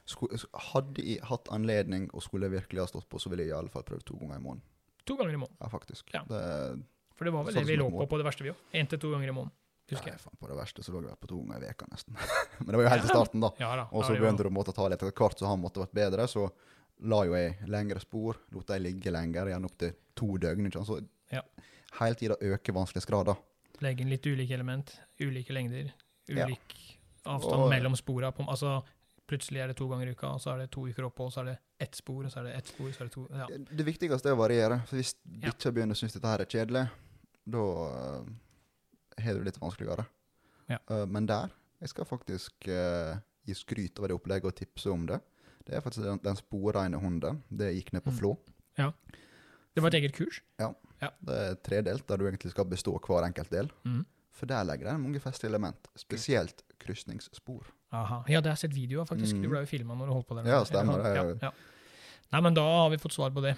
S1: sku- s- hadde jeg hatt anledning og skulle virkelig ha stått på, så ville jeg i alle fall prøvd to ganger i måneden.
S2: To ganger i måneden.
S1: Ja, faktisk.
S2: Ja.
S1: Det,
S2: For det var vel
S1: Sånn
S2: det vi
S1: som
S2: lå
S1: et
S2: på
S1: mål.
S2: på det verste, vi òg. Én til to ganger i måneden, husker
S1: nei,
S2: jeg.
S1: faen, på det verste så lå jeg på to ganger i veka nesten. men det var jo helt til starten, da.
S2: Ja da.
S1: Og så
S2: da er det jo-
S1: begynte du å måtte ta litt etter hvert, så han måtte vært bedre. Så la jo jeg lengre spor, lot de ligge lenger, igjen opp til to døgn. Ikke sant? Så
S2: Ja.
S1: hele tida øker vanskelighetsgraden.
S2: Legge inn litt ulike element, ulike lengder,
S1: Ja.
S2: ulik avstand
S1: Og-
S2: mellom spora. På, altså, plutselig er det to ganger i uka, og så er det to uker opphold, så er det ett spor, og så er det ett spor, så er det to ja.
S1: Det viktigste er å variere. For hvis
S2: Ja.
S1: bikkja begynner å synes dette her er kjedelig, da eh, har du det litt vanskeligere.
S2: Ja.
S1: Eh, men der jeg skal faktisk eh, gi skryt over det opplegget og tipse om det. Det er faktisk den, den sporreine hunden. Det gikk ned på
S2: Mm.
S1: Flå.
S2: Det var et eget kurs.
S1: Det er tredelt, der du egentlig skal bestå hver enkelt del.
S2: Mhm.
S1: For der legger den mange feste element, spesielt krysningsspor.
S2: Aha. Ja, det har jeg sett video av, faktisk. Du
S1: Mm.
S2: ble jo filma når du holdt på der.
S1: Ja, stemmer det.
S2: Ja, ja. Nei, men da har vi fått svar på det.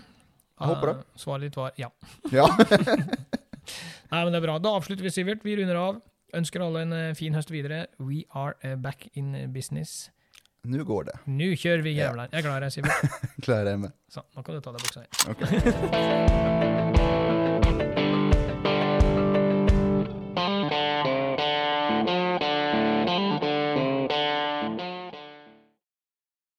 S1: Jeg håper det.
S2: Eh, Svaret ditt var ja.
S1: Ja.
S2: Nei, men det er bra. Da avslutter vi, Sivert. Vi runder av. Ønsker alle en eh, fin høst videre. We are eh, back in business.
S1: Nå går det.
S2: Nå kjører vi
S1: Ja.
S2: jævla Jeg er glad i deg, Sivert.
S1: Klarer jeg meg.
S2: Sånn, nå kan du ta av deg buksa igjen.
S1: Ok.